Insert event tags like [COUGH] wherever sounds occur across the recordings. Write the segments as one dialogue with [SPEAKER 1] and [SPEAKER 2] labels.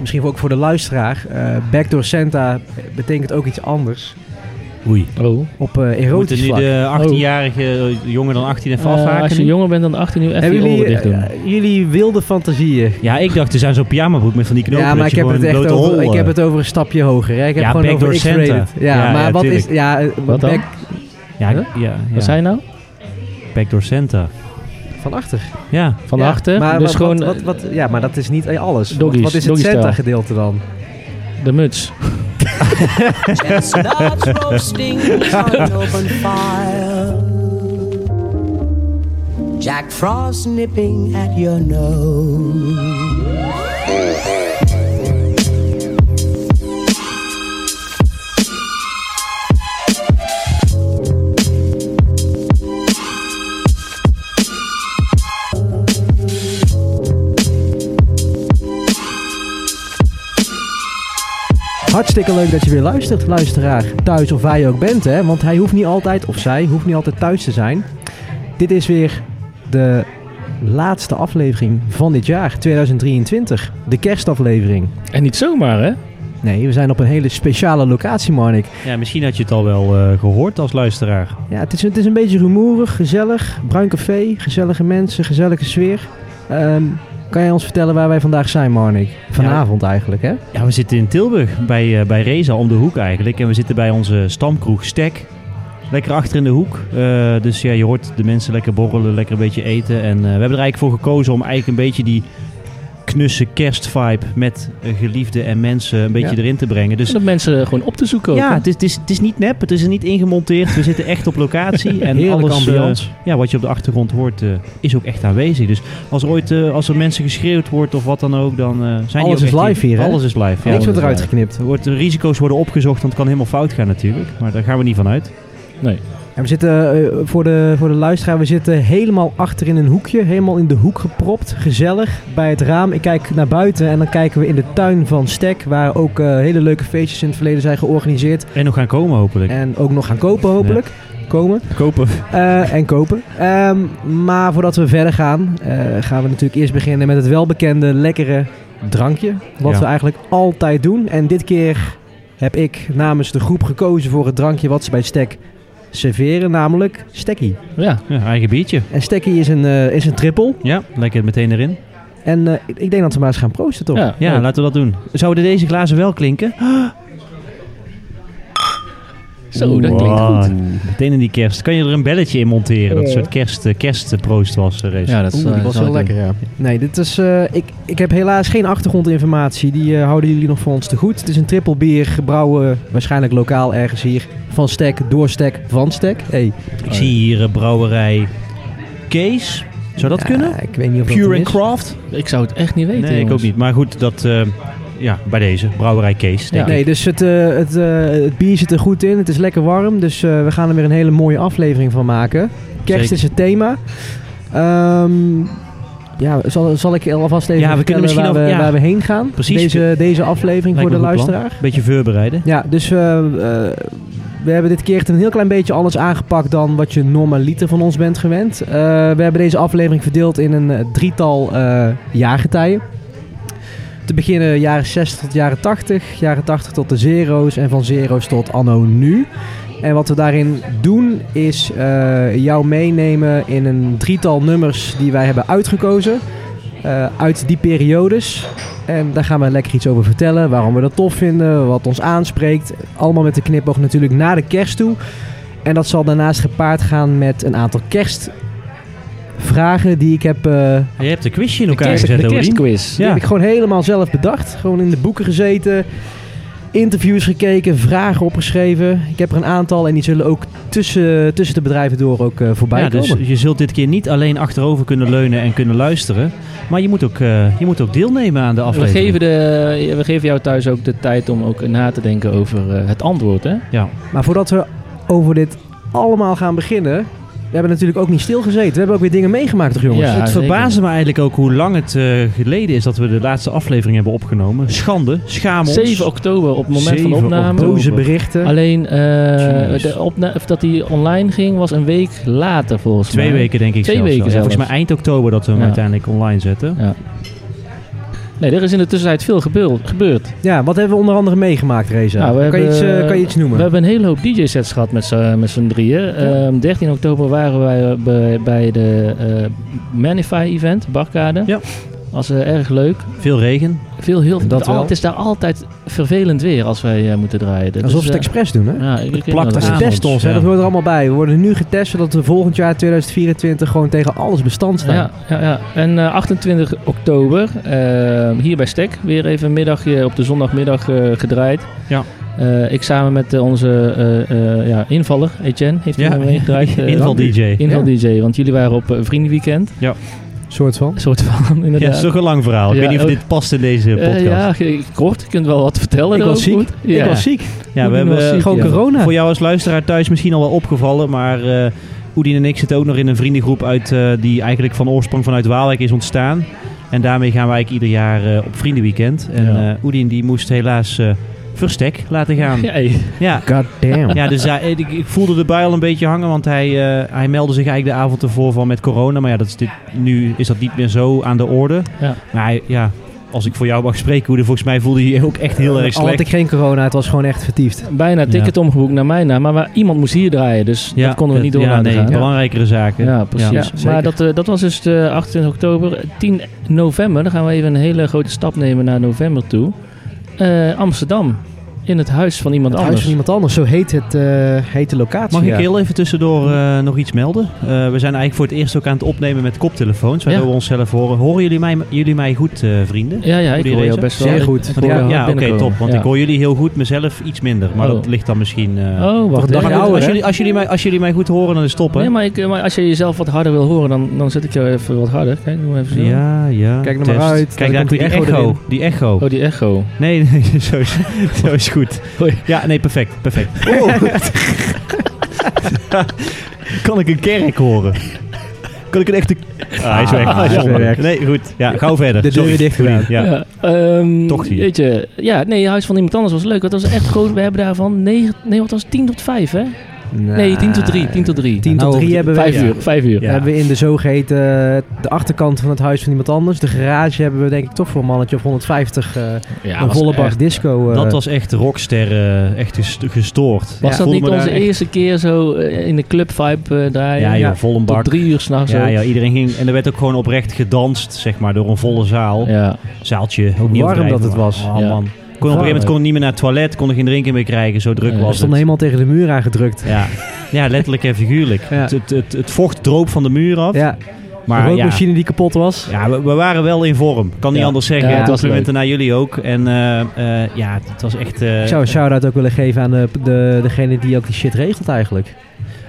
[SPEAKER 1] misschien ook voor de luisteraar. eh Backdoor Santa betekent ook iets anders
[SPEAKER 2] Oei.
[SPEAKER 3] Oh.
[SPEAKER 1] op eh
[SPEAKER 2] Moeten
[SPEAKER 1] erotisch
[SPEAKER 2] nu
[SPEAKER 1] vlak.
[SPEAKER 2] de 18-jarige jonger dan 18 en
[SPEAKER 3] Eh, als
[SPEAKER 2] afhaken?
[SPEAKER 3] je jonger bent dan 18 uur, even je
[SPEAKER 1] Hebben
[SPEAKER 3] oren
[SPEAKER 1] jullie,
[SPEAKER 3] dicht doen.
[SPEAKER 1] eh, jullie wilde fantasieën?
[SPEAKER 2] ja, ik dacht dus aan zo'n pyjamabroek met van die knopen.
[SPEAKER 1] ja, maar
[SPEAKER 2] dat
[SPEAKER 1] ik
[SPEAKER 2] je
[SPEAKER 1] heb, het
[SPEAKER 2] gewoon
[SPEAKER 1] echt
[SPEAKER 2] blote
[SPEAKER 1] over,
[SPEAKER 2] hol,
[SPEAKER 1] ik
[SPEAKER 2] eh,
[SPEAKER 1] heb het over een stapje hoger. Hè? Ik heb
[SPEAKER 2] Ja,
[SPEAKER 1] gewoon over
[SPEAKER 2] Backdoor Santa.
[SPEAKER 1] X-rated. Ja,
[SPEAKER 2] Ja,
[SPEAKER 1] maar
[SPEAKER 2] ja,
[SPEAKER 1] wat is...
[SPEAKER 2] tuurlijk.
[SPEAKER 1] Ja, eh,
[SPEAKER 3] Wat dan?
[SPEAKER 1] back-
[SPEAKER 2] Ja,
[SPEAKER 1] Huh?
[SPEAKER 2] ja, ja.
[SPEAKER 3] Wat zei je nou?
[SPEAKER 2] Backdoor Santa.
[SPEAKER 1] van achter.
[SPEAKER 2] Ja.
[SPEAKER 3] Van
[SPEAKER 1] Ja,
[SPEAKER 3] achter?
[SPEAKER 1] Maar,
[SPEAKER 3] dus
[SPEAKER 1] wat-
[SPEAKER 3] gewoon
[SPEAKER 1] wat, wat- wat- ja, maar dat is niet alles. Wat-
[SPEAKER 3] Doggies,
[SPEAKER 1] wat is het
[SPEAKER 3] doggy style.
[SPEAKER 1] Santa gedeelte dan?
[SPEAKER 3] eh, de muts.
[SPEAKER 4] Chestnuts roasting on an open fire. Jack Frost nipping at your nose.
[SPEAKER 1] Hartstikke leuk dat je weer luistert, luisteraar. Thuis of waar je ook bent, hè? Want hij hoeft niet altijd, of zij hoeft niet altijd thuis te zijn. Dit is weer de laatste aflevering van dit jaar, 2023. De kerstaflevering.
[SPEAKER 3] En niet zomaar, hè?
[SPEAKER 1] Nee, we zijn op een hele speciale locatie, Marnik.
[SPEAKER 2] ja, misschien had je het al wel eh, gehoord als luisteraar.
[SPEAKER 1] Ja, het is, het is een beetje rumoerig, gezellig. Bruin café, gezellige mensen, gezellige sfeer. Ehm, kan jij ons vertellen waar wij vandaag zijn, Marnik? Vanavond eigenlijk, hè?
[SPEAKER 2] Ja, we zitten in Tilburg bij, eh, bij Reza om de hoek eigenlijk. En we zitten bij onze stamkroeg Stek. Lekker achter in de hoek. Eh, dus ja, je hoort de mensen lekker borrelen, lekker een beetje eten. En eh, we hebben er eigenlijk voor gekozen om eigenlijk een beetje die knusse kerstvibe met eh, geliefden en mensen een beetje
[SPEAKER 3] Ja.
[SPEAKER 2] erin te brengen. Dus
[SPEAKER 3] Zodat mensen gewoon op te zoeken ook.
[SPEAKER 2] ja,
[SPEAKER 3] hè?
[SPEAKER 2] het is, het, is, het is niet nep, het is er niet ingemonteerd. We zitten echt op
[SPEAKER 1] [LAUGHS]
[SPEAKER 2] locatie. En
[SPEAKER 1] Heerlijke
[SPEAKER 2] alles, eh,
[SPEAKER 1] ambiance.
[SPEAKER 2] ja, wat je op de achtergrond hoort, eh, is ook echt aanwezig. Dus als, ooit, eh, als er mensen geschreeuwd wordt of wat dan ook, dan eh, zijn
[SPEAKER 1] Alles
[SPEAKER 2] die ook
[SPEAKER 1] is
[SPEAKER 2] echt
[SPEAKER 1] live hier, hè?
[SPEAKER 2] Alles is live. ja,
[SPEAKER 1] Niks wordt
[SPEAKER 2] alles
[SPEAKER 1] eruit
[SPEAKER 2] is live.
[SPEAKER 1] geknipt.
[SPEAKER 2] Er wordt, de risico's worden opgezocht, want het kan helemaal fout gaan natuurlijk. Maar daar gaan we niet van uit.
[SPEAKER 1] En we zitten, eh, voor, de, voor de luisteraar, we zitten helemaal achter in een hoekje. Helemaal in de hoek gepropt. Gezellig bij het raam. Ik kijk naar buiten en dan kijken we in de tuin van Stek. Waar ook eh, hele leuke feestjes in het verleden zijn georganiseerd.
[SPEAKER 2] En nog gaan komen hopelijk.
[SPEAKER 1] En ook nog gaan kopen hopelijk. Komen
[SPEAKER 2] Kopen. [LAUGHS]
[SPEAKER 1] eh, en kopen. Ehm, maar voordat we verder gaan, eh, gaan we natuurlijk eerst beginnen met het welbekende lekkere drankje. Wat
[SPEAKER 2] Ja.
[SPEAKER 1] we eigenlijk altijd doen. En dit keer heb ik namens de groep gekozen voor het drankje wat ze bij Stek serveren. Namelijk Stekkie.
[SPEAKER 3] Ja.
[SPEAKER 2] Ja, eigen biertje.
[SPEAKER 1] En Stekkie is een, eh is een triple.
[SPEAKER 2] Ja, lekker meteen erin.
[SPEAKER 1] En eh, ik, ik denk dat we maar eens gaan proosten, toch?
[SPEAKER 3] Ja,
[SPEAKER 2] Ja,
[SPEAKER 3] leuk.
[SPEAKER 2] laten we dat doen. Zouden deze glazen wel klinken?
[SPEAKER 3] Zo, dat klinkt
[SPEAKER 2] Wow.
[SPEAKER 3] goed.
[SPEAKER 2] Meteen in die kerst. Kan je er een belletje in monteren? Dat een soort kerst, eh, kerstproost was, eh, Reza.
[SPEAKER 3] Ja, dat is, eh, zal ik doen.
[SPEAKER 1] ja. Nee, dit is, eh, ik, ik heb helaas geen achtergrondinformatie. Die eh, houden jullie nog voor ons te goed. Het is een triple bier, gebrouwen waarschijnlijk lokaal ergens hier. Van Stek, door Stek, van Stek. Hey,
[SPEAKER 2] Ik zie hier eh, brouwerij Kees. Zou dat
[SPEAKER 1] ja,
[SPEAKER 2] kunnen?
[SPEAKER 1] Ik weet niet of dat
[SPEAKER 2] Pure
[SPEAKER 1] hem
[SPEAKER 2] and
[SPEAKER 1] is.
[SPEAKER 2] Craft?
[SPEAKER 3] Ik zou het echt niet weten.
[SPEAKER 2] Nee, ik ook
[SPEAKER 3] jongens.
[SPEAKER 2] niet. Maar goed, dat... eh, ja, bij deze. Brouwerij Kees, denk
[SPEAKER 3] Ja.
[SPEAKER 2] ik.
[SPEAKER 1] Nee, dus het, eh, het, eh, het bier zit er goed in. Het is lekker warm. Dus eh, we gaan er weer een hele mooie aflevering van maken. Kerst
[SPEAKER 2] Zeker.
[SPEAKER 1] is het thema. Ehm, ja, zal, zal ik alvast even
[SPEAKER 2] Ja, we
[SPEAKER 1] vertellen
[SPEAKER 2] kunnen misschien
[SPEAKER 1] waar,
[SPEAKER 2] al-
[SPEAKER 1] we,
[SPEAKER 2] ja.
[SPEAKER 1] waar we heen gaan?
[SPEAKER 2] Precies.
[SPEAKER 1] Deze, deze aflevering
[SPEAKER 2] Lijkt
[SPEAKER 1] voor
[SPEAKER 2] me
[SPEAKER 1] de
[SPEAKER 2] een goed plan.
[SPEAKER 1] luisteraar.
[SPEAKER 2] Beetje voorbereiden.
[SPEAKER 1] Ja, dus eh, eh, we hebben dit keer echt een heel klein beetje alles aangepakt dan wat je normaliter van ons bent gewend. Eh, we hebben deze aflevering verdeeld in een eh, drietal eh, jaargetijden. Te beginnen jaren 60 tot jaren 80, jaren 80 tot de zero's en van zero's tot anno nu. En wat we daarin doen is eh, jou meenemen in een drietal nummers die wij hebben uitgekozen eh, uit die periodes. En daar gaan we lekker iets over vertellen. Waarom we dat tof vinden, wat ons aanspreekt. Allemaal met de knipoog natuurlijk naar de kerst toe. En dat zal daarnaast gepaard gaan met een aantal kerstvragen die ik heb, eh,
[SPEAKER 2] Je hebt een quizje in
[SPEAKER 3] De,
[SPEAKER 2] elkaar
[SPEAKER 3] kerst,
[SPEAKER 2] gezet,
[SPEAKER 3] de
[SPEAKER 2] Odin.
[SPEAKER 3] kerstquiz.
[SPEAKER 1] die
[SPEAKER 2] Ja.
[SPEAKER 1] heb ik gewoon helemaal zelf bedacht. Gewoon in de boeken gezeten, interviews gekeken, vragen opgeschreven. Ik heb er een aantal en die zullen ook tussen, tussen de bedrijven door ook eh, voorbij
[SPEAKER 2] Ja, dus
[SPEAKER 1] komen.
[SPEAKER 2] je zult dit keer niet alleen achterover kunnen leunen en kunnen luisteren. Maar je moet ook, eh, je moet ook deelnemen aan de
[SPEAKER 3] We
[SPEAKER 2] aflevering.
[SPEAKER 3] geven, de, we geven jou thuis ook de tijd om ook na te denken over eh, het antwoord, hè?
[SPEAKER 1] Maar voordat we over dit allemaal gaan beginnen. We hebben natuurlijk ook niet stilgezeten. We hebben ook weer dingen meegemaakt, toch jongens?
[SPEAKER 3] Ja,
[SPEAKER 2] het
[SPEAKER 3] zeker.
[SPEAKER 2] verbaasde me eigenlijk ook hoe lang het eh, geleden is dat we de laatste aflevering hebben opgenomen. Schande, schaam ons.
[SPEAKER 3] 7 oktober op het moment van
[SPEAKER 2] 7
[SPEAKER 3] de opname.
[SPEAKER 2] oktober.
[SPEAKER 1] Boze berichten.
[SPEAKER 3] Alleen eh,
[SPEAKER 2] Jeez.
[SPEAKER 3] de opna- of dat die online ging was een week later volgens
[SPEAKER 2] Twee
[SPEAKER 3] mij.
[SPEAKER 2] weken denk ik
[SPEAKER 3] Twee
[SPEAKER 2] zelfs.
[SPEAKER 3] weken
[SPEAKER 2] Ja,
[SPEAKER 3] zelfs.
[SPEAKER 2] Volgens mij eind oktober dat we hem
[SPEAKER 3] Ja.
[SPEAKER 2] uiteindelijk online zetten.
[SPEAKER 3] Ja. Nee, er is in de tussentijd veel gebeur- gebeurd.
[SPEAKER 1] Ja, wat hebben we onder andere meegemaakt, Reza?
[SPEAKER 3] Nou, we
[SPEAKER 1] kan, je
[SPEAKER 3] hebben-
[SPEAKER 1] iets, eh, kan je iets noemen?
[SPEAKER 3] We hebben een hele hoop DJ-sets gehad met z'n met z'n drieën. Ehm, 13 oktober waren wij eh, bij, bij de eh Manify-event, Barkade.
[SPEAKER 2] Ja.
[SPEAKER 3] Was eh, erg leuk.
[SPEAKER 2] Veel regen.
[SPEAKER 3] Veel, heel,
[SPEAKER 1] Dat
[SPEAKER 3] al,
[SPEAKER 1] wel.
[SPEAKER 3] Het is daar altijd vervelend weer als wij eh, moeten draaien. Dus,
[SPEAKER 1] Alsof ze het
[SPEAKER 3] eh,
[SPEAKER 1] expres doen, hè?
[SPEAKER 3] ja, ik- ik weet
[SPEAKER 2] plakt
[SPEAKER 3] nog
[SPEAKER 2] als
[SPEAKER 1] Ze
[SPEAKER 3] wel.
[SPEAKER 2] avonds,
[SPEAKER 1] testen ons, hè?
[SPEAKER 2] ja.
[SPEAKER 1] dat hoort er allemaal bij. We worden nu getest zodat we volgend jaar 2024 gewoon tegen alles bestand staan.
[SPEAKER 3] Ja, ja, ja. En eh, 28 oktober, eh, hier bij Stek, weer even een middagje op de zondagmiddag eh, gedraaid.
[SPEAKER 2] Ja.
[SPEAKER 3] Eh, ik samen met eh, onze eh, eh, ja, invaller, Etienne, heeft hij
[SPEAKER 2] Ja. [LAUGHS]
[SPEAKER 3] me meegedraaid. eh,
[SPEAKER 2] Inval DJ.
[SPEAKER 3] Inval DJ, want jullie waren op een vriendenweekend.
[SPEAKER 1] soort van.
[SPEAKER 3] Een soort van, [LAUGHS]
[SPEAKER 2] Ja,
[SPEAKER 3] inderdaad.
[SPEAKER 2] het is toch een lang verhaal. Ik
[SPEAKER 3] Ja,
[SPEAKER 2] weet niet of
[SPEAKER 3] ook-
[SPEAKER 2] dit past in deze
[SPEAKER 3] Eh,
[SPEAKER 2] podcast.
[SPEAKER 3] ja, ge- kort. Je kunt wel wat vertellen.
[SPEAKER 1] Ik was
[SPEAKER 3] erover,
[SPEAKER 1] ziek.
[SPEAKER 3] goed? Ja.
[SPEAKER 1] Ik was ziek.
[SPEAKER 2] Ja, we
[SPEAKER 1] Ik was
[SPEAKER 2] hebben eh,
[SPEAKER 1] ziek. Gewoon
[SPEAKER 3] ja.
[SPEAKER 1] corona.
[SPEAKER 2] voor jou als luisteraar thuis misschien al wel opgevallen, maar eh Oedien en ik zitten ook nog in een vriendengroep uit, eh, die eigenlijk van oorsprong vanuit Waalwijk is ontstaan. En daarmee gaan wij eigenlijk ieder jaar eh, op vriendenweekend. En eh
[SPEAKER 3] Ja.
[SPEAKER 2] Oedien die moest helaas eh, verstek laten gaan.
[SPEAKER 3] [LAUGHS] Ja, hey.
[SPEAKER 2] Ja,
[SPEAKER 1] God damn.
[SPEAKER 2] ja dus hij- ik, ik voelde de bui al een beetje hangen, want hij, eh, hij meldde zich eigenlijk de avond ervoor van met corona. Maar ja, dat is dit, nu is dat niet meer zo aan de orde.
[SPEAKER 3] Ja.
[SPEAKER 2] Maar hij, ja, als ik voor jou mag spreken, Oedien, volgens mij voelde je je ook echt heel erg
[SPEAKER 1] Al had
[SPEAKER 2] slecht.
[SPEAKER 1] ik geen corona, het was gewoon echt vertiefd.
[SPEAKER 3] Bijna ticket omgeboekt naar mij naam, maar waar- iemand moest hier draaien, dus dat konden we niet door
[SPEAKER 2] ja,
[SPEAKER 3] laten
[SPEAKER 2] nee,
[SPEAKER 3] gaan.
[SPEAKER 2] belangrijkere zaken.
[SPEAKER 3] Ja,
[SPEAKER 2] Ja,
[SPEAKER 3] precies.
[SPEAKER 1] zeker.
[SPEAKER 3] maar dat, eh, dat was dus de 28 oktober. 10 november, dan gaan we even een hele grote stap nemen naar november toe. Eh, Amsterdam, in het huis van iemand
[SPEAKER 1] Het huis
[SPEAKER 3] anders.
[SPEAKER 1] van iemand anders, zo heet, het, eh, heet de locatie.
[SPEAKER 2] Mag ik
[SPEAKER 1] Ja.
[SPEAKER 2] heel even tussendoor eh, nog iets melden? Eh, we zijn eigenlijk voor het eerst ook aan het opnemen met koptelefoons, waardoor
[SPEAKER 3] Ja.
[SPEAKER 2] we onszelf horen. Horen jullie mij, jullie mij goed, eh, vrienden?
[SPEAKER 3] Ja, ja, ik
[SPEAKER 2] Goeie
[SPEAKER 3] hoor jou
[SPEAKER 2] reden.
[SPEAKER 3] best wel.
[SPEAKER 1] Zeer goed.
[SPEAKER 3] Ik
[SPEAKER 1] Want
[SPEAKER 3] hoor
[SPEAKER 1] ja,
[SPEAKER 3] jou
[SPEAKER 2] ja, oké,
[SPEAKER 3] binnenkomen.
[SPEAKER 2] top. Want
[SPEAKER 3] Ja.
[SPEAKER 2] ik hoor jullie heel goed, mezelf iets minder. Maar
[SPEAKER 3] Oh.
[SPEAKER 2] dat ligt dan misschien... eh,
[SPEAKER 3] Oh, wacht.
[SPEAKER 1] dag
[SPEAKER 3] hè.
[SPEAKER 1] en
[SPEAKER 2] als,
[SPEAKER 1] ouder, hè?
[SPEAKER 2] jullie, als, jullie mij, als jullie mij goed horen, dan is het top, hè?
[SPEAKER 3] Nee, maar, ik, eh, maar als je jezelf wat harder wil horen, dan, dan zet ik jou even wat harder. Kijk, doe maar even zo.
[SPEAKER 2] Ja, ja.
[SPEAKER 1] Kijk er
[SPEAKER 2] test.
[SPEAKER 1] maar uit.
[SPEAKER 2] Kijk,
[SPEAKER 1] Dan
[SPEAKER 2] daar
[SPEAKER 1] komt
[SPEAKER 2] die
[SPEAKER 1] die echo
[SPEAKER 2] echo.
[SPEAKER 1] erin.
[SPEAKER 2] Die echo.
[SPEAKER 3] Oh, die echo.
[SPEAKER 2] Nee, [LAUGHS] nee, zo is, zo is goed.
[SPEAKER 3] Oei.
[SPEAKER 2] Ja, nee, perfect. Perfect. [LAUGHS] kan ik een kerk horen? Kan ik een echte... Ah, hij is weg.
[SPEAKER 1] Ah, hij is
[SPEAKER 2] Zonde.
[SPEAKER 1] weg.
[SPEAKER 2] Nee, goed. Ja, gauw verder.
[SPEAKER 1] De deur
[SPEAKER 2] Sorry.
[SPEAKER 1] weer dicht gedaan.
[SPEAKER 2] Ja.
[SPEAKER 3] Ja, ehm,
[SPEAKER 2] Toch zie je.
[SPEAKER 3] Weet je, ja, nee, Huis van Iemand Anders was leuk. Dat was echt groot. We hebben daarvan negen, nee, wat was het? 10 tot 5, hè?
[SPEAKER 1] Nou,
[SPEAKER 3] Nee, 10 tot 3. 10 tot 3.
[SPEAKER 1] 10 tot
[SPEAKER 2] Nou,
[SPEAKER 1] 3 hebben wij.
[SPEAKER 3] 5 uur, 5 uur.
[SPEAKER 2] Ja.
[SPEAKER 1] Hebben we in de zogeheten eh, de achterkant van het huis van iemand anders. De garage hebben we denk ik toch voor een mannetje of 150 eh,
[SPEAKER 3] Ja,
[SPEAKER 1] een
[SPEAKER 3] was
[SPEAKER 1] volle bak
[SPEAKER 3] echt-
[SPEAKER 1] disco. eh,
[SPEAKER 2] Dat was echt rockster, eh, echt gest- gestoord.
[SPEAKER 3] Was
[SPEAKER 2] Ik
[SPEAKER 3] dat
[SPEAKER 2] voelde
[SPEAKER 3] niet
[SPEAKER 2] me daar
[SPEAKER 3] onze
[SPEAKER 2] echt-
[SPEAKER 3] eerste keer zo eh, in de club vibe eh, draaien?
[SPEAKER 2] Ja, joh, vol een
[SPEAKER 3] Tot
[SPEAKER 2] bak.
[SPEAKER 3] drie uur s'nachts.
[SPEAKER 2] Ja, ja, iedereen ging... En er werd ook gewoon oprecht gedanst, zeg maar, door een volle zaal.
[SPEAKER 3] ja.
[SPEAKER 2] Zaaltje. Ook
[SPEAKER 1] Warm
[SPEAKER 2] niet overdrijven,
[SPEAKER 1] dat het
[SPEAKER 2] maar-
[SPEAKER 1] was.
[SPEAKER 2] Oh,
[SPEAKER 3] Ja.
[SPEAKER 2] man. Kon op een gegeven moment kon ik niet meer naar het toilet, kon er geen drinken meer krijgen, zo druk
[SPEAKER 3] Ja.
[SPEAKER 1] we
[SPEAKER 2] was het.
[SPEAKER 1] stonden helemaal tegen de muur aangedrukt.
[SPEAKER 2] Ja. ja, letterlijk en figuurlijk.
[SPEAKER 1] Ja.
[SPEAKER 2] Het, het, het, het vocht droop van de muur af.
[SPEAKER 1] Ja, de
[SPEAKER 2] Maar ja,
[SPEAKER 1] rookmachine die kapot was.
[SPEAKER 2] ja we, we waren wel in vorm. Kan niet
[SPEAKER 3] Ja.
[SPEAKER 2] anders zeggen.
[SPEAKER 3] Ja,
[SPEAKER 2] En
[SPEAKER 3] het was
[SPEAKER 2] complimenten naar jullie ook. En eh, eh, ja, het was echt... eh,
[SPEAKER 1] Ik zou een shout-out ook willen geven aan de, de, degene die ook die shit regelt eigenlijk.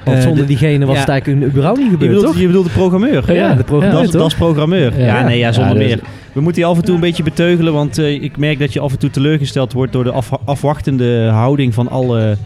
[SPEAKER 1] Want
[SPEAKER 2] Eh,
[SPEAKER 1] zonder
[SPEAKER 2] de-
[SPEAKER 1] diegene was
[SPEAKER 2] ja.
[SPEAKER 1] het eigenlijk überhaupt niet
[SPEAKER 2] je,
[SPEAKER 1] gebeurd,
[SPEAKER 2] bedoelt,
[SPEAKER 1] toch?
[SPEAKER 2] je bedoelt de programmeur.
[SPEAKER 3] Ja,
[SPEAKER 1] de programmeur,
[SPEAKER 2] Dat, is,
[SPEAKER 1] toch? dus-
[SPEAKER 2] dat is programmeur. Ja,
[SPEAKER 3] Ja.
[SPEAKER 2] nee, ja, zonder
[SPEAKER 3] Ja, dat is-
[SPEAKER 2] meer. We moeten je af en toe een beetje beteugelen, want eh, ik merk dat je af en toe teleurgesteld wordt door de af- afwachtende houding van alle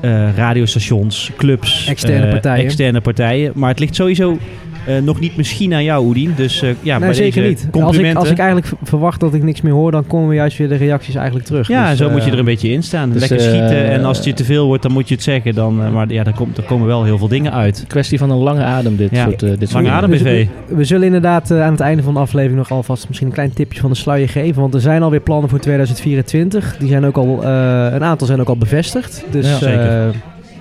[SPEAKER 2] eh, radiostations, clubs,
[SPEAKER 1] Externe
[SPEAKER 2] eh,
[SPEAKER 1] partijen.
[SPEAKER 2] externe partijen. Maar het ligt sowieso eh, nog niet misschien aan jou, Oedien. Dus eh, ja,
[SPEAKER 1] nee,
[SPEAKER 2] bij
[SPEAKER 1] zeker
[SPEAKER 2] deze
[SPEAKER 1] niet. Als ik,
[SPEAKER 2] Complimenten.
[SPEAKER 1] als ik eigenlijk v- verwacht dat ik niks meer hoor, dan komen we juist weer de reacties eigenlijk terug.
[SPEAKER 2] Ja,
[SPEAKER 1] Dus,
[SPEAKER 2] zo
[SPEAKER 1] eh,
[SPEAKER 2] moet je er een beetje in staan.
[SPEAKER 3] dus,
[SPEAKER 2] Lekker
[SPEAKER 3] eh,
[SPEAKER 2] schieten en als het je te veel wordt, dan moet je het zeggen. Dan, eh, maar ja, daar, komt, er komen wel heel veel dingen uit.
[SPEAKER 3] Kwestie van een lange adem, dit
[SPEAKER 2] Ja.
[SPEAKER 3] soort... eh, dit
[SPEAKER 2] Lange
[SPEAKER 3] soort-
[SPEAKER 2] adem
[SPEAKER 1] dus
[SPEAKER 2] BV.
[SPEAKER 1] we, we zullen inderdaad eh, aan het einde van de aflevering nog alvast misschien een klein tipje van de sluier geven. Want er zijn alweer plannen voor 2024. Die zijn ook al, eh, een aantal zijn ook al bevestigd. Dus
[SPEAKER 2] Ja, zeker.
[SPEAKER 1] eh,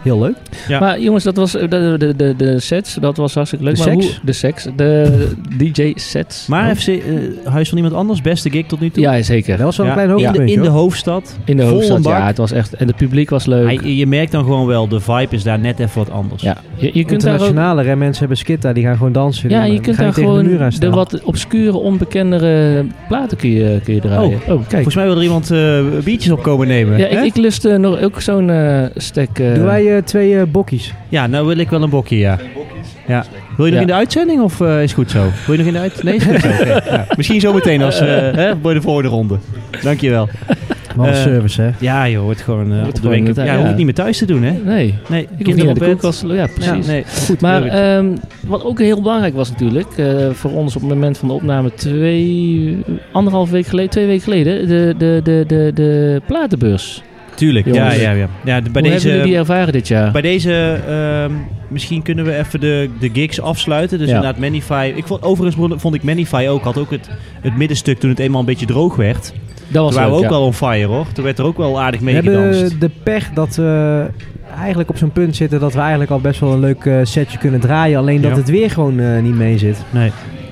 [SPEAKER 1] heel leuk.
[SPEAKER 2] Ja.
[SPEAKER 3] Maar jongens, dat was eh, de, de, de, de sets, dat was hartstikke leuk.
[SPEAKER 1] De
[SPEAKER 3] maar
[SPEAKER 1] seks?
[SPEAKER 3] Hoe, de seks, de DJ sets.
[SPEAKER 2] Maar
[SPEAKER 3] Oh.
[SPEAKER 2] FC, eh, Huis van Iemand Anders, beste gig tot nu toe.
[SPEAKER 3] Ja,
[SPEAKER 1] Dat
[SPEAKER 3] zeker.
[SPEAKER 1] was wel
[SPEAKER 2] Ja,
[SPEAKER 1] een klein
[SPEAKER 2] in, de,
[SPEAKER 1] hoogtepuntje.
[SPEAKER 2] in de
[SPEAKER 1] hoor.
[SPEAKER 2] hoofdstad.
[SPEAKER 3] In de
[SPEAKER 2] Vol een
[SPEAKER 3] hoofdstad,
[SPEAKER 2] bak.
[SPEAKER 3] ja. Het was echt, en het publiek was leuk.
[SPEAKER 2] Hij- je merkt dan gewoon wel, de vibe is daar net even wat anders.
[SPEAKER 3] ja. je, je kunt daar ook...
[SPEAKER 1] Internationale hè, mensen hebben skitta, die gaan gewoon dansen.
[SPEAKER 3] Ja,
[SPEAKER 1] Die
[SPEAKER 3] je
[SPEAKER 1] gaan
[SPEAKER 3] kunt
[SPEAKER 1] niet
[SPEAKER 3] daar
[SPEAKER 1] tegen
[SPEAKER 3] gewoon
[SPEAKER 1] de, muur aan
[SPEAKER 3] de
[SPEAKER 1] staan.
[SPEAKER 3] wat obscure, onbekendere platen kun je, kun je draaien. Oh, kijk.
[SPEAKER 2] Volgens mij wil er iemand eh, biertjes op komen nemen.
[SPEAKER 3] Ja,
[SPEAKER 2] hè?
[SPEAKER 3] ik, ik lust eh, nog ook zo'n eh stek... eh,
[SPEAKER 1] Doen wij eh, twee eh, bokkies.
[SPEAKER 2] ja, nou wil ik wel een bokje, ja. ja. Wil je nog
[SPEAKER 3] Ja.
[SPEAKER 2] in de uitzending of eh, is
[SPEAKER 3] [LAUGHS]
[SPEAKER 2] goed zo? Wil je nog in de
[SPEAKER 1] [LAUGHS]
[SPEAKER 2] uitzending? Nee, is goed zo. Oké, ja. Misschien zo meteen als, eh, hè, bij de volgende ronde. Dankjewel.
[SPEAKER 1] Wat een
[SPEAKER 2] Eh,
[SPEAKER 1] service, hè?
[SPEAKER 2] Ja joh, het gewoon eh,
[SPEAKER 3] Wordt
[SPEAKER 2] op de
[SPEAKER 3] gewoon
[SPEAKER 2] week. Ja,
[SPEAKER 3] het-
[SPEAKER 2] hoef
[SPEAKER 3] ja.
[SPEAKER 2] het niet meer thuis te doen, hè?
[SPEAKER 3] Nee.
[SPEAKER 2] Nee,
[SPEAKER 3] Ik hoef niet naar de koelkast. Ja,
[SPEAKER 2] Ja,
[SPEAKER 3] precies.
[SPEAKER 2] nee, goed.
[SPEAKER 3] Maar
[SPEAKER 2] Jorrit.
[SPEAKER 3] ehm, wat ook heel belangrijk was natuurlijk, eh, voor ons op het moment van de opname twee, anderhalf week geleden, twee weken geleden, de, de, de, de, de platenbeurs.
[SPEAKER 2] Tuurlijk, ja,
[SPEAKER 3] Jongens.
[SPEAKER 2] ja, ja. ja de- bij,
[SPEAKER 3] Hoe hebben
[SPEAKER 2] deze,
[SPEAKER 3] jullie die ervaren dit jaar?
[SPEAKER 2] bij deze, ehm, misschien kunnen we even de, de gigs afsluiten. Dus
[SPEAKER 3] Ja.
[SPEAKER 2] inderdaad, Manify. Ik vond, overigens vond ik Manify ook, had ook het, het middenstuk toen het eenmaal een beetje droog werd.
[SPEAKER 3] dat was
[SPEAKER 2] Toen waren we ook
[SPEAKER 3] leuk, ja.
[SPEAKER 2] wel on fire hoor. Toen werd er ook wel aardig
[SPEAKER 1] We
[SPEAKER 2] mee gedanst.
[SPEAKER 1] hebben eh, de pech dat we eigenlijk op zo'n punt zitten dat we eigenlijk al best wel een leuk eh, setje kunnen draaien. Alleen dat
[SPEAKER 2] Ja.
[SPEAKER 1] het weer gewoon eh, niet mee zit.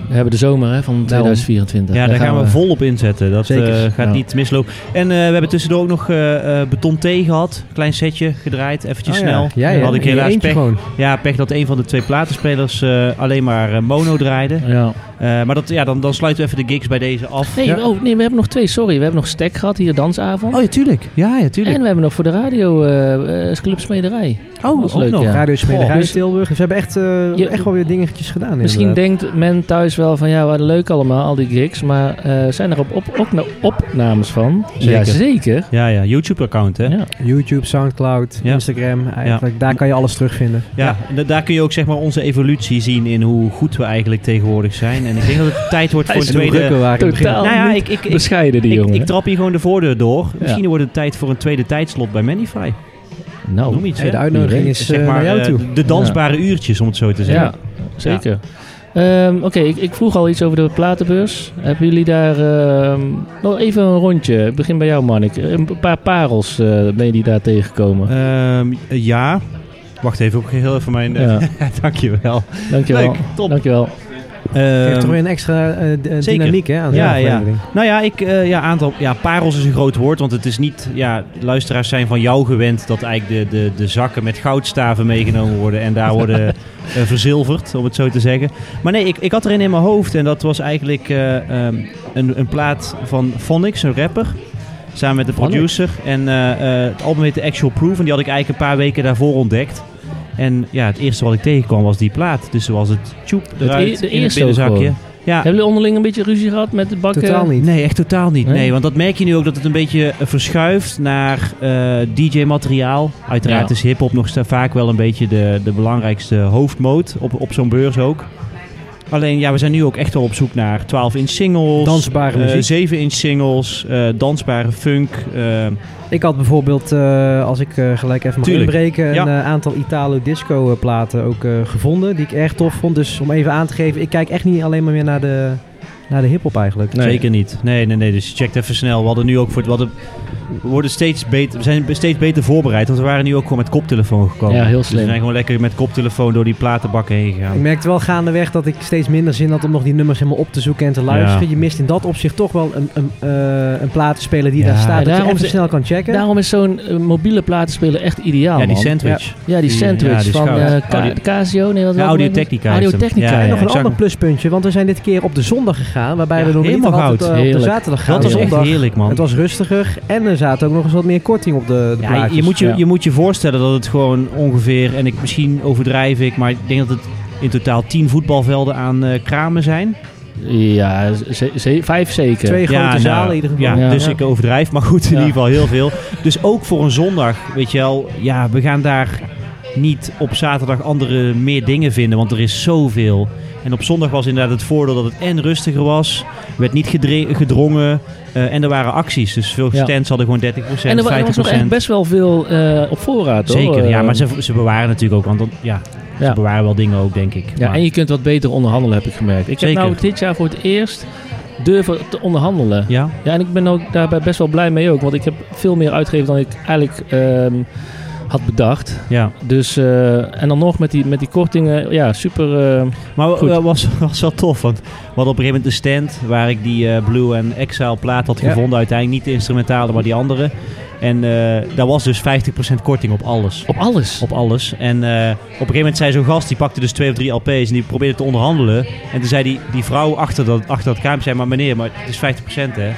[SPEAKER 3] We hebben de zomer hè, van 2024.
[SPEAKER 2] Ja, daar gaan we volop inzetten. Dat eh,
[SPEAKER 1] Zeker.
[SPEAKER 2] gaat
[SPEAKER 3] Ja.
[SPEAKER 2] niet mislopen. En eh, we hebben tussendoor ook nog eh, eh, beton thee gehad. Klein setje gedraaid, eventjes
[SPEAKER 1] Oh ja.
[SPEAKER 2] snel.
[SPEAKER 1] Ja, ja.
[SPEAKER 2] Had ik
[SPEAKER 1] In je
[SPEAKER 2] helaas
[SPEAKER 1] eentje
[SPEAKER 2] pech.
[SPEAKER 1] gewoon.
[SPEAKER 2] Ja, pech dat een van de twee platenspelers eh, alleen maar eh, mono draaide.
[SPEAKER 3] Ja.
[SPEAKER 2] Eh, maar dat, ja, dan, dan sluiten we even de gigs bij deze af.
[SPEAKER 3] Nee, oh, nee, we hebben nog twee, sorry. We hebben nog stek gehad hier, dansavond.
[SPEAKER 2] Oh, ja, tuurlijk. Ja, ja, tuurlijk.
[SPEAKER 3] en we hebben nog voor de radio eh eh, Club Smederij.
[SPEAKER 2] oh,
[SPEAKER 3] dat is
[SPEAKER 2] ook
[SPEAKER 3] leuk,
[SPEAKER 2] nog.
[SPEAKER 3] ja.
[SPEAKER 1] Radio Smederij
[SPEAKER 3] Goh, dus-
[SPEAKER 1] Tilburg. Dus we hebben echt, eh,
[SPEAKER 3] Je-
[SPEAKER 1] echt wel weer dingetjes gedaan.
[SPEAKER 3] Misschien
[SPEAKER 1] inderdaad.
[SPEAKER 3] denkt men thuis wel van ja, wat leuk allemaal, al die gigs. Maar eh, zijn er op, op, ook nou opnames van?
[SPEAKER 2] Zeker.
[SPEAKER 3] Jazeker.
[SPEAKER 2] Ja, ja, YouTube-account, hè? Ja,
[SPEAKER 3] Ja.
[SPEAKER 1] YouTube, Soundcloud,
[SPEAKER 2] Ja.
[SPEAKER 1] Instagram. Eigenlijk, daar kan je alles terugvinden.
[SPEAKER 2] en da- daar kun je ook zeg maar onze evolutie zien in hoe goed we eigenlijk tegenwoordig zijn. En ik denk dat het tijd wordt voor
[SPEAKER 3] Hij
[SPEAKER 2] een
[SPEAKER 3] is
[SPEAKER 2] tweede...
[SPEAKER 1] Drukker waren in het begin.
[SPEAKER 3] Totaal
[SPEAKER 2] Nou ja,
[SPEAKER 3] niet
[SPEAKER 2] ik, ik, ik,
[SPEAKER 3] bescheiden die
[SPEAKER 2] ik,
[SPEAKER 3] jongen.
[SPEAKER 2] ik trap hier gewoon de voordeur door.
[SPEAKER 3] Ja.
[SPEAKER 2] Misschien wordt het tijd voor een tweede tijdslot bij Manify.
[SPEAKER 3] nou,
[SPEAKER 2] Noem iets,
[SPEAKER 1] Oh, Hey,
[SPEAKER 2] hè?
[SPEAKER 1] de uitnodiging
[SPEAKER 3] Wie
[SPEAKER 1] is
[SPEAKER 2] Zeg
[SPEAKER 1] eh,
[SPEAKER 2] maar,
[SPEAKER 1] naar jou
[SPEAKER 2] eh,
[SPEAKER 1] toe.
[SPEAKER 2] de- de dansbare uurtjes, om het zo te zeggen.
[SPEAKER 3] ja, zeker. Ehm, Oké, ik, ik vroeg al iets over de platenbeurs. Hebben jullie daar ehm, nog even een rondje? Ik begin bij jou, Marnik. Een paar parels eh, ben je die daar tegengekomen.
[SPEAKER 2] Ehm, ja. Wacht even, ik heel even mijn... eh,
[SPEAKER 3] Ja,
[SPEAKER 2] [LAUGHS] Dankjewel.
[SPEAKER 3] dankjewel.
[SPEAKER 2] Leuk, top.
[SPEAKER 3] Dankjewel.
[SPEAKER 1] Geeft toch
[SPEAKER 2] Ehm,
[SPEAKER 1] weer een extra eh, d- eh,
[SPEAKER 2] zeker.
[SPEAKER 1] dynamiek hè, aan de
[SPEAKER 2] Ja,
[SPEAKER 1] aflevering.
[SPEAKER 2] nou ja, ik, eh, ja, aantal, ja, parels is een groot woord, want het is niet... Ja, luisteraars zijn van jou gewend dat eigenlijk de, de, de zakken met goudstaven meegenomen worden. En daar worden
[SPEAKER 3] [LAUGHS]
[SPEAKER 2] eh, verzilverd, om het zo te zeggen. Maar nee, ik, ik had er een in mijn hoofd en dat was eigenlijk eh, ehm, een, een plaat van Phonics, een rapper. Samen met de
[SPEAKER 3] Phonics?
[SPEAKER 2] producer. En eh, eh, het album heette Actual Proof en die had ik eigenlijk een paar weken daarvoor ontdekt. En ja, het eerste wat ik tegenkwam was die plaat. Dus zoals het tjoep eruit
[SPEAKER 3] e- de
[SPEAKER 2] in het
[SPEAKER 3] eerste ook
[SPEAKER 2] binnenzakje.
[SPEAKER 3] gewoon.
[SPEAKER 2] Ja,
[SPEAKER 3] Hebben jullie onderling een beetje ruzie gehad met de bakken?
[SPEAKER 1] Totaal niet.
[SPEAKER 2] Nee, echt totaal niet.
[SPEAKER 3] Nee?
[SPEAKER 2] Nee, want dat merk je nu ook dat het een beetje eh, verschuift naar DJ-materiaal. Uiteraard
[SPEAKER 3] Ja.
[SPEAKER 2] is hip-hop nog sta- vaak wel een beetje de, de belangrijkste hoofdmoot op, op zo'n beurs ook. Alleen ja, we zijn nu ook echt wel op zoek naar 12-inch singles,
[SPEAKER 1] Dansbare
[SPEAKER 2] eh,
[SPEAKER 1] muziek.
[SPEAKER 2] 7-inch singles, eh, dansbare funk. eh,
[SPEAKER 1] Ik had bijvoorbeeld, eh, als ik eh, gelijk even mag
[SPEAKER 2] Tuurlijk.
[SPEAKER 1] inbreken,
[SPEAKER 2] Ja.
[SPEAKER 1] een eh, aantal Italo-disco-platen ook eh, gevonden. Die ik erg tof vond. Dus om even aan te geven, ik kijk echt niet alleen maar meer naar de, naar de hip-hop eigenlijk.
[SPEAKER 2] Zeker niet. Nee, nee, nee. Dus je checkt even snel. We hadden nu ook voor het. we hadden- we, worden steeds beter, we zijn steeds beter voorbereid. Want we waren nu ook gewoon met koptelefoon gekomen.
[SPEAKER 3] Ja, heel
[SPEAKER 2] Dus we
[SPEAKER 3] slim.
[SPEAKER 2] zijn gewoon lekker met koptelefoon door die platenbakken heen gegaan.
[SPEAKER 1] Ik merkte wel gaandeweg dat ik steeds minder zin had om nog die nummers helemaal op te zoeken en te luisteren.
[SPEAKER 2] Ja.
[SPEAKER 1] Je mist in dat opzicht toch wel een, een, eh, een platenspeler die
[SPEAKER 2] Ja.
[SPEAKER 1] daar
[SPEAKER 2] Ja,
[SPEAKER 1] staat. dat je
[SPEAKER 3] daarom
[SPEAKER 1] even
[SPEAKER 3] is-
[SPEAKER 1] snel kan checken.
[SPEAKER 3] Daarom is zo'n eh, mobiele platenspeler echt ideaal,
[SPEAKER 2] ja, die
[SPEAKER 3] Ah, man.
[SPEAKER 2] sandwich.
[SPEAKER 3] Ja, die
[SPEAKER 2] Die-
[SPEAKER 3] sandwich
[SPEAKER 2] ja, die
[SPEAKER 3] van
[SPEAKER 2] schuif.
[SPEAKER 3] eh, Ka-
[SPEAKER 2] Audio-
[SPEAKER 3] Casio. Nee, dat
[SPEAKER 2] Ja, Audio-Technica heeft hem.
[SPEAKER 3] Audio-Technica,
[SPEAKER 2] Ja,
[SPEAKER 1] en
[SPEAKER 2] ja,
[SPEAKER 1] nog een
[SPEAKER 2] exact.
[SPEAKER 1] ander pluspuntje, want we zijn dit keer op de zondag gegaan. Waarbij
[SPEAKER 2] Ja,
[SPEAKER 1] we nog niet
[SPEAKER 2] helemaal
[SPEAKER 1] altijd
[SPEAKER 2] goud.
[SPEAKER 1] eh, op de
[SPEAKER 3] Heerlijk.
[SPEAKER 1] zaterdag gaan.
[SPEAKER 2] Dat was echt
[SPEAKER 1] Zondag.
[SPEAKER 2] heerlijk, man.
[SPEAKER 1] Het was rustiger en er zaten ook nog eens wat meer korting op de, de
[SPEAKER 2] Ja,
[SPEAKER 1] plaatjes.
[SPEAKER 2] je, moet je,
[SPEAKER 3] Ja.
[SPEAKER 2] je moet je voorstellen dat het gewoon ongeveer, en ik, misschien overdrijf ik, maar ik denk dat het in totaal tien voetbalvelden aan eh, kramen zijn.
[SPEAKER 3] Ja, ze- ze- vijf zeker.
[SPEAKER 1] Twee grote
[SPEAKER 2] nou,
[SPEAKER 1] zalen in ieder geval.
[SPEAKER 2] Ja,
[SPEAKER 3] Ja.
[SPEAKER 2] dus
[SPEAKER 3] Ja.
[SPEAKER 2] ik overdrijf, maar goed, in
[SPEAKER 3] Ja.
[SPEAKER 2] ieder geval heel veel. Dus ook voor een zondag, weet je wel, ja, we gaan daar niet op zaterdag andere meer dingen vinden, want er is zoveel. En op zondag was inderdaad het voordeel dat het en rustiger was, werd niet gedre- gedrongen eh, en er waren acties. Dus veel
[SPEAKER 3] Ja.
[SPEAKER 2] stands hadden gewoon 30%, 50%.
[SPEAKER 3] en er, wa- er was nog echt best wel veel eh, op voorraad, hoor.
[SPEAKER 2] Zeker, ja,
[SPEAKER 3] Eh,
[SPEAKER 2] maar ze, ze bewaren natuurlijk ook, want dan, ja,
[SPEAKER 3] Ja.
[SPEAKER 2] ze bewaren wel dingen ook, denk ik.
[SPEAKER 3] Ja,
[SPEAKER 2] Maar-
[SPEAKER 3] en je kunt wat beter onderhandelen, heb ik gemerkt. Ik
[SPEAKER 2] Zeker.
[SPEAKER 3] heb nou dit jaar voor het eerst durven te onderhandelen.
[SPEAKER 2] ja?
[SPEAKER 3] Ja, en ik ben ook daarbij best wel blij mee ook. Want ik heb veel meer uitgegeven dan ik eigenlijk ehm, had bedacht.
[SPEAKER 2] ja.
[SPEAKER 3] Dus, eh, en dan nog met die, met die kortingen. Ja, super. eh,
[SPEAKER 2] Maar
[SPEAKER 3] Goed.
[SPEAKER 2] het was, [LAUGHS] was wel tof, want we hadden op een gegeven moment de stand waar ik die eh, Blue en Exile plaat had
[SPEAKER 1] Ja.
[SPEAKER 2] gevonden. Uiteindelijk niet de instrumentale, maar die andere. En eh, daar was dus 50% korting op alles.
[SPEAKER 3] op alles.
[SPEAKER 2] Op alles. En eh, op een gegeven moment zei zo'n gast, die pakte dus twee of drie LP's en die probeerde te onderhandelen. En toen zei die, die vrouw achter dat, achter dat kraampje, zei maar meneer, maar het is 50% hè.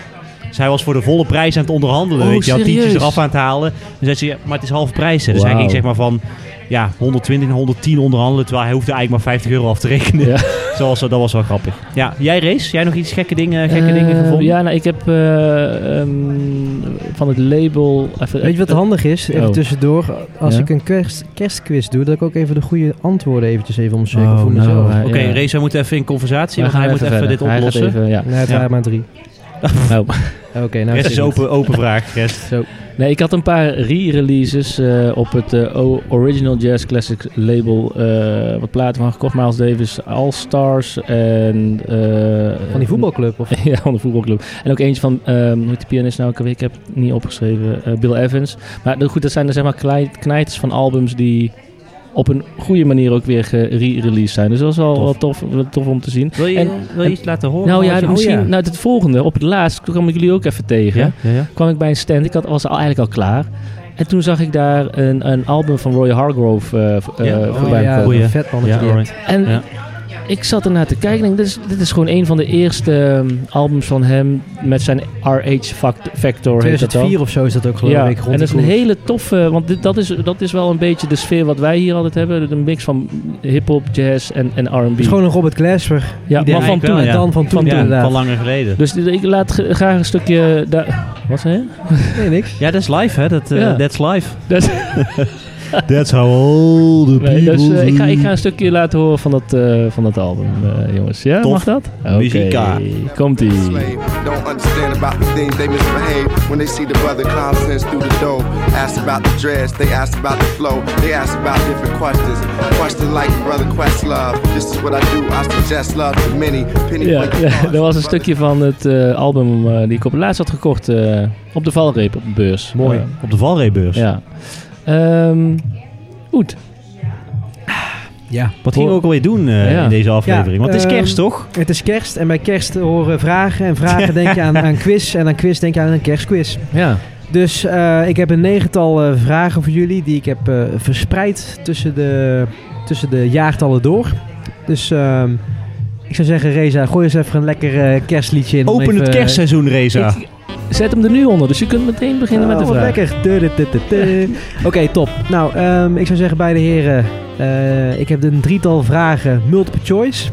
[SPEAKER 2] Dus hij was voor de volle prijs aan het onderhandelen.
[SPEAKER 3] Oh,
[SPEAKER 2] weet je, had tientjes
[SPEAKER 3] serieus?
[SPEAKER 2] eraf aan het halen. En zei ze, ja, maar het is half prijs hè. Dus hij
[SPEAKER 3] Wauw.
[SPEAKER 2] ging zeg maar van ja, 120 en 110 onderhandelen. Terwijl hij hoefde eigenlijk maar 50 euro af te rekenen. [LAUGHS]
[SPEAKER 3] Ja.
[SPEAKER 2] Zoals, dat was wel grappig. Ja, jij race? Jij nog iets gekke dingen, gekke dingen
[SPEAKER 3] Eh,
[SPEAKER 2] gevonden?
[SPEAKER 3] Ja, nou, ik heb eh, ehm, van het label. Even,
[SPEAKER 1] Weet je wat handig is? Even
[SPEAKER 3] Oh.
[SPEAKER 1] tussendoor. Als
[SPEAKER 3] Ja?
[SPEAKER 1] ik een kerst, kerstquiz doe, dat ik ook even de goede antwoorden eventjes even omschrijven
[SPEAKER 2] Oh,
[SPEAKER 1] voor
[SPEAKER 3] nou,
[SPEAKER 1] mezelf.
[SPEAKER 3] hij-
[SPEAKER 2] Oké,
[SPEAKER 3] ja.
[SPEAKER 2] race, wij moeten even in conversatie.
[SPEAKER 3] We
[SPEAKER 2] want
[SPEAKER 3] gaan
[SPEAKER 2] hij
[SPEAKER 3] even
[SPEAKER 2] moet even
[SPEAKER 3] verder.
[SPEAKER 2] dit
[SPEAKER 3] Hij gaat
[SPEAKER 2] oplossen.
[SPEAKER 3] even, ja.
[SPEAKER 1] Nee, Nou, het
[SPEAKER 2] Ja.
[SPEAKER 1] waren maar drie.
[SPEAKER 3] Nou,
[SPEAKER 1] Oké, [LAUGHS] nou
[SPEAKER 2] Rest
[SPEAKER 1] zit
[SPEAKER 2] is
[SPEAKER 1] het.
[SPEAKER 2] open, open vraag. Rest.
[SPEAKER 3] nee, ik had een paar re-releases eh, op het eh, O- Original Jazz Classics label. eh, wat platen van gekocht. Miles Davis, All Stars en... eh,
[SPEAKER 1] Van die voetbalclub of...
[SPEAKER 3] [LAUGHS] ja, van de voetbalclub. En ook eentje van, ehm hoe heet die pianist nou? ook alweer? Ik heb het niet opgeschreven. eh, Bill Evans. Maar de- goed, dat zijn er zeg maar klei- knijters van albums die op een goede manier ook weer gere-released zijn. Dus dat is wel,
[SPEAKER 2] Tof.
[SPEAKER 3] wel tof, wel tof om te zien.
[SPEAKER 2] Wil je,
[SPEAKER 3] En-
[SPEAKER 2] wil je iets laten horen?
[SPEAKER 3] nou
[SPEAKER 2] Wat
[SPEAKER 3] ja,
[SPEAKER 2] je- oh,
[SPEAKER 3] misschien, nou het volgende. Op het laatst toen kwam ik jullie ook even tegen.
[SPEAKER 2] Ja? Ja, ja.
[SPEAKER 3] Kwam ik bij een stand. Ik had, was al, eigenlijk al klaar. En toen zag ik daar een, een album van Roy Hargrove eh, v-
[SPEAKER 2] Ja.
[SPEAKER 3] eh,
[SPEAKER 2] Oh,
[SPEAKER 3] voorbij
[SPEAKER 1] ja,
[SPEAKER 3] komen.
[SPEAKER 2] goeie.
[SPEAKER 1] vet
[SPEAKER 2] Ja,
[SPEAKER 1] mannetje. die
[SPEAKER 2] alright.
[SPEAKER 3] En
[SPEAKER 2] Ja.
[SPEAKER 3] ik zat ernaar te kijken. en Ik denk, dit, is, dit is gewoon een van de eerste ehm, albums van hem met zijn RH fact- Factor. heet dat dan.
[SPEAKER 1] 2004 of zo is dat ook geloof
[SPEAKER 3] Ja,
[SPEAKER 1] ik.
[SPEAKER 3] en
[SPEAKER 1] Rond
[SPEAKER 3] dat is
[SPEAKER 1] die
[SPEAKER 3] een
[SPEAKER 1] koers.
[SPEAKER 3] hele toffe, want dit, dat, is, dat is wel een beetje de sfeer wat wij hier altijd hebben. Een mix van hip-hop, jazz en, en
[SPEAKER 1] Het is
[SPEAKER 3] RB.
[SPEAKER 1] gewoon een Robert Glasper.
[SPEAKER 3] Ja,
[SPEAKER 1] idee.
[SPEAKER 3] maar van
[SPEAKER 2] Eigenlijk
[SPEAKER 3] toen.
[SPEAKER 2] wel,
[SPEAKER 1] en
[SPEAKER 2] ja.
[SPEAKER 1] dan van toen
[SPEAKER 2] ja,
[SPEAKER 1] inderdaad.
[SPEAKER 2] Van langer geleden.
[SPEAKER 3] Dus dit- ik laat ge- graag een stukje. daar- Wat zei je?
[SPEAKER 1] Nee, niks.
[SPEAKER 2] Ja, dat is live, hè? Dat, eh,
[SPEAKER 3] Ja.
[SPEAKER 2] That's live.
[SPEAKER 3] Dat is-
[SPEAKER 2] [LAUGHS] That's how all the
[SPEAKER 3] nee, dus, eh, ik, ga, ik ga een stukje laten horen van dat, eh, van dat album, eh, jongens. Ja,
[SPEAKER 2] Tof.
[SPEAKER 3] mag dat? Oké,
[SPEAKER 2] Muzika.
[SPEAKER 3] komt-ie.
[SPEAKER 5] slave. Don't understand about the things they misbehave when they see the brother Constance through the door. Ask about the dress, they ask about the flow, they ask about different questions. Questions like brother Questlove. This is what I do. I suggest love to many. Penny
[SPEAKER 3] Ja,
[SPEAKER 5] Winkle
[SPEAKER 3] ja, dat
[SPEAKER 5] Cards,
[SPEAKER 3] was een
[SPEAKER 5] brother
[SPEAKER 3] stukje van het eh, album eh, die ik op het laatst had gekocht. eh, op de valreep op de beurs.
[SPEAKER 2] Mooi.
[SPEAKER 3] Eh,
[SPEAKER 2] Op de valreebeurs.
[SPEAKER 3] ja. Ehm, goed.
[SPEAKER 1] Ja.
[SPEAKER 2] Wat gingen we ook alweer doen eh,
[SPEAKER 3] Ja.
[SPEAKER 2] in deze aflevering? Want het is
[SPEAKER 1] ehm,
[SPEAKER 2] kerst, toch?
[SPEAKER 1] Het is kerst en bij kerst horen vragen. En vragen denk je aan, aan quiz. En aan quiz denk je aan een kerstquiz.
[SPEAKER 3] Ja.
[SPEAKER 1] Dus eh, ik heb een negental eh, vragen voor jullie die ik heb eh, verspreid tussen de, tussen de jaartallen door. Dus ehm, ik zou zeggen, Reza, gooi eens even een lekker eh, kerstliedje in. om
[SPEAKER 2] Open het
[SPEAKER 1] even-
[SPEAKER 2] kerstseizoen, Reza.
[SPEAKER 3] Ik- Zet hem er nu onder, dus je kunt meteen beginnen met de
[SPEAKER 1] Oh, wat
[SPEAKER 3] vraag.
[SPEAKER 1] lekker. Du- du- du- du-
[SPEAKER 2] [LAUGHS]
[SPEAKER 1] du. Oké, top. Nou, ehm, ik zou zeggen, beide heren, eh, ik heb een drietal vragen, multiple choice.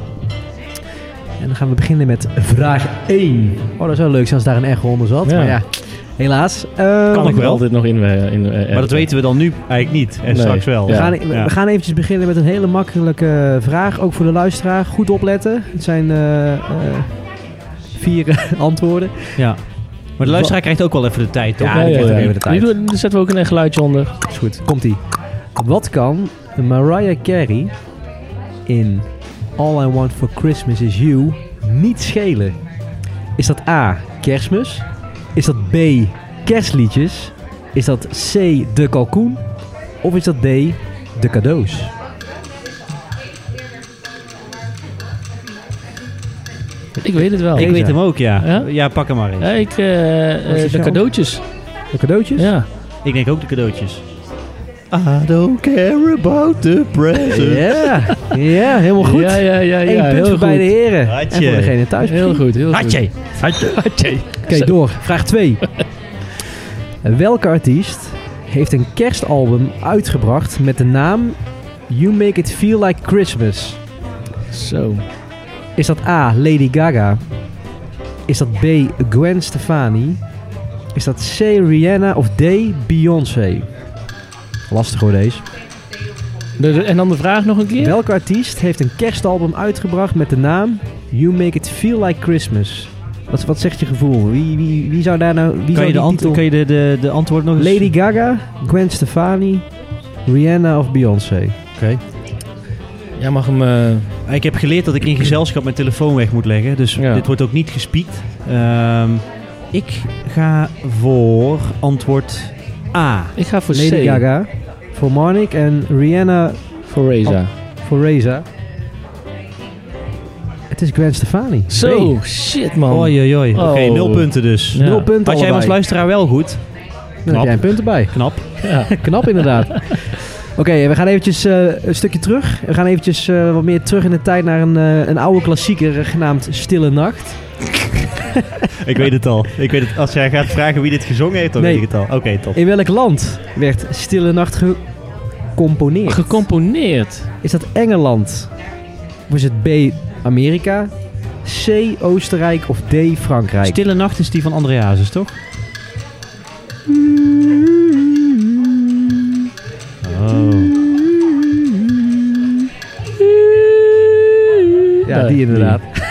[SPEAKER 1] En dan gaan we beginnen met vraag 1. Oh, dat zou leuk zijn als daar een echo onder zat.
[SPEAKER 3] Ja.
[SPEAKER 1] Maar ja, helaas. Ehm,
[SPEAKER 2] Kan ook
[SPEAKER 3] Ik
[SPEAKER 2] wel.
[SPEAKER 3] wil dit nog in. eh, in eh,
[SPEAKER 2] Maar dat
[SPEAKER 3] editen.
[SPEAKER 2] weten we dan nu eigenlijk niet. En
[SPEAKER 3] Nee.
[SPEAKER 2] straks wel.
[SPEAKER 1] We,
[SPEAKER 3] Ja.
[SPEAKER 1] gaan, e- we
[SPEAKER 2] Ja.
[SPEAKER 1] gaan eventjes beginnen met een hele makkelijke vraag. Ook voor de luisteraar. Goed opletten. Het zijn eh, eh, vier [LAUGHS] eh, antwoorden.
[SPEAKER 2] Ja. Maar de luisteraar krijgt ook wel even de tijd, toch?
[SPEAKER 1] Ja, die krijgt ook even de tijd.
[SPEAKER 3] Die doen- Daar zetten we ook een geluidje onder.
[SPEAKER 1] Is goed. Komt-ie. Wat kan Mariah Carey in All I Want For Christmas Is You niet schelen? Is dat A. Kerstmis? Is dat B. Kerstliedjes? Is dat C. De kalkoen? Of is dat D. De cadeaus?
[SPEAKER 3] Ik weet het wel.
[SPEAKER 2] Ik
[SPEAKER 1] Reza.
[SPEAKER 2] weet hem ook, ja.
[SPEAKER 3] Ja?
[SPEAKER 2] ja. pak hem maar eens.
[SPEAKER 3] Ja, ik, eh,
[SPEAKER 1] Wat
[SPEAKER 3] eh,
[SPEAKER 1] is
[SPEAKER 3] de
[SPEAKER 1] jou?
[SPEAKER 3] cadeautjes.
[SPEAKER 1] De cadeautjes?
[SPEAKER 3] Ja.
[SPEAKER 2] Ik denk ook de cadeautjes. I don't care about the present.
[SPEAKER 1] Ja, ja helemaal goed.
[SPEAKER 3] Ja, ja, ja. ja
[SPEAKER 1] Eén
[SPEAKER 3] heel
[SPEAKER 1] punt voor
[SPEAKER 3] goed.
[SPEAKER 1] beide heren.
[SPEAKER 2] Hartje.
[SPEAKER 1] En voor degene thuis.
[SPEAKER 3] Heel goed, heel goed.
[SPEAKER 2] Hatje. Hatje.
[SPEAKER 3] Hatje.
[SPEAKER 1] Oké, door. Vraag
[SPEAKER 3] [LAUGHS]
[SPEAKER 1] 2. Welke artiest heeft een kerstalbum uitgebracht met de naam You Make It Feel Like Christmas?
[SPEAKER 3] Zo.
[SPEAKER 1] Is dat A. Lady Gaga? Is dat B. Gwen Stefani? Is dat C. Rihanna of D. Beyoncé? Lastig hoor deze.
[SPEAKER 3] De- de- en dan de vraag nog een keer.
[SPEAKER 1] Welke artiest heeft een kerstalbum uitgebracht met de naam You Make It Feel Like Christmas? Wat, wat zegt je gevoel? Wie, wie, wie zou daar nou... Wie
[SPEAKER 2] Kan
[SPEAKER 1] zou
[SPEAKER 2] je, de
[SPEAKER 1] die
[SPEAKER 2] ant-
[SPEAKER 1] titel-
[SPEAKER 2] kan je de, de, de antwoord nog eens...
[SPEAKER 1] Lady Gaga, Gwen Stefani, Rihanna of Beyoncé?
[SPEAKER 2] Oké.
[SPEAKER 3] Jij mag hem... eh,
[SPEAKER 2] Ik heb geleerd dat ik in gezelschap mijn telefoon weg moet leggen. Dus
[SPEAKER 3] Ja.
[SPEAKER 2] dit wordt ook niet gespiekt. Ehm, ik ga voor antwoord A.
[SPEAKER 3] ik ga voor
[SPEAKER 1] Lady
[SPEAKER 3] C.
[SPEAKER 1] Gaga, voor Marnik en Rihanna
[SPEAKER 3] Voor Reza.
[SPEAKER 1] voor Reza. Het is Gwen Stefani.
[SPEAKER 3] Zo, shit man.
[SPEAKER 2] Oei, oei, oei.
[SPEAKER 3] Oh.
[SPEAKER 2] Oké, nul punten dus.
[SPEAKER 3] Ja.
[SPEAKER 1] Nul punten
[SPEAKER 2] Had jij hem als
[SPEAKER 1] allebei.
[SPEAKER 2] luisteraar wel goed?
[SPEAKER 1] Dan heb
[SPEAKER 2] Knap.
[SPEAKER 1] jij een punt
[SPEAKER 2] [LAUGHS]
[SPEAKER 1] erbij.
[SPEAKER 2] Knap.
[SPEAKER 3] Ja.
[SPEAKER 1] Knap inderdaad. Oké, we gaan eventjes eh, een stukje terug. We gaan eventjes eh, wat meer terug in de tijd naar een, eh, een oude klassieker eh, genaamd Stille Nacht.
[SPEAKER 2] Ik weet het al. Ik weet het. Als jij gaat vragen wie dit gezongen heeft, dan
[SPEAKER 1] Nee.
[SPEAKER 2] weet ik het al. Oké, top.
[SPEAKER 1] In welk land werd Stille Nacht gecomponeerd?
[SPEAKER 3] Gecomponeerd.
[SPEAKER 1] Is dat Engeland? Of is het B, Amerika? C, Oostenrijk of D, Frankrijk?
[SPEAKER 2] Stille Nacht is die van Andreasus, toch? Oh.
[SPEAKER 1] ja, die
[SPEAKER 3] Nee,
[SPEAKER 1] inderdaad. [LAUGHS]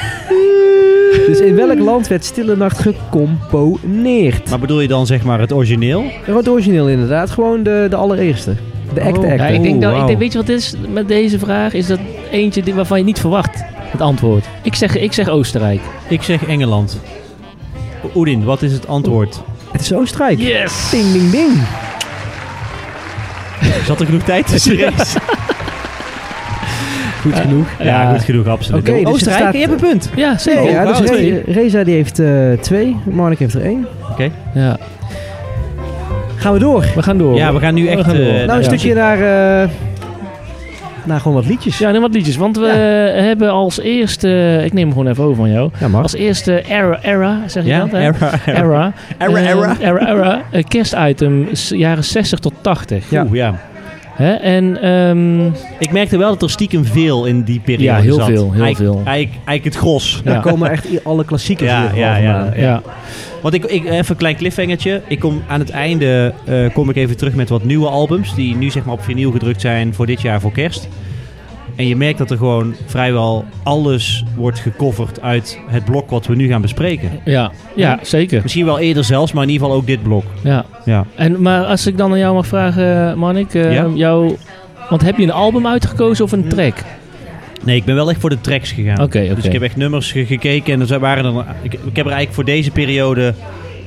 [SPEAKER 1] Dus in welk land werd Stille Nacht gecomponeerd?
[SPEAKER 2] Maar bedoel je dan zeg maar het origineel?
[SPEAKER 1] Wat origineel inderdaad, gewoon de, de allereerste. De
[SPEAKER 2] Oh,
[SPEAKER 1] act act.
[SPEAKER 3] Ja,
[SPEAKER 2] Kijk,
[SPEAKER 3] ik denk
[SPEAKER 2] oeh,
[SPEAKER 3] dat, ik
[SPEAKER 2] wauw.
[SPEAKER 3] denk, weet je wat het is met deze vraag? Is dat eentje die- waarvan je niet verwacht het antwoord. Ik zeg, ik zeg Oostenrijk.
[SPEAKER 2] Ik zeg Engeland. Oedin, wat is het antwoord?
[SPEAKER 1] Het is Oostenrijk.
[SPEAKER 3] Yes!
[SPEAKER 1] Ding, ding, ding.
[SPEAKER 2] Zat er genoeg tijd tussen? Rees?
[SPEAKER 1] Goed genoeg.
[SPEAKER 2] Ja,
[SPEAKER 3] Ja.
[SPEAKER 2] goed genoeg, absoluut.
[SPEAKER 1] Oké, dus het
[SPEAKER 2] Oostenrijk,
[SPEAKER 1] staat-
[SPEAKER 2] je hebt een punt. Oh,
[SPEAKER 3] Ja,
[SPEAKER 1] Nee,
[SPEAKER 3] zeker.
[SPEAKER 1] ja, dus
[SPEAKER 2] wauw,
[SPEAKER 1] Re-
[SPEAKER 2] twee.
[SPEAKER 1] Reza die heeft eh, twee, Marnik heeft er één.
[SPEAKER 3] Ja,
[SPEAKER 1] Gaan we door.
[SPEAKER 3] we gaan door.
[SPEAKER 2] Ja, we gaan nu echt...
[SPEAKER 3] gaan
[SPEAKER 2] eh, naar
[SPEAKER 3] door.
[SPEAKER 1] nou, een
[SPEAKER 2] de muziek.
[SPEAKER 1] stukje naar, eh, naar gewoon wat liedjes.
[SPEAKER 3] Ja, nu wat liedjes. Want we hebben als eerste... Ik neem hem gewoon even over van jou.
[SPEAKER 1] Ja, mag.
[SPEAKER 3] Als eerste Era, Era, zeg je
[SPEAKER 2] Ja,
[SPEAKER 3] dat? hè?
[SPEAKER 2] era, era.
[SPEAKER 3] Era.
[SPEAKER 2] Era,
[SPEAKER 3] Eh,
[SPEAKER 2] era.
[SPEAKER 3] Era, era. Een kerstitem, s- jaren 60 tot 80.
[SPEAKER 1] Ja.
[SPEAKER 2] Oeh, ja.
[SPEAKER 3] Hè? En ehm,
[SPEAKER 2] Ik merkte wel dat er stiekem veel in die periode
[SPEAKER 3] Ja, heel
[SPEAKER 2] zat.
[SPEAKER 3] veel, heel
[SPEAKER 2] Eik-
[SPEAKER 3] veel.
[SPEAKER 2] Eik, eik het gros.
[SPEAKER 1] Daar
[SPEAKER 3] ja.
[SPEAKER 1] komen echt i- alle klassiekers
[SPEAKER 2] Ja,
[SPEAKER 1] hier gewoon eh.
[SPEAKER 2] ja, ja.
[SPEAKER 1] vandaan.
[SPEAKER 3] ja.
[SPEAKER 2] Want ik, ik, even een klein cliffhangertje. Ik kom aan het einde eh, kom ik even terug met wat nieuwe albums. Die nu zeg maar op vinyl gedrukt zijn voor dit jaar voor kerst. En je merkt dat er gewoon vrijwel alles wordt gecoverd uit het blok wat we nu gaan bespreken.
[SPEAKER 3] Ja, ja, zeker.
[SPEAKER 2] Misschien wel eerder zelfs, maar in ieder geval ook dit blok.
[SPEAKER 3] Ja.
[SPEAKER 2] Ja.
[SPEAKER 3] En, maar als ik dan aan jou mag vragen, Manik, eh,
[SPEAKER 2] Ja?
[SPEAKER 3] jou, want heb je een album uitgekozen of
[SPEAKER 2] Hm.
[SPEAKER 3] een track?
[SPEAKER 2] Nee, ik ben wel echt voor de tracks gegaan.
[SPEAKER 3] Oké, oké.
[SPEAKER 2] Dus ik heb echt nummers ge- gekeken en er zijn- waren er. Ik, ik heb er eigenlijk voor deze periode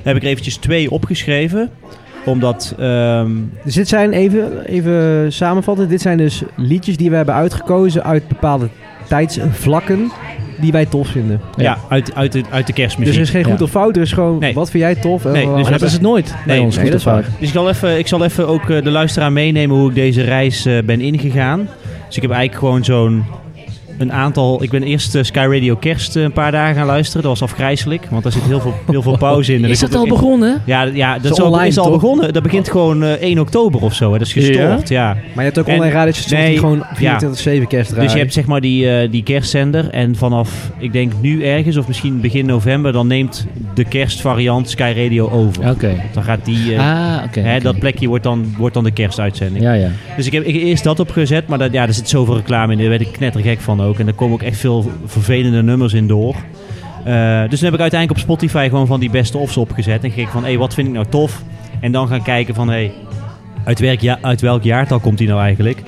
[SPEAKER 2] heb ik er eventjes twee opgeschreven, omdat ehm,
[SPEAKER 1] Dus dit zijn, even, even samenvatten, dit zijn dus liedjes die we hebben uitgekozen uit bepaalde tijdsvlakken die wij tof vinden.
[SPEAKER 2] ja.
[SPEAKER 3] Ja.
[SPEAKER 2] uit, uit, de, uit de kerstmuziek.
[SPEAKER 1] Dus er is geen goed
[SPEAKER 3] Ja.
[SPEAKER 1] of fout, er is gewoon
[SPEAKER 2] Nee.
[SPEAKER 1] wat vind jij tof. en
[SPEAKER 2] Nee,
[SPEAKER 1] wat-
[SPEAKER 2] dus
[SPEAKER 1] wat-
[SPEAKER 3] Maar dat is Oh, het nooit bij
[SPEAKER 2] Nee,
[SPEAKER 3] ons,
[SPEAKER 1] nee,
[SPEAKER 3] goed
[SPEAKER 1] dat
[SPEAKER 3] of
[SPEAKER 1] is waar.
[SPEAKER 3] fout.
[SPEAKER 2] Dus ik zal even, ik zal even ook eh, de luisteraar meenemen hoe ik deze reis eh, ben ingegaan. Dus ik heb eigenlijk gewoon zo'n een aantal. Ik ben eerst eh, Sky Radio Kerst eh, een paar dagen gaan luisteren. Dat was afgrijzelijk, want daar zit heel veel, heel
[SPEAKER 3] [LAUGHS]
[SPEAKER 2] veel pauze in. En
[SPEAKER 3] Is
[SPEAKER 2] ik
[SPEAKER 3] dat
[SPEAKER 2] vond ook
[SPEAKER 3] al
[SPEAKER 2] echt-
[SPEAKER 3] begonnen?
[SPEAKER 2] Ja, ja, dat
[SPEAKER 1] Zo
[SPEAKER 2] is al,
[SPEAKER 1] online,
[SPEAKER 2] is al
[SPEAKER 1] toch?
[SPEAKER 2] begonnen. Dat begint gewoon eh, 1 oktober of zo. Hè. Dat is gestort, ja.
[SPEAKER 1] Maar je hebt ook
[SPEAKER 2] En-
[SPEAKER 1] online radiostations
[SPEAKER 2] nee,
[SPEAKER 1] die gewoon
[SPEAKER 2] ja.
[SPEAKER 1] 24-7 kerst draaien.
[SPEAKER 2] Dus je hebt zeg maar die, eh, die kerstzender. En vanaf, ik denk nu ergens, of misschien begin november, dan neemt de kerstvariant Sky Radio over.
[SPEAKER 3] Oké.
[SPEAKER 2] Dan gaat die. eh,
[SPEAKER 3] ah, oké.
[SPEAKER 2] hè,
[SPEAKER 3] oké.
[SPEAKER 2] Dat plekje wordt dan, wordt dan de kerstuitzending.
[SPEAKER 3] Ja, ja.
[SPEAKER 2] Dus ik heb ik heb eerst dat opgezet, maar dat, ja, er zit zoveel reclame in. Daar werd ik knettergek van ook. En daar komen ook echt veel vervelende nummers in door. Eh, dus dan heb ik uiteindelijk op Spotify gewoon van die beste offs opgezet. En gekeken van, hé, wat vind ik nou tof? En dan gaan kijken van, hé, uit, welk ja, uit welk jaartal komt die nou eigenlijk?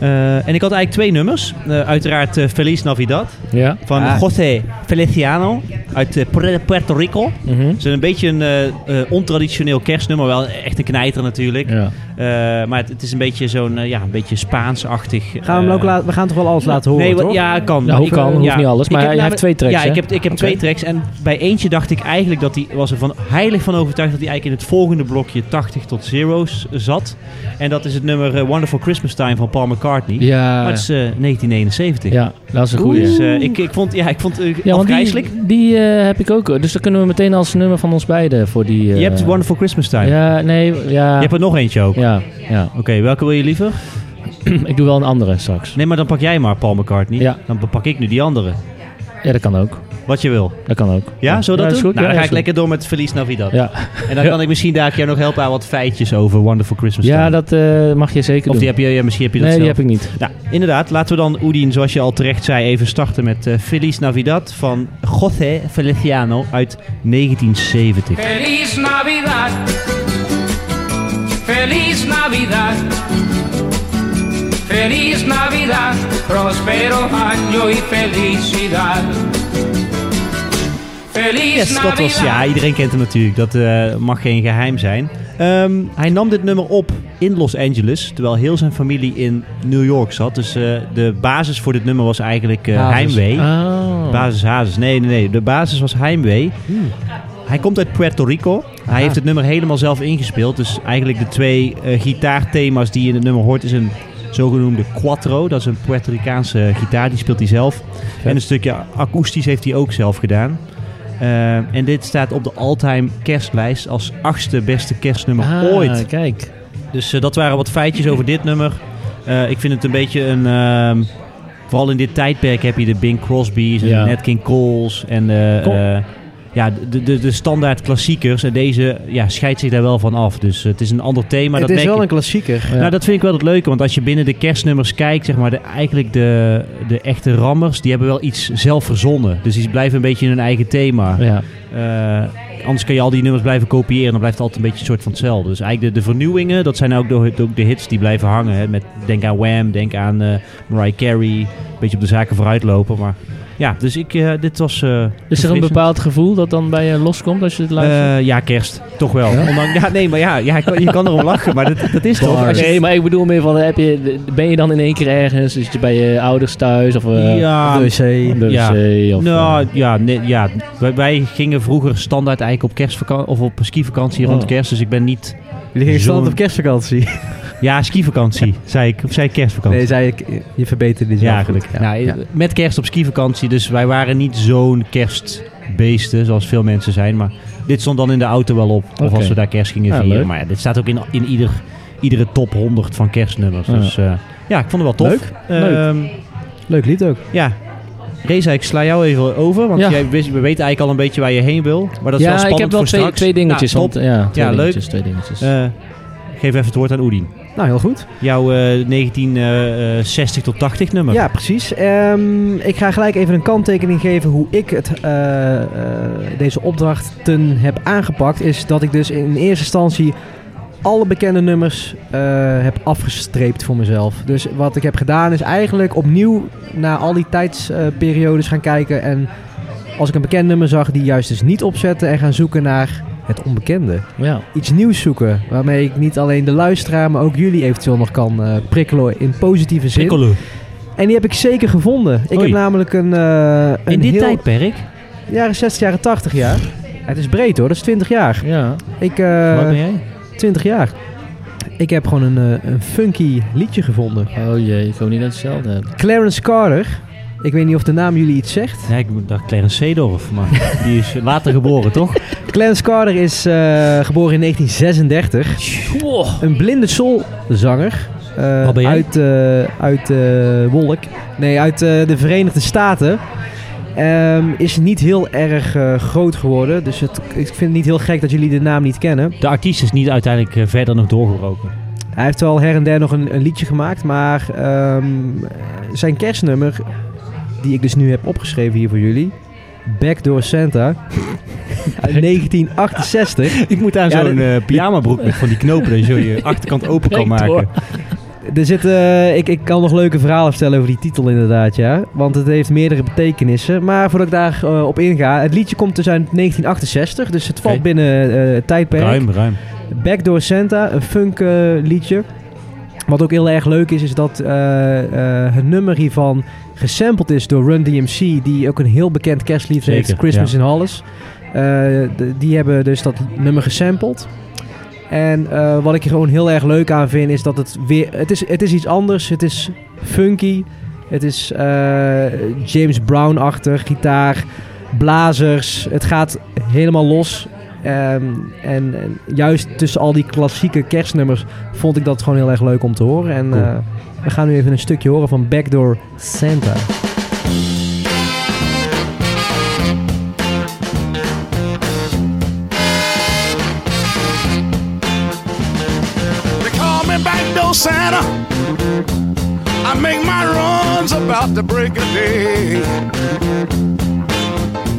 [SPEAKER 2] Eh, en ik had eigenlijk twee nummers. Eh, uiteraard eh, Feliz Navidad
[SPEAKER 3] Ja.
[SPEAKER 2] van
[SPEAKER 1] Ah.
[SPEAKER 2] José Feliciano uit eh, Pue- Puerto Rico. Het
[SPEAKER 3] Mhm.
[SPEAKER 2] is een beetje een eh, eh, ontraditioneel kerstnummer. Wel echt een knijter natuurlijk.
[SPEAKER 3] ja.
[SPEAKER 2] Eh, maar het, het is een beetje zo'n eh, ja, een beetje Spaans-achtig. eh,
[SPEAKER 1] gaan we, hem ook laten, we gaan toch wel alles laten horen,
[SPEAKER 2] Nee, wat-
[SPEAKER 1] toch?
[SPEAKER 2] ja, kan.
[SPEAKER 3] Nou,
[SPEAKER 2] Ik-
[SPEAKER 3] kan, hoeft niet alles,
[SPEAKER 2] Ik
[SPEAKER 3] maar
[SPEAKER 2] heb
[SPEAKER 3] hij heeft
[SPEAKER 2] namelijk-
[SPEAKER 3] twee tracks,
[SPEAKER 2] Ja,
[SPEAKER 3] hè?
[SPEAKER 2] ik heb, ik heb twee tracks. En bij eentje dacht ik eigenlijk dat hij was er van heilig van overtuigd dat hij eigenlijk in het volgende blokje 80 tot zeros zat. En dat is het nummer eh, Wonderful Christmas Time van Paul McCartney.
[SPEAKER 3] Ja.
[SPEAKER 2] Maar het is eh, 1971.
[SPEAKER 3] ja, dat is een goede.
[SPEAKER 2] Dus eh, ik, ik vond, ja, ik vond het
[SPEAKER 3] Ja, want
[SPEAKER 2] afgrijzelijk.
[SPEAKER 3] die, die eh, heb ik ook. Dus dan kunnen we meteen als nummer van ons beiden voor die... eh,
[SPEAKER 2] Je hebt Wonderful Christmas Time.
[SPEAKER 3] Ja, nee, ja.
[SPEAKER 2] Je hebt er nog eentje ook.
[SPEAKER 3] Ja, ja.
[SPEAKER 2] Oké, welke wil je liever?
[SPEAKER 3] ik doe wel een andere straks.
[SPEAKER 2] Nee, maar dan pak jij maar Paul McCartney.
[SPEAKER 3] Ja.
[SPEAKER 2] Dan pak ik nu die andere.
[SPEAKER 3] Ja, dat kan ook.
[SPEAKER 2] Wat je wil.
[SPEAKER 3] Dat kan ook.
[SPEAKER 2] Ja, zullen we dat
[SPEAKER 3] is
[SPEAKER 2] doen?
[SPEAKER 3] goed.
[SPEAKER 2] nou, dan
[SPEAKER 3] Ja,
[SPEAKER 2] ga ik
[SPEAKER 3] is goed.
[SPEAKER 2] lekker door met Feliz Navidad.
[SPEAKER 3] Ja,
[SPEAKER 2] En dan kan ik misschien daar jou nog helpen aan wat feitjes over Wonderful Christmas
[SPEAKER 3] ja
[SPEAKER 2] Time.
[SPEAKER 3] dat eh, mag je zeker
[SPEAKER 2] Of
[SPEAKER 3] doen.
[SPEAKER 2] die heb je, ja, misschien heb je dat
[SPEAKER 3] nee, die
[SPEAKER 2] zelf.
[SPEAKER 3] heb ik niet.
[SPEAKER 2] Nou, inderdaad. Laten we dan, Oedien, zoals je al terecht zei, even starten met eh, Feliz Navidad van José Feliciano uit 1970.
[SPEAKER 6] Feliz Navidad. Feliz Navidad. Feliz Navidad. Prospero año y felicidad. Feliz
[SPEAKER 2] Yes, dat
[SPEAKER 6] Navidad.
[SPEAKER 2] was, ja, iedereen kent hem natuurlijk. Dat eh, mag geen geheim zijn. Ehm, hij nam dit nummer op in Los Angeles, terwijl heel zijn familie in New York zat. Dus eh, de basis voor dit nummer was eigenlijk eh,
[SPEAKER 1] Basis.
[SPEAKER 2] Heimwee.
[SPEAKER 3] Oh. Hmm.
[SPEAKER 2] Basis Hazes. Nee, nee, nee. De basis was Heimwee. Hij komt uit Puerto Rico. Hij
[SPEAKER 3] Ah.
[SPEAKER 2] heeft het nummer helemaal zelf ingespeeld. Dus eigenlijk de twee eh, gitaarthema's die je in het nummer hoort is een zogenoemde cuatro. Dat is een Puerto Ricaanse gitaar. Die speelt hij zelf. En een stukje akoestisch heeft hij ook zelf gedaan. Eh, en dit staat op de all-time kerstlijst als achtste beste kerstnummer
[SPEAKER 3] Ah,
[SPEAKER 2] ooit.
[SPEAKER 3] kijk.
[SPEAKER 2] Dus eh, dat waren wat feitjes over dit nummer. Eh, ik vind het een beetje een... ehm, vooral in dit tijdperk heb je de Bing Crosby's en
[SPEAKER 3] Ja.
[SPEAKER 2] Nat King Cole's en... eh,
[SPEAKER 3] Cole.
[SPEAKER 2] eh, ja, de, de, de standaard klassiekers. En deze ja, scheidt zich daar wel van af. Dus eh, het is een ander thema. dat
[SPEAKER 1] het is
[SPEAKER 2] merk
[SPEAKER 1] wel
[SPEAKER 2] je-
[SPEAKER 1] een klassieker.
[SPEAKER 3] Ja.
[SPEAKER 2] Nou, dat vind ik wel het leuke, want als je binnen de kerstnummers kijkt, zeg maar, de, eigenlijk de, de echte rammers, die hebben wel iets zelf verzonnen. Dus die blijven een beetje in hun eigen thema.
[SPEAKER 3] Ja.
[SPEAKER 2] Eh, anders kan je al die nummers blijven kopiëren, dan blijft het altijd een beetje een soort van hetzelfde. Dus eigenlijk de, de vernieuwingen, dat zijn ook de, ook de hits die blijven hangen. Hè? Met, denk aan Wham, denk aan eh, Mariah Carey, een beetje op de zaken vooruitlopen. Maar ja, dus ik, eh, dit was... eh,
[SPEAKER 3] Is er een
[SPEAKER 2] verfrissend.
[SPEAKER 3] bepaald gevoel dat dan bij je loskomt als je het luistert?
[SPEAKER 2] Eh, ja, kerst. Toch wel. Ondanks- Ja? nee, maar ja, ja, je kan- je kan erom lachen, maar dat, dat is toch... als je-
[SPEAKER 3] Eh, nee, maar ik bedoel meer van, heb je, ben je dan in één keer ergens? Zit je bij je ouders thuis? Of eh,
[SPEAKER 2] ja,
[SPEAKER 1] Dus, eh,
[SPEAKER 3] op de
[SPEAKER 2] Ja.
[SPEAKER 3] wc? Of, eh,
[SPEAKER 2] Nou ja, nee, ja. Wij, wij gingen vroeger standaard eigenlijk op kerstvakantie of op skivakantie
[SPEAKER 3] Oh.
[SPEAKER 2] rond kerst. Dus ik ben niet.
[SPEAKER 1] Jullie gingen stand
[SPEAKER 2] Zo'n-
[SPEAKER 1] op kerstvakantie.
[SPEAKER 2] Ja, skivakantie, zei ik. Of zei ik kerstvakantie?
[SPEAKER 1] Nee, zei ik, je verbeterde die
[SPEAKER 2] ja,
[SPEAKER 1] zelf
[SPEAKER 2] eigenlijk.
[SPEAKER 1] goed. Ja.
[SPEAKER 2] Nou,
[SPEAKER 1] Ja.
[SPEAKER 2] Met kerst op skivakantie. Dus wij waren niet zo'n kerstbeesten zoals veel mensen zijn. Maar dit stond dan in de auto wel op. Of
[SPEAKER 3] Oké.
[SPEAKER 2] als we daar kerst gingen
[SPEAKER 3] Ja,
[SPEAKER 2] vieren.
[SPEAKER 3] leuk.
[SPEAKER 2] Maar ja, dit staat ook in, in ieder, iedere top 100 van kerstnummers.
[SPEAKER 3] Ja.
[SPEAKER 2] Dus eh, ja, ik vond het wel tof.
[SPEAKER 3] Leuk.
[SPEAKER 2] Ehm,
[SPEAKER 1] Leuk lied ook.
[SPEAKER 2] Ja. Reza, ik sla jou even over, want
[SPEAKER 3] Ja.
[SPEAKER 2] jij wist, we weten eigenlijk al een beetje waar je heen wil. Maar dat is wel
[SPEAKER 3] ja,
[SPEAKER 2] spannend
[SPEAKER 3] ik heb wel
[SPEAKER 2] voor
[SPEAKER 3] twee,
[SPEAKER 2] straks.
[SPEAKER 3] twee dingetjes.
[SPEAKER 2] Nou,
[SPEAKER 3] want-
[SPEAKER 2] top.
[SPEAKER 3] ja, twee
[SPEAKER 2] Ja, leuk.
[SPEAKER 3] dingetjes, Twee dingetjes.
[SPEAKER 2] Eh, geef even het woord aan Oedien.
[SPEAKER 1] Nou, heel goed.
[SPEAKER 2] Jouw eh, 1960 tot 80 nummer.
[SPEAKER 1] Ja, precies. Ehm, ik ga gelijk even een kanttekening geven hoe ik het, eh, eh, deze opdrachten heb aangepakt. Is dat ik dus in eerste instantie alle bekende nummers eh, heb afgestreept voor mezelf. Dus wat ik heb gedaan is eigenlijk opnieuw naar al die tijdsperiodes gaan kijken. En als ik een bekend nummer zag, die juist dus niet opzetten. En gaan zoeken naar het onbekende
[SPEAKER 3] ja.
[SPEAKER 1] iets nieuws zoeken. Waarmee ik niet alleen de luisteraar, maar ook jullie eventueel nog kan eh, prikkelen in positieve zin.
[SPEAKER 2] Piccolo.
[SPEAKER 1] En die heb ik zeker gevonden. Ik
[SPEAKER 2] Oei.
[SPEAKER 1] heb namelijk een, eh een
[SPEAKER 2] In dit
[SPEAKER 1] heel...
[SPEAKER 2] tijdperk?
[SPEAKER 1] Jaren 60, jaren 80 jaar. Het is breed hoor, dat is 20 jaar.
[SPEAKER 3] ja.
[SPEAKER 1] Ik,
[SPEAKER 2] Wat
[SPEAKER 1] eh
[SPEAKER 2] ben jij?
[SPEAKER 1] 20 jaar. Ik heb gewoon een, eh, een funky liedje gevonden.
[SPEAKER 3] Oh jee, ik hoop niet dat je hetzelfde hebt.
[SPEAKER 1] Clarence Carter. Ik weet niet of de naam jullie iets zegt.
[SPEAKER 2] Ja, ik dacht Clarence Seedorf, maar die is later geboren, toch?
[SPEAKER 1] Clarence Carter is eh, geboren in 1936. Een blinde soulzanger. eh,
[SPEAKER 2] Wat ben jij?
[SPEAKER 1] Uit, eh, uit eh, Wolk. Nee, uit eh, de Verenigde Staten. Ehm, is niet heel erg eh, groot geworden. Dus het, ik vind het niet heel gek dat jullie de naam niet kennen.
[SPEAKER 2] De artiest is niet uiteindelijk eh, verder nog doorgebroken.
[SPEAKER 1] Hij heeft wel her en der nog een, een liedje gemaakt. Maar ehm, zijn kerstnummer, die ik dus nu heb opgeschreven hier voor jullie. Back Door Santa. [LAUGHS] uit 1968.
[SPEAKER 2] Ik moet aan
[SPEAKER 1] Ja,
[SPEAKER 2] zo'n
[SPEAKER 1] dit-
[SPEAKER 2] eh pyjamabroek met van die knopen, dat je [LAUGHS] je achterkant open kan
[SPEAKER 3] Breekt
[SPEAKER 2] maken.
[SPEAKER 3] door.
[SPEAKER 1] Er zit, eh, ik, ik kan nog leuke verhalen vertellen over die titel inderdaad, ja. Want het heeft meerdere betekenissen. Maar voordat ik daarop op inga... Het liedje komt dus uit 1968, dus het valt
[SPEAKER 2] Oké.
[SPEAKER 1] binnen eh, het tijdperk.
[SPEAKER 2] Ruim, ruim.
[SPEAKER 1] Backdoor Santa, een funk eh, liedje. Wat ook heel erg leuk is, is dat eh, eh, het nummer hiervan gesampled is door Run DMC, die ook een heel bekend kerstlied heeft,
[SPEAKER 2] Zeker,
[SPEAKER 1] Christmas in Hollis. Eh, de- die hebben dus dat nummer gesampled. En eh, wat ik er gewoon heel erg leuk aan vind, is dat het weer... Het is, het is iets anders, het is funky, het is eh, James Brown-achtig, gitaar, blazers. Het gaat helemaal los. Ehm, en, en juist tussen al die klassieke kerstnummers vond ik dat gewoon heel erg leuk om te horen. En
[SPEAKER 2] Cool.
[SPEAKER 1] eh, we gaan nu even een stukje horen van Backdoor Santa.
[SPEAKER 7] They call me back door Santa. I make my runs about the break of day.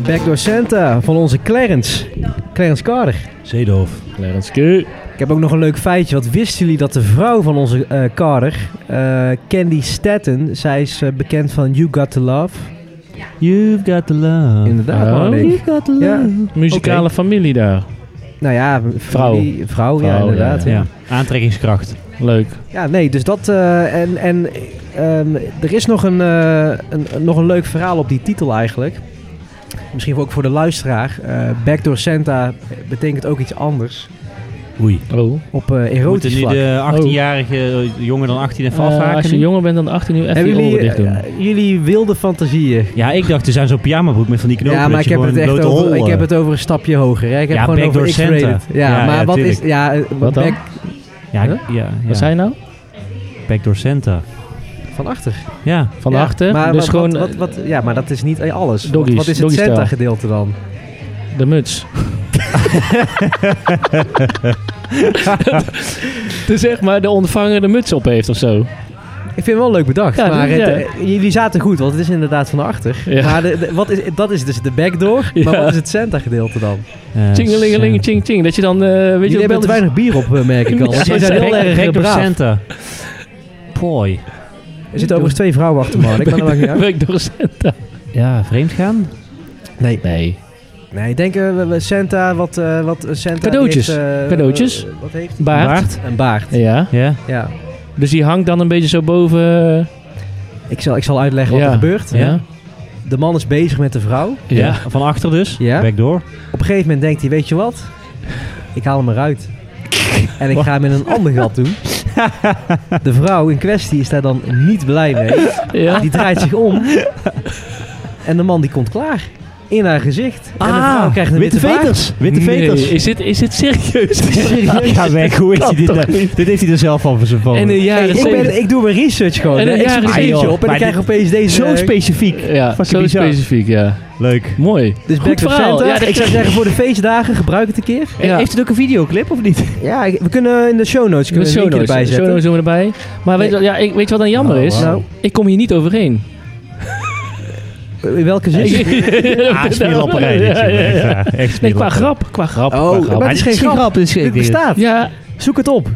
[SPEAKER 1] Backdoor Santa van onze Clarence. Clarence Carter.
[SPEAKER 2] Seedorf.
[SPEAKER 3] Clarence Q.
[SPEAKER 1] Ik heb ook nog een leuk feitje. Wat wisten jullie dat de vrouw van onze eh, Carter, eh, Candy Staten, zij is eh, bekend van You Got To Love.
[SPEAKER 2] You've got the love.
[SPEAKER 1] Inderdaad,
[SPEAKER 3] Oh.
[SPEAKER 1] Marnik.
[SPEAKER 2] You've got the love.
[SPEAKER 1] Ja.
[SPEAKER 3] Muzikale familie daar.
[SPEAKER 1] Nou ja, vrouw. Vrouw, ja,
[SPEAKER 3] Vrouw,
[SPEAKER 1] inderdaad.
[SPEAKER 2] Ja, aantrekkingskracht.
[SPEAKER 3] Leuk.
[SPEAKER 1] Ja, nee, dus dat. eh, en en ehm, er is nog een, eh, een, een- nog een leuk verhaal op die titel eigenlijk. Misschien ook voor de luisteraar. Eh Backdoor Santa betekent ook iets anders.
[SPEAKER 2] Oei.
[SPEAKER 3] Oh.
[SPEAKER 1] Op eh
[SPEAKER 2] Moeten
[SPEAKER 1] erotisch
[SPEAKER 2] nu
[SPEAKER 1] vlak.
[SPEAKER 2] de 18-jarige jonger dan 18 even
[SPEAKER 3] Eh, als
[SPEAKER 2] afhaken?
[SPEAKER 3] je
[SPEAKER 2] nu?
[SPEAKER 3] jonger bent dan 18 uur, even je
[SPEAKER 1] Hebben
[SPEAKER 3] oren
[SPEAKER 1] jullie,
[SPEAKER 3] dicht doen.
[SPEAKER 1] eh, jullie wilde fantasieën?
[SPEAKER 2] Ja, ik dacht, er zijn zo'n pyjamabroek met van die knopen.
[SPEAKER 1] ja, maar
[SPEAKER 2] dat
[SPEAKER 1] ik
[SPEAKER 2] je
[SPEAKER 1] heb,
[SPEAKER 2] gewoon
[SPEAKER 1] het
[SPEAKER 2] een
[SPEAKER 1] echt
[SPEAKER 2] blote
[SPEAKER 1] over,
[SPEAKER 2] hol,
[SPEAKER 1] ik
[SPEAKER 2] eh,
[SPEAKER 1] heb het over een stapje hoger. Hè? Ik heb
[SPEAKER 2] Ja,
[SPEAKER 1] gewoon
[SPEAKER 2] Backdoor
[SPEAKER 1] over X-rated.
[SPEAKER 2] Santa.
[SPEAKER 1] Ja,
[SPEAKER 2] Ja,
[SPEAKER 1] maar
[SPEAKER 2] ja,
[SPEAKER 1] wat is...
[SPEAKER 2] tuurlijk.
[SPEAKER 1] Ja, eh,
[SPEAKER 3] Wat dan?
[SPEAKER 1] back
[SPEAKER 2] Ja,
[SPEAKER 1] Huh?
[SPEAKER 2] ja, ja.
[SPEAKER 3] Wat zei je nou?
[SPEAKER 2] Backdoor Santa.
[SPEAKER 1] van achter.
[SPEAKER 2] Ja.
[SPEAKER 3] Van
[SPEAKER 1] Ja,
[SPEAKER 3] achter?
[SPEAKER 1] Maar, wat-
[SPEAKER 3] dus
[SPEAKER 2] eh,
[SPEAKER 3] gewoon...
[SPEAKER 1] wat, wat, ja, maar dat is niet alles.
[SPEAKER 3] Doggies,
[SPEAKER 1] wat is het
[SPEAKER 3] doggy-style.
[SPEAKER 1] Santa gedeelte dan?
[SPEAKER 3] de muts. dus zeg maar de ontvanger de muts op heeft of zo.
[SPEAKER 1] Ik vind het wel leuk bedacht.
[SPEAKER 3] Ja, dus,
[SPEAKER 1] maar
[SPEAKER 3] ja.
[SPEAKER 1] het, eh, jullie zaten goed, want het is inderdaad van achter.
[SPEAKER 3] Ja.
[SPEAKER 1] Maar de, de- wat is, dat is dus de backdoor.
[SPEAKER 3] Ja.
[SPEAKER 1] Maar wat is het center gedeelte dan?
[SPEAKER 2] Eh,
[SPEAKER 3] Tjingelingeling, ching ching. Dat je dan, eh, weet
[SPEAKER 1] jullie
[SPEAKER 3] je
[SPEAKER 1] hebben
[SPEAKER 3] wat
[SPEAKER 1] te
[SPEAKER 3] dat is?
[SPEAKER 1] weinig bier op, eh, merk ik al.
[SPEAKER 3] Ja,
[SPEAKER 1] Want
[SPEAKER 2] Ze
[SPEAKER 1] jullie
[SPEAKER 3] ze
[SPEAKER 1] zijn heel
[SPEAKER 2] back-
[SPEAKER 1] erg eh,
[SPEAKER 2] back door
[SPEAKER 1] braaf.
[SPEAKER 2] center. Boy.
[SPEAKER 1] Er zitten overigens twee vrouwen achter me, ik ben er lang
[SPEAKER 3] [LAUGHS]
[SPEAKER 1] niet uit.
[SPEAKER 3] Werk door Santa.
[SPEAKER 2] Ja, vreemd gaan?
[SPEAKER 1] Nee,
[SPEAKER 3] Nee.
[SPEAKER 1] nee ik denk eh, we- we Santa, wat, eh, wat eh, Santa die
[SPEAKER 3] Cadeautjes.
[SPEAKER 1] heeft, eh,
[SPEAKER 3] Cadeautjes.
[SPEAKER 1] eh, wat heeft
[SPEAKER 3] Baard.
[SPEAKER 1] Een baard,
[SPEAKER 3] Ja.
[SPEAKER 2] Ja.
[SPEAKER 1] ja.
[SPEAKER 3] Dus die hangt dan een beetje zo boven. eh,
[SPEAKER 1] Ik zal, ik zal uitleggen wat
[SPEAKER 3] Ja.
[SPEAKER 1] er gebeurt.
[SPEAKER 3] Ja.
[SPEAKER 1] De man is bezig met de vrouw.
[SPEAKER 2] Ja. Van achter dus.
[SPEAKER 1] Ja.
[SPEAKER 2] Backdoor.
[SPEAKER 1] Op een gegeven moment denkt hij, weet je wat? Ik haal hem eruit. En ik ga hem in een ander gat doen. De vrouw in kwestie is daar dan niet blij mee.
[SPEAKER 3] Ja.
[SPEAKER 1] Ah, Die draait zich om. En de man die komt klaar. In haar gezicht. En Ah, de vrouw krijgt een witte, baard.
[SPEAKER 2] Ah, Witte
[SPEAKER 3] Nee,
[SPEAKER 2] veters.
[SPEAKER 3] Is dit, is dit serieus?
[SPEAKER 2] Ga weg, hoe heeft hij dit?
[SPEAKER 3] Dat toch
[SPEAKER 2] nou- Dit heeft hij er zelf al voor zijn
[SPEAKER 3] En eh, in de
[SPEAKER 2] van.
[SPEAKER 1] Hey,
[SPEAKER 3] jaren
[SPEAKER 1] ik,
[SPEAKER 3] zeventig-
[SPEAKER 1] ben, ik doe mijn research gewoon.
[SPEAKER 3] En
[SPEAKER 1] hè.
[SPEAKER 3] een
[SPEAKER 1] Ik
[SPEAKER 3] jaar
[SPEAKER 1] zoek
[SPEAKER 3] is
[SPEAKER 1] een
[SPEAKER 3] het,
[SPEAKER 1] eentje
[SPEAKER 2] joh.
[SPEAKER 1] op en
[SPEAKER 2] Maar
[SPEAKER 1] ik krijg
[SPEAKER 2] dit-
[SPEAKER 1] opeens deze...
[SPEAKER 2] Zo specifiek.
[SPEAKER 3] Ja,
[SPEAKER 2] Fucking
[SPEAKER 3] zo
[SPEAKER 2] bizar.
[SPEAKER 3] specifiek, ja.
[SPEAKER 2] Leuk.
[SPEAKER 3] Mooi.
[SPEAKER 1] Dus
[SPEAKER 3] Goed
[SPEAKER 1] back to
[SPEAKER 3] verhaal.
[SPEAKER 1] center.
[SPEAKER 3] Ja, dat-
[SPEAKER 1] ik zou zeggen, voor de feestdagen gebruik het een keer.
[SPEAKER 3] Ja.
[SPEAKER 2] Heeft het ook een videoclip of niet?
[SPEAKER 1] Ja, ik- we kunnen in de show notes kunnen
[SPEAKER 3] Kunnen
[SPEAKER 1] we een
[SPEAKER 3] show
[SPEAKER 1] linkje
[SPEAKER 3] notes,
[SPEAKER 1] erbij
[SPEAKER 3] show
[SPEAKER 1] zetten.
[SPEAKER 3] notes doen we erbij. Maar weet, je wat- ja, ik, weet je wat dan jammer
[SPEAKER 2] Oh,
[SPEAKER 3] is?
[SPEAKER 2] wauw.
[SPEAKER 3] Ik kom hier niet overheen.
[SPEAKER 1] In welke zin?
[SPEAKER 2] Ah, smeerlapperij. dit,
[SPEAKER 3] Ja, ja,
[SPEAKER 2] jongen.
[SPEAKER 3] ja.
[SPEAKER 2] Ja, Echt
[SPEAKER 3] Nee,
[SPEAKER 2] smeerlapperij.
[SPEAKER 3] qua grap. Qua grap.
[SPEAKER 1] Oh,
[SPEAKER 3] qua grap.
[SPEAKER 1] maar het is geen grap.
[SPEAKER 2] dit Ah, is
[SPEAKER 1] Dit bestaat.
[SPEAKER 3] Ja,
[SPEAKER 1] Zoek het op.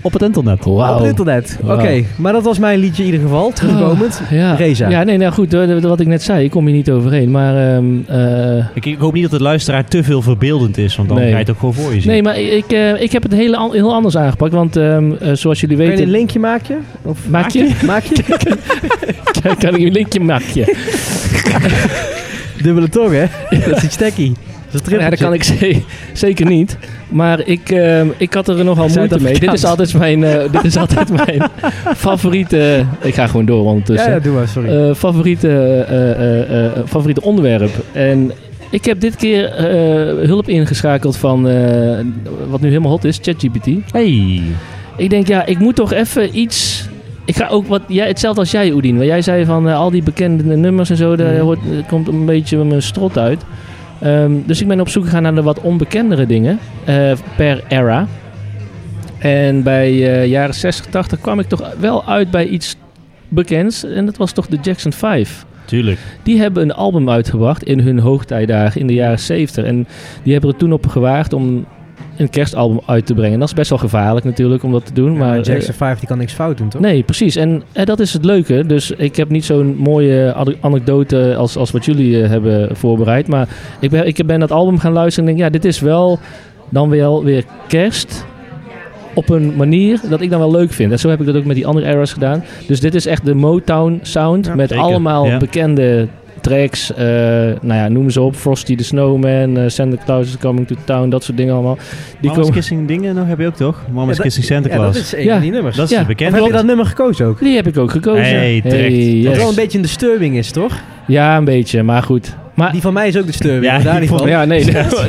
[SPEAKER 2] Op het internet.
[SPEAKER 1] Op
[SPEAKER 3] wauw.
[SPEAKER 1] het internet.
[SPEAKER 3] Wauw.
[SPEAKER 1] Oké, maar dat was mijn liedje in ieder geval.
[SPEAKER 2] Ah,
[SPEAKER 1] Terugkomend.
[SPEAKER 3] Ja.
[SPEAKER 1] Reza.
[SPEAKER 3] Ja, nee, nou goed, hoor, wat ik net zei, ik kom hier niet overheen. Maar, ehm, eh,
[SPEAKER 2] Ik, ik hoop niet dat het luisteraar te veel verbeeldend is, want dan
[SPEAKER 3] Nee.
[SPEAKER 2] ga je het ook gewoon voor je zien.
[SPEAKER 3] nee, maar ik, eh, ik heb het hele an- heel anders aangepakt. Want ehm, eh, zoals jullie
[SPEAKER 1] Kun je
[SPEAKER 3] weten...
[SPEAKER 1] een linkje maken? Of
[SPEAKER 3] Maak je?
[SPEAKER 1] maak je?
[SPEAKER 3] [LAUGHS] kan ik een linkje maken?
[SPEAKER 1] [LAUGHS] Dubbele
[SPEAKER 2] [LAUGHS]
[SPEAKER 1] tong, hè? Dat is iets stekkie. Dat is een
[SPEAKER 3] Ja, dat
[SPEAKER 1] trippeltje.
[SPEAKER 3] kan ik ze- zeker niet. Maar ik, ehm, ik had er nogal moeite mee. Dit
[SPEAKER 1] Zuid-Afrikaans.
[SPEAKER 3] is altijd mijn, eh, dit is altijd
[SPEAKER 1] [LAUGHS]
[SPEAKER 3] mijn favoriete... Ik ga gewoon door ondertussen.
[SPEAKER 1] Ja, ja, doe maar, sorry.
[SPEAKER 3] Eh, favoriete, eh, eh, eh, favoriete onderwerp. En ik heb dit keer eh, hulp ingeschakeld van eh, wat nu helemaal hot is, ChatGPT.
[SPEAKER 2] Hey.
[SPEAKER 3] Ik denk, ja, ik moet toch even iets. Ik ga ook wat. Jij, hetzelfde als jij, Oedien. Want jij zei van eh, al die bekende nummers en zo, daar hoort, eh, komt een beetje mijn strot uit. Ehm, dus ik ben op zoek gegaan naar de wat onbekendere dingen eh, per era. En bij eh, jaren 60, 80 kwam ik toch wel uit bij iets bekends. En dat was toch de Jackson 5.
[SPEAKER 2] Tuurlijk.
[SPEAKER 3] Die hebben een album uitgebracht in hun hoogtijdagen in de jaren 70. En die hebben er toen op gewaagd om een kerstalbum uit te brengen. En dat is best wel gevaarlijk natuurlijk om dat te doen. maar
[SPEAKER 2] eh,
[SPEAKER 3] eh,
[SPEAKER 1] maar Jackson 5 die kan niks fout doen, toch?
[SPEAKER 3] Nee, precies. En eh, dat is het leuke. Dus ik heb niet zo'n mooie ade- anekdote als, als wat jullie eh, hebben voorbereid. Maar ik ben, ik ben dat album gaan luisteren en denk, ja, dit is wel dan wel weer kerst. Op een manier dat ik dan wel leuk vind. En zo heb ik dat ook met die andere eras gedaan. Dus dit is echt de Motown sound.
[SPEAKER 1] Ja,
[SPEAKER 3] met
[SPEAKER 2] zeker.
[SPEAKER 3] allemaal
[SPEAKER 2] Ja.
[SPEAKER 3] bekende tracks. eh, nou ja, noem ze op. Frosty the Snowman, eh Santa Claus is Coming to Town. Dat soort dingen allemaal. Die
[SPEAKER 2] Mama's
[SPEAKER 3] komen...
[SPEAKER 2] Kissing dingen nog heb je ook toch? Mama's
[SPEAKER 1] Ja, dat-
[SPEAKER 2] Kissing Santa
[SPEAKER 1] Ja, dat
[SPEAKER 2] Claus.
[SPEAKER 1] is een
[SPEAKER 3] Ja.
[SPEAKER 1] van die nummers.
[SPEAKER 2] dat is
[SPEAKER 3] Ja.
[SPEAKER 1] Of
[SPEAKER 2] bekend.
[SPEAKER 1] heb je dat nummer gekozen ook?
[SPEAKER 3] Die heb ik ook gekozen.
[SPEAKER 2] Hey, terecht.
[SPEAKER 1] Wat
[SPEAKER 3] yes.
[SPEAKER 1] wel een beetje een disturbing is, toch?
[SPEAKER 3] Ja, een beetje, maar goed. Maar
[SPEAKER 1] Die van mij is ook disturbing,
[SPEAKER 2] Ah. Ja,
[SPEAKER 1] maar daar
[SPEAKER 2] die
[SPEAKER 1] niet
[SPEAKER 2] vond-
[SPEAKER 1] van.
[SPEAKER 3] ja, nee.
[SPEAKER 2] [LAUGHS]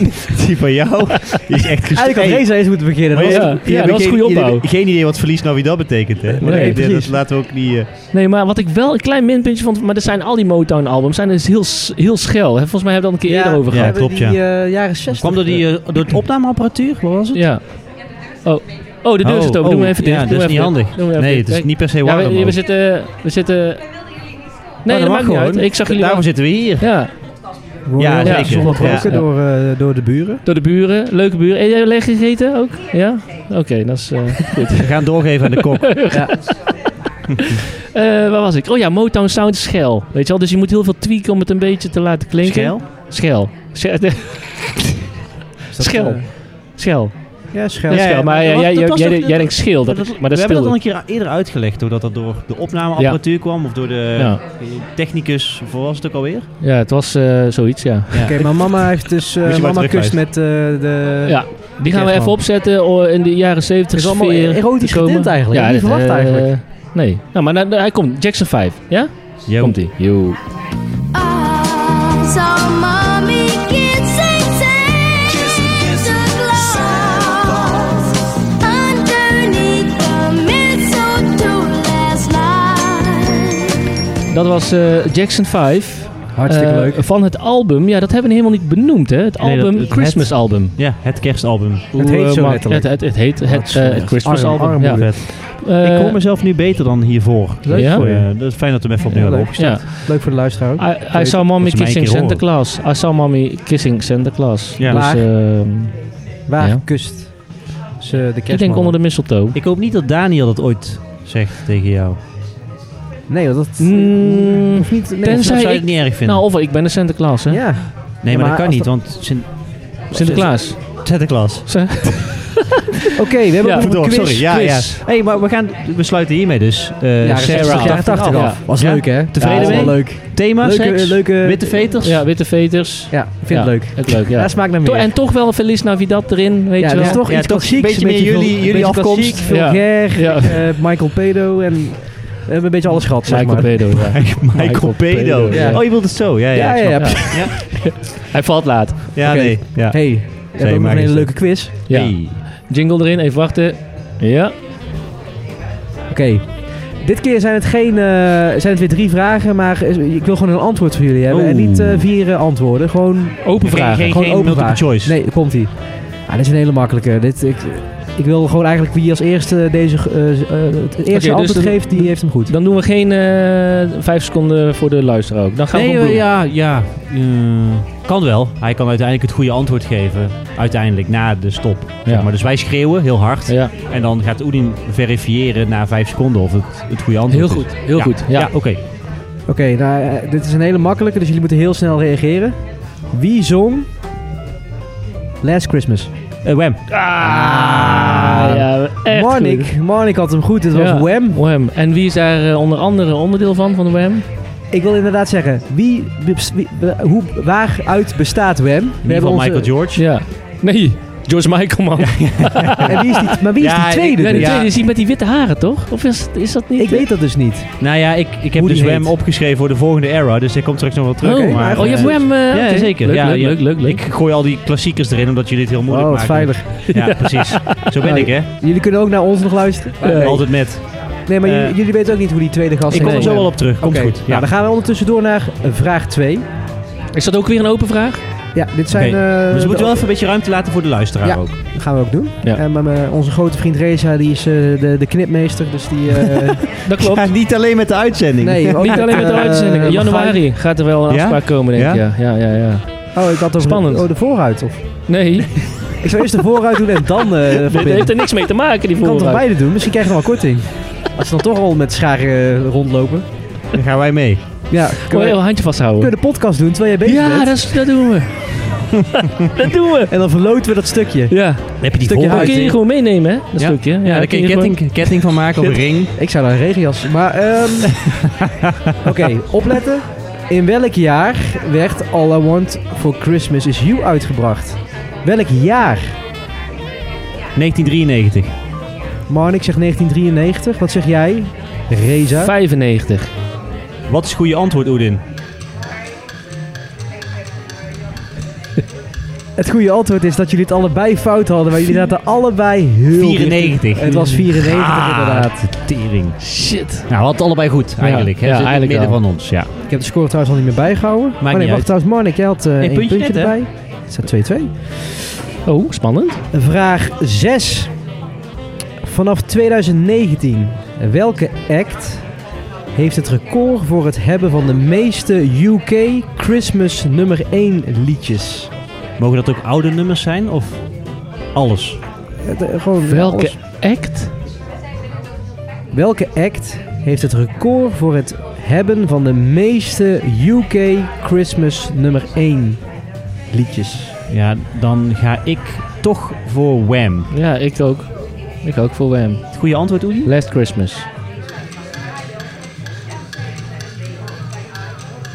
[SPEAKER 2] Die van jou die is echt gestoord.
[SPEAKER 1] Eigenlijk had Reza eens moeten beginnen.
[SPEAKER 2] Maar
[SPEAKER 1] dat
[SPEAKER 3] ja,
[SPEAKER 1] was-
[SPEAKER 2] je- je
[SPEAKER 3] ja,
[SPEAKER 2] hebt
[SPEAKER 3] dat is
[SPEAKER 2] geen-
[SPEAKER 3] goede
[SPEAKER 2] je-
[SPEAKER 3] opbouw.
[SPEAKER 2] Geen idee wat verlies nou wie dat betekent. Hè? Maar
[SPEAKER 1] Nee,
[SPEAKER 2] dat- dat
[SPEAKER 1] precies.
[SPEAKER 2] laten we ook niet... eh,
[SPEAKER 3] nee, maar wat ik wel een klein minpuntje vond, maar er zijn al die Motown-albums, zijn dus heel, s- heel schel. Hè, Volgens mij hebben we dat een keer eerder over
[SPEAKER 1] we
[SPEAKER 3] gehad.
[SPEAKER 1] hebben
[SPEAKER 2] klopt, ja.
[SPEAKER 1] die, eh, jaren 60.
[SPEAKER 2] door [CLEARS THROAT] het opnameapparatuur? Wat was het?
[SPEAKER 3] Ja. Oh. oh, de deur
[SPEAKER 2] Oh,
[SPEAKER 3] zit open. Doe
[SPEAKER 2] oh,
[SPEAKER 3] maar even dicht.
[SPEAKER 2] ja, dat
[SPEAKER 3] Doe maar
[SPEAKER 2] is niet
[SPEAKER 3] even dicht.
[SPEAKER 2] handig.
[SPEAKER 3] Doe maar even
[SPEAKER 2] Nee,
[SPEAKER 3] dicht.
[SPEAKER 2] het is niet per se
[SPEAKER 3] Ja,
[SPEAKER 2] warm.
[SPEAKER 3] we, we
[SPEAKER 2] ook.
[SPEAKER 3] zitten... We zitten... Nee,
[SPEAKER 2] Oh,
[SPEAKER 3] dat
[SPEAKER 2] mag
[SPEAKER 3] maakt niet uit.
[SPEAKER 2] gewoon.
[SPEAKER 3] Ik zag jullie
[SPEAKER 2] Daarvoor
[SPEAKER 3] wel-
[SPEAKER 2] zitten we hier.
[SPEAKER 3] Ja,
[SPEAKER 1] Royal
[SPEAKER 2] Ja,
[SPEAKER 1] Albert
[SPEAKER 2] zeker.
[SPEAKER 1] Zonder
[SPEAKER 2] Ja.
[SPEAKER 1] roken door, eh, door de buren.
[SPEAKER 3] door de buren. Leuke buren. Heb jij leeg gegeten ook? Ja? Oké, dat is
[SPEAKER 2] [LAUGHS]
[SPEAKER 3] eh, goed.
[SPEAKER 2] We gaan doorgeven aan de [LAUGHS] kok.
[SPEAKER 3] Eh, waar was ik? Oh ja, Motown Sound is schel. Weet je wel, dus je moet heel veel tweaken om het een beetje te laten klinken.
[SPEAKER 2] Schel?
[SPEAKER 3] Schel. Schel. [LAUGHS]
[SPEAKER 1] Is dat,
[SPEAKER 3] Schel.
[SPEAKER 1] eh,
[SPEAKER 3] Schel.
[SPEAKER 1] Ja, schel.
[SPEAKER 2] Ja,
[SPEAKER 3] schel.
[SPEAKER 2] ja,
[SPEAKER 3] maar
[SPEAKER 2] maar
[SPEAKER 3] eh,
[SPEAKER 2] dat-
[SPEAKER 3] jij,
[SPEAKER 2] dat
[SPEAKER 3] jij,
[SPEAKER 2] was
[SPEAKER 3] jij,
[SPEAKER 2] ook-
[SPEAKER 3] jij denkt schil, dat,
[SPEAKER 2] Maar dat-
[SPEAKER 3] maar
[SPEAKER 2] we
[SPEAKER 3] dat is
[SPEAKER 2] hebben dat al
[SPEAKER 3] schil.
[SPEAKER 2] een keer eerder uitgelegd, doordat dat door de opnameapparatuur kwam of door de
[SPEAKER 3] Ja.
[SPEAKER 2] technicus, voor was het ook alweer?
[SPEAKER 3] Ja, het was eh, zoiets, ja.
[SPEAKER 1] Oké, maar mama heeft dus eh,
[SPEAKER 2] Moet je maar
[SPEAKER 1] mama kust
[SPEAKER 2] terugwijzen.
[SPEAKER 1] met eh, de.
[SPEAKER 3] Ja, die gaan we
[SPEAKER 1] Kerstman.
[SPEAKER 3] even opzetten o- in de jaren 70
[SPEAKER 1] Het is allemaal
[SPEAKER 3] sfeer
[SPEAKER 1] erotisch
[SPEAKER 3] te komen.
[SPEAKER 1] getint eigenlijk, hè? Niet
[SPEAKER 3] dit,
[SPEAKER 1] verwacht
[SPEAKER 3] eh,
[SPEAKER 1] eigenlijk.
[SPEAKER 3] Nee. Nou, maar nou, nou, hij komt. Jackson 5. Ja?
[SPEAKER 2] Ja,
[SPEAKER 3] Komt hij. Yo.
[SPEAKER 8] So mommy gets Santa Claus underneath the mistletoe last night.
[SPEAKER 3] Dat was eh, Jackson 5.
[SPEAKER 1] Hartstikke
[SPEAKER 3] eh,
[SPEAKER 1] leuk.
[SPEAKER 3] Van het album, ja, dat hebben we helemaal niet benoemd, hè? Het
[SPEAKER 2] Nee, dat-
[SPEAKER 3] album,
[SPEAKER 2] het-
[SPEAKER 3] Christmas
[SPEAKER 2] het-
[SPEAKER 3] album.
[SPEAKER 2] Ja, het kerstalbum.
[SPEAKER 3] Hoe,
[SPEAKER 1] heet
[SPEAKER 3] eh,
[SPEAKER 1] zo
[SPEAKER 3] Mark-
[SPEAKER 1] letterlijk.
[SPEAKER 3] Het, het, het heet het,
[SPEAKER 2] Dat is,
[SPEAKER 3] eh,
[SPEAKER 2] eh,
[SPEAKER 3] het Christmas
[SPEAKER 1] arm-
[SPEAKER 3] album.
[SPEAKER 1] armoede.
[SPEAKER 3] ja.
[SPEAKER 2] Vet.
[SPEAKER 3] Eh,
[SPEAKER 2] ik hoor mezelf nu beter dan hiervoor.
[SPEAKER 1] Leuk
[SPEAKER 3] ja?
[SPEAKER 1] voor je.
[SPEAKER 2] Eh, dat is fijn dat we hem even opnieuw
[SPEAKER 1] Ja,
[SPEAKER 2] hebben
[SPEAKER 1] leuk.
[SPEAKER 2] opgesteld.
[SPEAKER 3] ja.
[SPEAKER 1] Leuk voor de luisteraar ook.
[SPEAKER 3] I, I saw
[SPEAKER 2] Dat
[SPEAKER 3] mommy
[SPEAKER 2] is mijn
[SPEAKER 3] kissing
[SPEAKER 2] keer
[SPEAKER 3] Santa
[SPEAKER 2] horen.
[SPEAKER 3] Claus. I saw mommy kissing Santa Claus.
[SPEAKER 2] Ja.
[SPEAKER 3] Dus,
[SPEAKER 1] Waar?
[SPEAKER 3] ehm,
[SPEAKER 1] Waar
[SPEAKER 3] Ja.
[SPEAKER 1] kust ze de kerstman?
[SPEAKER 3] ik denk onder de mistletoe.
[SPEAKER 2] Ik hoop niet dat Daniel dat ooit zegt tegen jou.
[SPEAKER 1] Nee, dat... dat
[SPEAKER 3] Mm,
[SPEAKER 1] hoeft niet... Nee,
[SPEAKER 2] Dat
[SPEAKER 3] tenzij-
[SPEAKER 1] dat-
[SPEAKER 2] zou je
[SPEAKER 3] ik-
[SPEAKER 2] het niet erg vinden.
[SPEAKER 3] nou, of ik ben een Santa Claus, hè?
[SPEAKER 1] Ja.
[SPEAKER 2] nee, maar,
[SPEAKER 1] maar
[SPEAKER 2] dat kan
[SPEAKER 1] als
[SPEAKER 2] niet,
[SPEAKER 1] dat-
[SPEAKER 2] want Sint-
[SPEAKER 3] Sinterklaas.
[SPEAKER 2] Sinterklaas.
[SPEAKER 1] Oké, we hebben
[SPEAKER 3] Ja, Eh,
[SPEAKER 1] ook nog een
[SPEAKER 2] Verdomme,
[SPEAKER 1] quiz.
[SPEAKER 2] sorry. Ja, ja.
[SPEAKER 3] Quiz.
[SPEAKER 2] hey, maar we, gaan, we sluiten hiermee dus. Eh
[SPEAKER 1] Jaren
[SPEAKER 2] Sarah,
[SPEAKER 1] 60, jaren
[SPEAKER 2] 80
[SPEAKER 1] 80
[SPEAKER 2] af.
[SPEAKER 1] af. Was
[SPEAKER 2] Ja?
[SPEAKER 1] leuk, hè?
[SPEAKER 2] Tevreden
[SPEAKER 1] ja,
[SPEAKER 2] mee?
[SPEAKER 1] was wel leuk.
[SPEAKER 2] Thema,
[SPEAKER 1] Leuke- eh,
[SPEAKER 2] seks,
[SPEAKER 1] leuke-
[SPEAKER 2] witte veters.
[SPEAKER 3] Ja, witte veters.
[SPEAKER 1] Ja, ik vind het
[SPEAKER 3] Ja,
[SPEAKER 1] leuk.
[SPEAKER 3] Het leuk, ja.
[SPEAKER 1] Ja, smaakt naar
[SPEAKER 3] To-
[SPEAKER 1] meer.
[SPEAKER 3] en toch wel Feliz Navidad erin, weet
[SPEAKER 1] ja,
[SPEAKER 3] je
[SPEAKER 1] dat
[SPEAKER 3] wel.
[SPEAKER 1] is toch
[SPEAKER 2] Ja,
[SPEAKER 1] iets
[SPEAKER 2] toch
[SPEAKER 1] klassieks.
[SPEAKER 2] beetje meer
[SPEAKER 1] vul-
[SPEAKER 2] jullie-
[SPEAKER 1] een
[SPEAKER 2] jullie
[SPEAKER 1] beetje
[SPEAKER 2] afkomst.
[SPEAKER 1] Klassiek,
[SPEAKER 3] Ja.
[SPEAKER 1] vulgair,
[SPEAKER 3] Ja.
[SPEAKER 1] eh, Michael Pedo en... We hebben een beetje alles gehad, zeg
[SPEAKER 3] Michael
[SPEAKER 1] maar.
[SPEAKER 3] Bedo, ja.
[SPEAKER 1] [LAUGHS]
[SPEAKER 2] Michael
[SPEAKER 3] Michael
[SPEAKER 2] Pedo.
[SPEAKER 3] Pedo, ja.
[SPEAKER 2] Oh, je wilt het zo. Ja, ja,
[SPEAKER 1] Ja,
[SPEAKER 2] ik
[SPEAKER 1] ja,
[SPEAKER 2] snap.
[SPEAKER 1] ja.
[SPEAKER 3] Hij valt laat.
[SPEAKER 2] Ja,
[SPEAKER 1] Oké.
[SPEAKER 2] nee. Ja.
[SPEAKER 1] Hey, we hebben ook nog
[SPEAKER 2] maar
[SPEAKER 1] een hele
[SPEAKER 2] eens.
[SPEAKER 1] leuke quiz.
[SPEAKER 3] Ja.
[SPEAKER 2] Hey.
[SPEAKER 3] Jingle erin, even wachten. Ja.
[SPEAKER 1] Oké. Dit keer zijn het, geen, eh, zijn het weer drie vragen, maar is- ik wil gewoon een antwoord van jullie hebben. En
[SPEAKER 2] Oeh.
[SPEAKER 1] niet eh, vier eh, antwoorden, gewoon
[SPEAKER 3] Open
[SPEAKER 2] Geen,
[SPEAKER 3] vragen.
[SPEAKER 2] geen,
[SPEAKER 1] Gewoon
[SPEAKER 2] geen
[SPEAKER 1] open
[SPEAKER 2] multiple
[SPEAKER 1] vraag.
[SPEAKER 2] choice.
[SPEAKER 1] Nee, komt ie. Ah, dit is een hele makkelijke. Dit, ik, ik wil gewoon eigenlijk wie als eerste deze, eh, eh, het eerste
[SPEAKER 3] dus
[SPEAKER 1] antwoord
[SPEAKER 3] dan-
[SPEAKER 1] geeft, die heeft hem goed.
[SPEAKER 3] Dan doen we geen eh, vijf seconden voor de luisteraar ook. Dan gaan we
[SPEAKER 2] Nee,
[SPEAKER 3] gewoon
[SPEAKER 2] eh,
[SPEAKER 3] bloemen.
[SPEAKER 2] ja, ja. eh, kan wel. Hij kan uiteindelijk het goede antwoord geven. Uiteindelijk, na de stop. Zeg
[SPEAKER 3] Ja.
[SPEAKER 2] maar. Dus wij schreeuwen heel hard.
[SPEAKER 3] Ja,
[SPEAKER 2] En dan gaat Oedin verifiëren na vijf seconden of het het goede antwoord
[SPEAKER 3] heel
[SPEAKER 2] is.
[SPEAKER 3] goed. Heel
[SPEAKER 2] Ja.
[SPEAKER 3] goed. Ja.
[SPEAKER 2] Ja, oké. Eh,
[SPEAKER 1] Oké, nou, eh, dit is een hele makkelijke, dus jullie moeten heel snel reageren. Wie zong Last Christmas?
[SPEAKER 2] Eh, Wem.
[SPEAKER 3] Ah, ja, echt goed.
[SPEAKER 1] Marnik, Marnik had hem goed, het was
[SPEAKER 3] Ja.
[SPEAKER 1] Wham.
[SPEAKER 3] Wham. En wie is daar eh, onder andere onderdeel van, van de Wham?
[SPEAKER 1] Ik wil inderdaad zeggen, wie, wie- hoe, waaruit bestaat Wham? We
[SPEAKER 2] Niet van
[SPEAKER 1] onze-
[SPEAKER 2] Michael George.
[SPEAKER 3] Ja. Nee, George Michael,
[SPEAKER 1] [LAUGHS]
[SPEAKER 3] man.
[SPEAKER 1] En wie is die, maar wie is
[SPEAKER 2] Ja,
[SPEAKER 1] die tweede?
[SPEAKER 3] Nee, de
[SPEAKER 1] dus?
[SPEAKER 3] tweede is die met die witte haren, toch? Of is, is dat niet...
[SPEAKER 1] Ik weet dat dus niet.
[SPEAKER 2] Nou ja, ik, ik heb
[SPEAKER 1] Hoe
[SPEAKER 2] dus
[SPEAKER 1] die
[SPEAKER 2] Wem
[SPEAKER 1] heet.
[SPEAKER 2] opgeschreven voor de volgende era. Dus hij komt straks nog wel terug.
[SPEAKER 3] Oh,
[SPEAKER 1] Oké, maar-
[SPEAKER 3] oh, je hebt
[SPEAKER 2] eh,
[SPEAKER 3] Wham... eh,
[SPEAKER 2] Ja,
[SPEAKER 3] oké.
[SPEAKER 2] zeker.
[SPEAKER 3] Leuk,
[SPEAKER 2] ja,
[SPEAKER 3] leuk,
[SPEAKER 2] ja.
[SPEAKER 3] leuk, leuk, leuk.
[SPEAKER 2] Ik gooi al die klassiekers erin omdat jullie dit heel moeilijk
[SPEAKER 1] Oh, wat
[SPEAKER 2] maken.
[SPEAKER 1] veilig.
[SPEAKER 2] Ja, precies. Zo
[SPEAKER 3] [LAUGHS]
[SPEAKER 2] ben ik, hè.
[SPEAKER 1] Eh, Jullie kunnen ook naar ons nog luisteren.
[SPEAKER 2] Altijd met.
[SPEAKER 1] Nee, maar
[SPEAKER 2] Eh,
[SPEAKER 1] jullie, jullie weten ook niet hoe die tweede gast
[SPEAKER 2] Ik kom
[SPEAKER 1] heet.
[SPEAKER 2] er zo wel op terug. Komt
[SPEAKER 1] Oké,
[SPEAKER 2] goed.
[SPEAKER 1] nou,
[SPEAKER 2] Ja.
[SPEAKER 1] dan gaan we ondertussen door naar eh, vraag 2.
[SPEAKER 3] Is dat ook weer een open vraag?
[SPEAKER 1] Ja, dit zijn...
[SPEAKER 2] Oké,
[SPEAKER 1] eh,
[SPEAKER 2] dus we
[SPEAKER 1] de-
[SPEAKER 2] moeten wel even een beetje ruimte laten voor de luisteraar
[SPEAKER 1] Ja.
[SPEAKER 2] ook.
[SPEAKER 1] Dat gaan we ook doen.
[SPEAKER 3] Ja.
[SPEAKER 1] En maar, maar eh, onze grote vriend Reza, die is eh, de, de knipmeester. Dus
[SPEAKER 2] [LAUGHS]
[SPEAKER 1] die... eh,
[SPEAKER 3] Dat klopt.
[SPEAKER 2] niet alleen met de uitzending.
[SPEAKER 1] nee, ook
[SPEAKER 3] Niet alleen met de
[SPEAKER 1] eh,
[SPEAKER 3] uitzending. In januari gaat er wel een
[SPEAKER 2] Ja?
[SPEAKER 3] afspraak komen, denk ik. Ja, ja, ja. ja.
[SPEAKER 1] Oh, ik had over
[SPEAKER 3] Spannend.
[SPEAKER 1] oh, de vooruit. Of,
[SPEAKER 3] Nee,
[SPEAKER 2] [LAUGHS]
[SPEAKER 3] [LAUGHS]
[SPEAKER 1] ik zou eerst de vooruit doen en dan eh
[SPEAKER 3] dat
[SPEAKER 1] verbinden.
[SPEAKER 3] heeft er niks mee te maken, die
[SPEAKER 1] Ik kan toch
[SPEAKER 3] vooruit.
[SPEAKER 1] beide doen? Misschien krijg je nog wel korting. Als ze dan toch al met scharen eh, rondlopen.
[SPEAKER 2] Dan gaan wij mee.
[SPEAKER 1] Ja,
[SPEAKER 3] Kan
[SPEAKER 1] kunnen
[SPEAKER 3] je
[SPEAKER 1] we,
[SPEAKER 3] een
[SPEAKER 1] kunnen
[SPEAKER 3] handje vasthouden?
[SPEAKER 1] we de podcast doen terwijl jij bezig
[SPEAKER 3] Ja,
[SPEAKER 1] bent.
[SPEAKER 3] dat, is- dat doen
[SPEAKER 2] [LAUGHS]
[SPEAKER 3] we. dat doen we.
[SPEAKER 1] En dan verloten we dat stukje.
[SPEAKER 3] Ja,
[SPEAKER 2] Dan heb je die
[SPEAKER 1] Stukje
[SPEAKER 2] vooruit.
[SPEAKER 3] dat kun je
[SPEAKER 2] in.
[SPEAKER 3] gewoon meenemen, hè? Dat
[SPEAKER 2] Ja.
[SPEAKER 3] stukje. Ja,
[SPEAKER 2] Ja, daar
[SPEAKER 3] dat
[SPEAKER 2] kun je ketting, ketting van maken
[SPEAKER 3] [LAUGHS]
[SPEAKER 2] of een ring.
[SPEAKER 1] Ik zou daar een regenjas. Maar, ehm Oké, opletten. In welk jaar werd All I Want for Christmas Is You uitgebracht? Welk jaar?
[SPEAKER 2] 1993.
[SPEAKER 1] Marnik zegt 1993. Wat zeg jij? Reza.
[SPEAKER 3] 95.
[SPEAKER 2] Wat is het goede antwoord, Oedin?
[SPEAKER 1] Het goede antwoord is dat jullie het allebei fout hadden, maar jullie zaten allebei heel... dicht.
[SPEAKER 2] 94.
[SPEAKER 1] Het was 94
[SPEAKER 2] Ah,
[SPEAKER 1] inderdaad.
[SPEAKER 2] Tering.
[SPEAKER 3] Shit.
[SPEAKER 2] Nou, we hadden allebei goed eigenlijk.
[SPEAKER 3] Ja,
[SPEAKER 2] hè. Ze zitten in
[SPEAKER 3] ja,
[SPEAKER 2] het
[SPEAKER 3] eigenlijk
[SPEAKER 2] midden van ons, ja.
[SPEAKER 1] Ik heb de score trouwens al niet meer bijgehouden. Maar nee,
[SPEAKER 2] niet
[SPEAKER 1] wacht
[SPEAKER 2] uit.
[SPEAKER 1] trouwens, Marnik, jij had eh één
[SPEAKER 2] puntje
[SPEAKER 1] puntje,
[SPEAKER 2] net, hè?
[SPEAKER 1] erbij. Het staat 2-2.
[SPEAKER 3] Oh, spannend.
[SPEAKER 1] Vraag 6. Vanaf 2019, welke act heeft het record voor het hebben van de meeste UK Christmas nummer 1 liedjes?
[SPEAKER 2] Mogen dat ook oude nummers zijn of alles?
[SPEAKER 1] Het, eh, gewoon
[SPEAKER 3] Welke
[SPEAKER 1] alles.
[SPEAKER 3] act?
[SPEAKER 1] welke act heeft het record voor het hebben van de meeste UK Christmas nummer 1 liedjes?
[SPEAKER 2] Ja, dan ga ik toch voor Wham.
[SPEAKER 3] Ja, ik ook. Ik ook voor Wham.
[SPEAKER 2] Het goede antwoord, Oedin?
[SPEAKER 3] Last Christmas.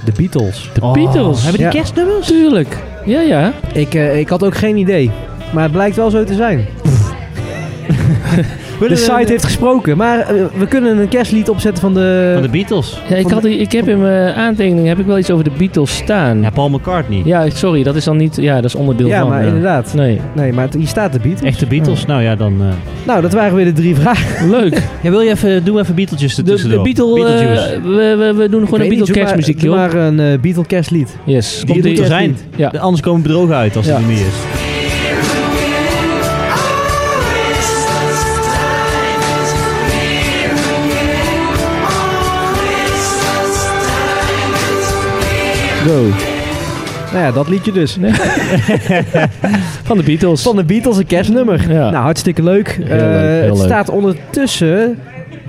[SPEAKER 1] De Beatles.
[SPEAKER 3] De Beatles. Oh.
[SPEAKER 2] Oh, Hebben die
[SPEAKER 1] Ja.
[SPEAKER 2] kerstnummers?
[SPEAKER 3] Tuurlijk. Ja, ja.
[SPEAKER 1] Ik, eh, ik had ook geen idee, maar het blijkt wel zo te zijn. De site heeft gesproken. Maar eh, we kunnen een kerstlied opzetten van de...
[SPEAKER 2] Van de Beatles.
[SPEAKER 3] Ja, ik, had, die- ik heb in mijn aantekeningen heb ik wel iets over de Beatles staan.
[SPEAKER 2] Ja,
[SPEAKER 3] Ja,
[SPEAKER 2] Paul McCartney.
[SPEAKER 3] sorry, dat is dan niet... Ja, dat is onderdeel
[SPEAKER 1] ja,
[SPEAKER 3] van...
[SPEAKER 1] maar
[SPEAKER 3] eh,
[SPEAKER 1] inderdaad.
[SPEAKER 3] Nee,
[SPEAKER 1] Nee, maar het- hier staat de Beatles.
[SPEAKER 2] Echte Beatles? Nou ja, dan... eh,
[SPEAKER 1] Nou, dat waren weer de drie vragen.
[SPEAKER 2] [LAUGHS]
[SPEAKER 3] leuk.
[SPEAKER 2] Ja, wil je even... Eh, Doe even Beatletjes
[SPEAKER 3] De, de
[SPEAKER 2] ertussendoor.
[SPEAKER 3] Beatle, eh,
[SPEAKER 2] Beetlejuice.
[SPEAKER 3] we, we, we doen gewoon een
[SPEAKER 1] Ik weet niet, doe maar-
[SPEAKER 3] Beatle kerstmuziekje,
[SPEAKER 1] doe
[SPEAKER 3] hoor.
[SPEAKER 1] maar een eh Beatle kerstlied.
[SPEAKER 3] Yes.
[SPEAKER 2] Die
[SPEAKER 3] komt
[SPEAKER 2] moet
[SPEAKER 3] die-
[SPEAKER 2] er zijn.
[SPEAKER 1] kerstlied.
[SPEAKER 3] Ja.
[SPEAKER 2] De- Anders komen we bedrogen uit als
[SPEAKER 3] Ja.
[SPEAKER 2] die er niet is.
[SPEAKER 3] Go.
[SPEAKER 1] Nou ja, dat liedje dus.
[SPEAKER 3] Van de Beatles.
[SPEAKER 1] Van de Beatles, een kerstnummer.
[SPEAKER 3] Ja.
[SPEAKER 1] Nou, hartstikke leuk. Eh,
[SPEAKER 3] leuk, heel
[SPEAKER 1] het
[SPEAKER 3] leuk.
[SPEAKER 1] staat ondertussen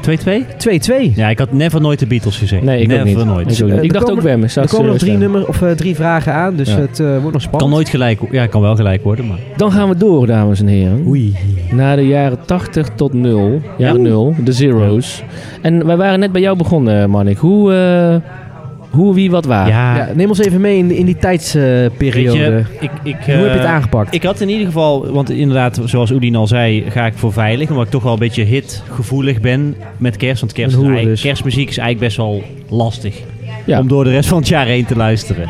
[SPEAKER 2] 2-2?
[SPEAKER 1] 2-2.
[SPEAKER 2] Ja, ik had never nooit de Beatles gezegd.
[SPEAKER 3] Nee, ik ook
[SPEAKER 2] never
[SPEAKER 3] niet.
[SPEAKER 2] nooit.
[SPEAKER 3] Ik, ook niet.
[SPEAKER 1] Eh,
[SPEAKER 3] Ik
[SPEAKER 1] er
[SPEAKER 3] dacht
[SPEAKER 1] komen-
[SPEAKER 3] ook Wemmen.
[SPEAKER 1] er komen nog drie, nummer, of, eh, drie vragen aan, dus
[SPEAKER 3] Ja.
[SPEAKER 1] het eh, wordt nog
[SPEAKER 2] Kan
[SPEAKER 1] spannend.
[SPEAKER 2] nooit gelijk... wo- Ja, kan wel gelijk worden, maar...
[SPEAKER 3] Dan gaan we door, dames en heren.
[SPEAKER 2] Oei.
[SPEAKER 3] Naar de jaren 80 tot 0. Jaren 0, de zeros. En wij waren net bij jou begonnen, Marnik. Hoe, eh, hoe, wie, wat, waar.
[SPEAKER 2] Ja,
[SPEAKER 1] Ja, neem ons even mee in, in die
[SPEAKER 2] weet
[SPEAKER 1] tijdsperiode.
[SPEAKER 2] je... Ik, ik,
[SPEAKER 1] Hoe heb je het
[SPEAKER 2] eh,
[SPEAKER 1] aangepakt?
[SPEAKER 2] Ik had in ieder geval, want inderdaad, zoals Oedien al zei, ga ik voor veilig. Omdat ik toch wel een beetje hitgevoelig ben met kerst. Want kerst
[SPEAKER 1] Een
[SPEAKER 2] is
[SPEAKER 1] hoer
[SPEAKER 2] eigenlijk-
[SPEAKER 1] dus.
[SPEAKER 2] kerstmuziek is eigenlijk best wel lastig.
[SPEAKER 3] Ja.
[SPEAKER 2] Om door de rest van het jaar heen te luisteren.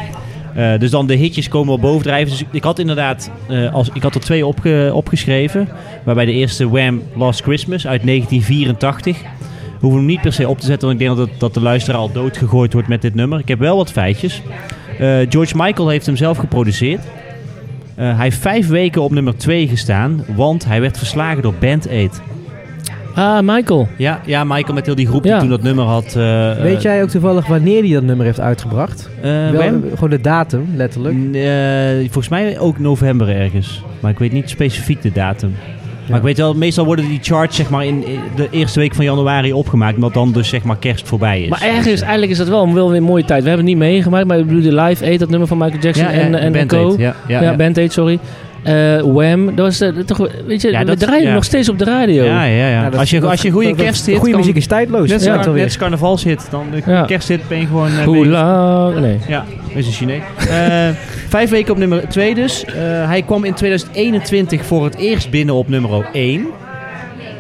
[SPEAKER 2] Eh, dus dan de hitjes komen wel bovendrijven. Dus ik had inderdaad, eh, als, ik had er twee opge- opgeschreven. Waarbij de eerste Wham! Last Christmas uit 1984. Hoeven hem niet per se op te zetten, want ik denk dat, dat de luisteraar al doodgegooid wordt met dit nummer. Ik heb wel wat feitjes. Eh, George Michael heeft hem zelf geproduceerd. Eh, hij heeft vijf weken op nummer 2 gestaan, want hij werd verslagen door Band Aid.
[SPEAKER 3] Ah, Michael.
[SPEAKER 2] Ja, ja, Michael met heel die groep
[SPEAKER 3] Ja.
[SPEAKER 2] die toen dat nummer had. eh,
[SPEAKER 3] eh,
[SPEAKER 1] Weet jij ook toevallig wanneer hij dat nummer heeft uitgebracht? Wel, eh, gewoon de datum, letterlijk.
[SPEAKER 2] eh, volgens mij ook november ergens. Maar ik weet niet specifiek de datum. Maar ik weet wel, meestal worden die charts zeg maar, in in de eerste week van januari opgemaakt. Omdat dan dus zeg maar kerst voorbij is. Dus, eh,
[SPEAKER 3] Maar ergens, eigenlijk is dat wel, wel weer een mooie tijd. We hebben het niet meegemaakt, maar ik bedoel, de live eet dat nummer van Michael Jackson
[SPEAKER 2] ja,
[SPEAKER 3] en,
[SPEAKER 2] en,
[SPEAKER 3] en, en
[SPEAKER 2] Band
[SPEAKER 3] Co.
[SPEAKER 2] Aid, ja, ja,
[SPEAKER 3] ja,
[SPEAKER 2] ja.
[SPEAKER 3] Band Aid, sorry. Eh, Wham, dat was eh, toch, weet je,
[SPEAKER 2] Ja,
[SPEAKER 3] we
[SPEAKER 2] dat-
[SPEAKER 3] draaien hem
[SPEAKER 2] ja.
[SPEAKER 3] nog steeds op de radio.
[SPEAKER 2] Ja, ja, ja.
[SPEAKER 1] Ja, dat-
[SPEAKER 2] als je,
[SPEAKER 1] dat-
[SPEAKER 2] als je goede
[SPEAKER 1] dat- dat-
[SPEAKER 2] kersthit
[SPEAKER 1] Goede
[SPEAKER 2] kan-
[SPEAKER 1] muziek is tijdloos.
[SPEAKER 2] Net,
[SPEAKER 1] Ja,
[SPEAKER 2] ja,
[SPEAKER 1] het alweer.
[SPEAKER 2] net als carnavalshit. Dan de
[SPEAKER 3] Ja.
[SPEAKER 2] kersthit ben je gewoon... eh,
[SPEAKER 3] Hoe
[SPEAKER 2] bezig.
[SPEAKER 3] lang? Nee.
[SPEAKER 2] Ja, is een Chinees. Eh, vijf weken op nummer 2 dus. Eh, hij kwam in 2021 voor het eerst binnen op nummer 1.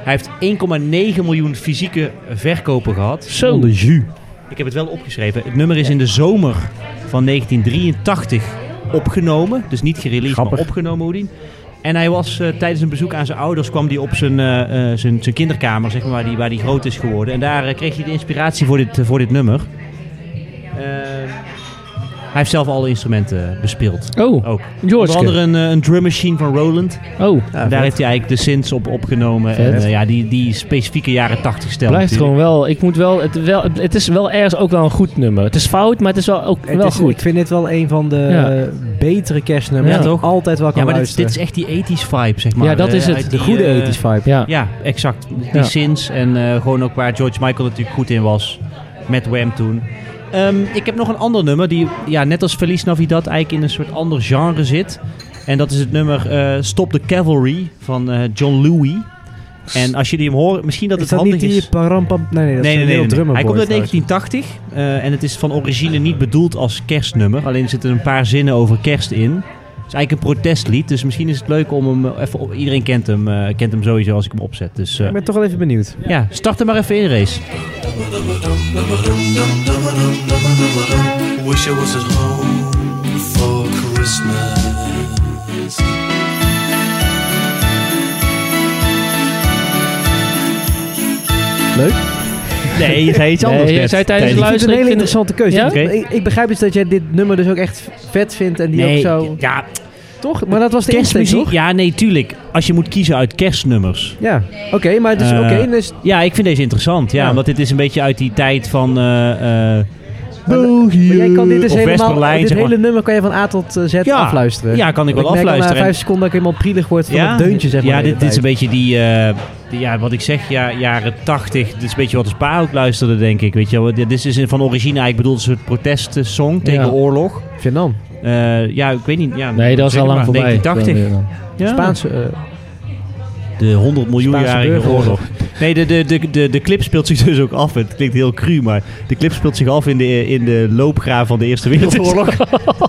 [SPEAKER 2] Hij heeft 1,9 miljoen fysieke verkopen gehad.
[SPEAKER 3] Zo.
[SPEAKER 1] Onder jus.
[SPEAKER 2] Ik heb het wel opgeschreven. Het nummer is in de zomer van 1983 opgenomen. Dus niet gereleased,
[SPEAKER 1] Grappig.
[SPEAKER 2] maar opgenomen, Hoedien. En hij was eh, tijdens een bezoek aan zijn ouders kwam hij op zijn, eh, eh, zijn, zijn kinderkamer, zeg maar, waar hij, waar die groot is geworden. En daar eh, kreeg hij de inspiratie voor dit, voor dit nummer. Eh, hij heeft zelf alle instrumenten eh, bespeeld.
[SPEAKER 3] Oh,
[SPEAKER 2] Ook. Onder
[SPEAKER 3] George.
[SPEAKER 2] andere een, eh, een drum machine van Roland.
[SPEAKER 3] Oh,
[SPEAKER 2] En daar heeft hij eigenlijk de synths op opgenomen.
[SPEAKER 3] Vet.
[SPEAKER 2] En eh, ja, die, die specifieke jaren 80 stijl.
[SPEAKER 3] blijft
[SPEAKER 2] natuurlijk.
[SPEAKER 3] gewoon wel. Ik moet wel het, wel. het is wel ergens ook wel een goed nummer. Het is fout, maar het is wel ook
[SPEAKER 1] Het
[SPEAKER 3] wel
[SPEAKER 1] is-
[SPEAKER 3] goed.
[SPEAKER 1] Ik vind dit wel een van de
[SPEAKER 3] Ja.
[SPEAKER 1] eh, betere kerstnummers.
[SPEAKER 3] Ja,
[SPEAKER 1] die ik
[SPEAKER 2] toch?
[SPEAKER 1] Altijd wel kan
[SPEAKER 2] Ja, maar dit, is-
[SPEAKER 1] luisteren.
[SPEAKER 2] dit is echt die 80s vibe, zeg maar.
[SPEAKER 3] Ja, dat
[SPEAKER 2] Eh,
[SPEAKER 3] is het.
[SPEAKER 2] uit
[SPEAKER 3] De
[SPEAKER 2] die,
[SPEAKER 1] goede
[SPEAKER 2] eh,
[SPEAKER 1] 80s vibe.
[SPEAKER 3] Ja.
[SPEAKER 2] Ja, exact. Die
[SPEAKER 3] Ja.
[SPEAKER 2] synths en eh, gewoon ook waar George Michael natuurlijk goed in was. Met Wham toen. Ehm, ik heb nog een ander nummer die ja, net als Feliz Navidad eigenlijk in een soort ander genre zit. En dat is het nummer eh, Stop the Cavalry van eh, John Louis. En als jullie hem horen, misschien dat
[SPEAKER 1] Is
[SPEAKER 2] het
[SPEAKER 1] dat
[SPEAKER 2] handig
[SPEAKER 1] niet die
[SPEAKER 2] is...
[SPEAKER 1] parampam? Nee, nee, dat
[SPEAKER 2] Nee,
[SPEAKER 1] is
[SPEAKER 2] nee,
[SPEAKER 1] een
[SPEAKER 2] nee.
[SPEAKER 1] heel
[SPEAKER 2] nee.
[SPEAKER 1] drummer.
[SPEAKER 2] Hij komt uit
[SPEAKER 1] boy
[SPEAKER 2] 1980 eh, en het is van origine niet bedoeld als kerstnummer. Alleen er zitten een paar zinnen over kerst in. Het is eigenlijk een protestlied, dus misschien is het leuk om hem eh, even... op- Iedereen kent hem, eh, kent hem sowieso als ik hem opzet. Dus eh,
[SPEAKER 1] Ik ben toch wel even benieuwd.
[SPEAKER 2] ja, start er maar even in, Race.
[SPEAKER 9] Wish I was at home for Christmas.
[SPEAKER 1] Leuk.
[SPEAKER 2] Nee, je zei iets
[SPEAKER 3] Nee,
[SPEAKER 2] anders
[SPEAKER 3] jij
[SPEAKER 2] net.
[SPEAKER 3] zei tijdens
[SPEAKER 1] Ik
[SPEAKER 3] Luister,
[SPEAKER 1] vind het een hele
[SPEAKER 3] ik vind het-
[SPEAKER 1] interessante keuze.
[SPEAKER 3] Ja?
[SPEAKER 1] Ik- Ik, ik begrijp dus dat jij dit nummer dus ook echt vet vindt en die
[SPEAKER 2] Nee,
[SPEAKER 1] ook zo...
[SPEAKER 2] ja,
[SPEAKER 1] Toch? Maar dat was de kerstmuziek.
[SPEAKER 2] kerstmuziek.
[SPEAKER 1] toch?
[SPEAKER 2] Ja, nee, tuurlijk. Als je moet kiezen uit kerstnummers.
[SPEAKER 1] Ja. Oké, maar het is
[SPEAKER 2] Eh,
[SPEAKER 1] oké. dus,
[SPEAKER 2] Ja, ik vind deze interessant. Ja,
[SPEAKER 1] Ja.
[SPEAKER 2] want dit is een beetje uit die tijd van... eh eh
[SPEAKER 1] maar- maar jij kan dit dus
[SPEAKER 2] of
[SPEAKER 1] helemaal...
[SPEAKER 2] West-Berlijn,
[SPEAKER 1] dit
[SPEAKER 2] zeg maar.
[SPEAKER 1] hele nummer kan je van A tot eh, Z
[SPEAKER 2] Ja.
[SPEAKER 1] afluisteren.
[SPEAKER 2] Ja, kan ik wel
[SPEAKER 1] merk al
[SPEAKER 2] afluisteren.
[SPEAKER 1] na vijf seconden dat ik helemaal prielig word van het deuntje, zeg maar.
[SPEAKER 2] Ja,
[SPEAKER 1] de
[SPEAKER 2] dit,
[SPEAKER 1] hele
[SPEAKER 2] dit is een
[SPEAKER 1] tijd.
[SPEAKER 2] beetje die... eh, die- ja, wat ik zeg, ja, jaren tachtig. Dit is een beetje wat de spa ook luisterde, denk ik. Weet je wel. Dit is in- van origine eigenlijk bedoeld als een soort protestsong tegen
[SPEAKER 3] Ja.
[SPEAKER 2] oorlog.
[SPEAKER 1] Vietnam.
[SPEAKER 2] Eh, ja, ik weet niet. Ja,
[SPEAKER 3] nee, dat is
[SPEAKER 2] zeg
[SPEAKER 3] al lang
[SPEAKER 2] maar,
[SPEAKER 3] voorbij.
[SPEAKER 2] 1980.
[SPEAKER 3] Dan weer dan.
[SPEAKER 2] Ja.
[SPEAKER 1] Spaanse... eh,
[SPEAKER 2] De 100 miljoenjarige
[SPEAKER 1] Spaanse burgeroorlog.
[SPEAKER 2] oorlog. Nee, de, de, de, de, de clip speelt zich dus ook af. Het klinkt heel cru, maar de clip speelt zich af in de, in de loopgraaf van de
[SPEAKER 1] [LAUGHS]
[SPEAKER 2] Eerste Wereldoorlog.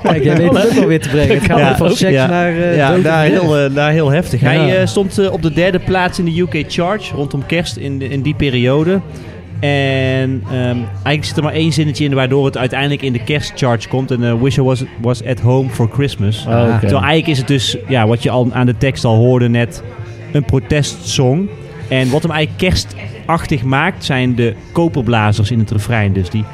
[SPEAKER 1] Kijk, jij weet het ook alweer te
[SPEAKER 2] [LAUGHS]
[SPEAKER 1] brengen. Het gaat
[SPEAKER 2] Oh, Ja.
[SPEAKER 1] van seks
[SPEAKER 2] Ja.
[SPEAKER 1] naar... eh,
[SPEAKER 2] ja,
[SPEAKER 1] dood en
[SPEAKER 2] daar
[SPEAKER 1] verderf.
[SPEAKER 2] heel, eh, daar heel heftig. Hij
[SPEAKER 1] Ja.
[SPEAKER 2] eh, stond eh, op de derde plaats in de UK Charge rondom kerst in, de- in die periode. En ehm, eigenlijk zit er maar één zinnetje in waardoor het uiteindelijk in de kerstcharge komt. En eh, Wish I was, was at home for Christmas.
[SPEAKER 3] Oh, oké.
[SPEAKER 2] Ah, Terwijl eigenlijk is het dus, ja, wat je al aan de tekst al hoorde net, een protestsong. En wat hem eigenlijk kerstachtig maakt, zijn de koperblazers in het refrein. Dus die...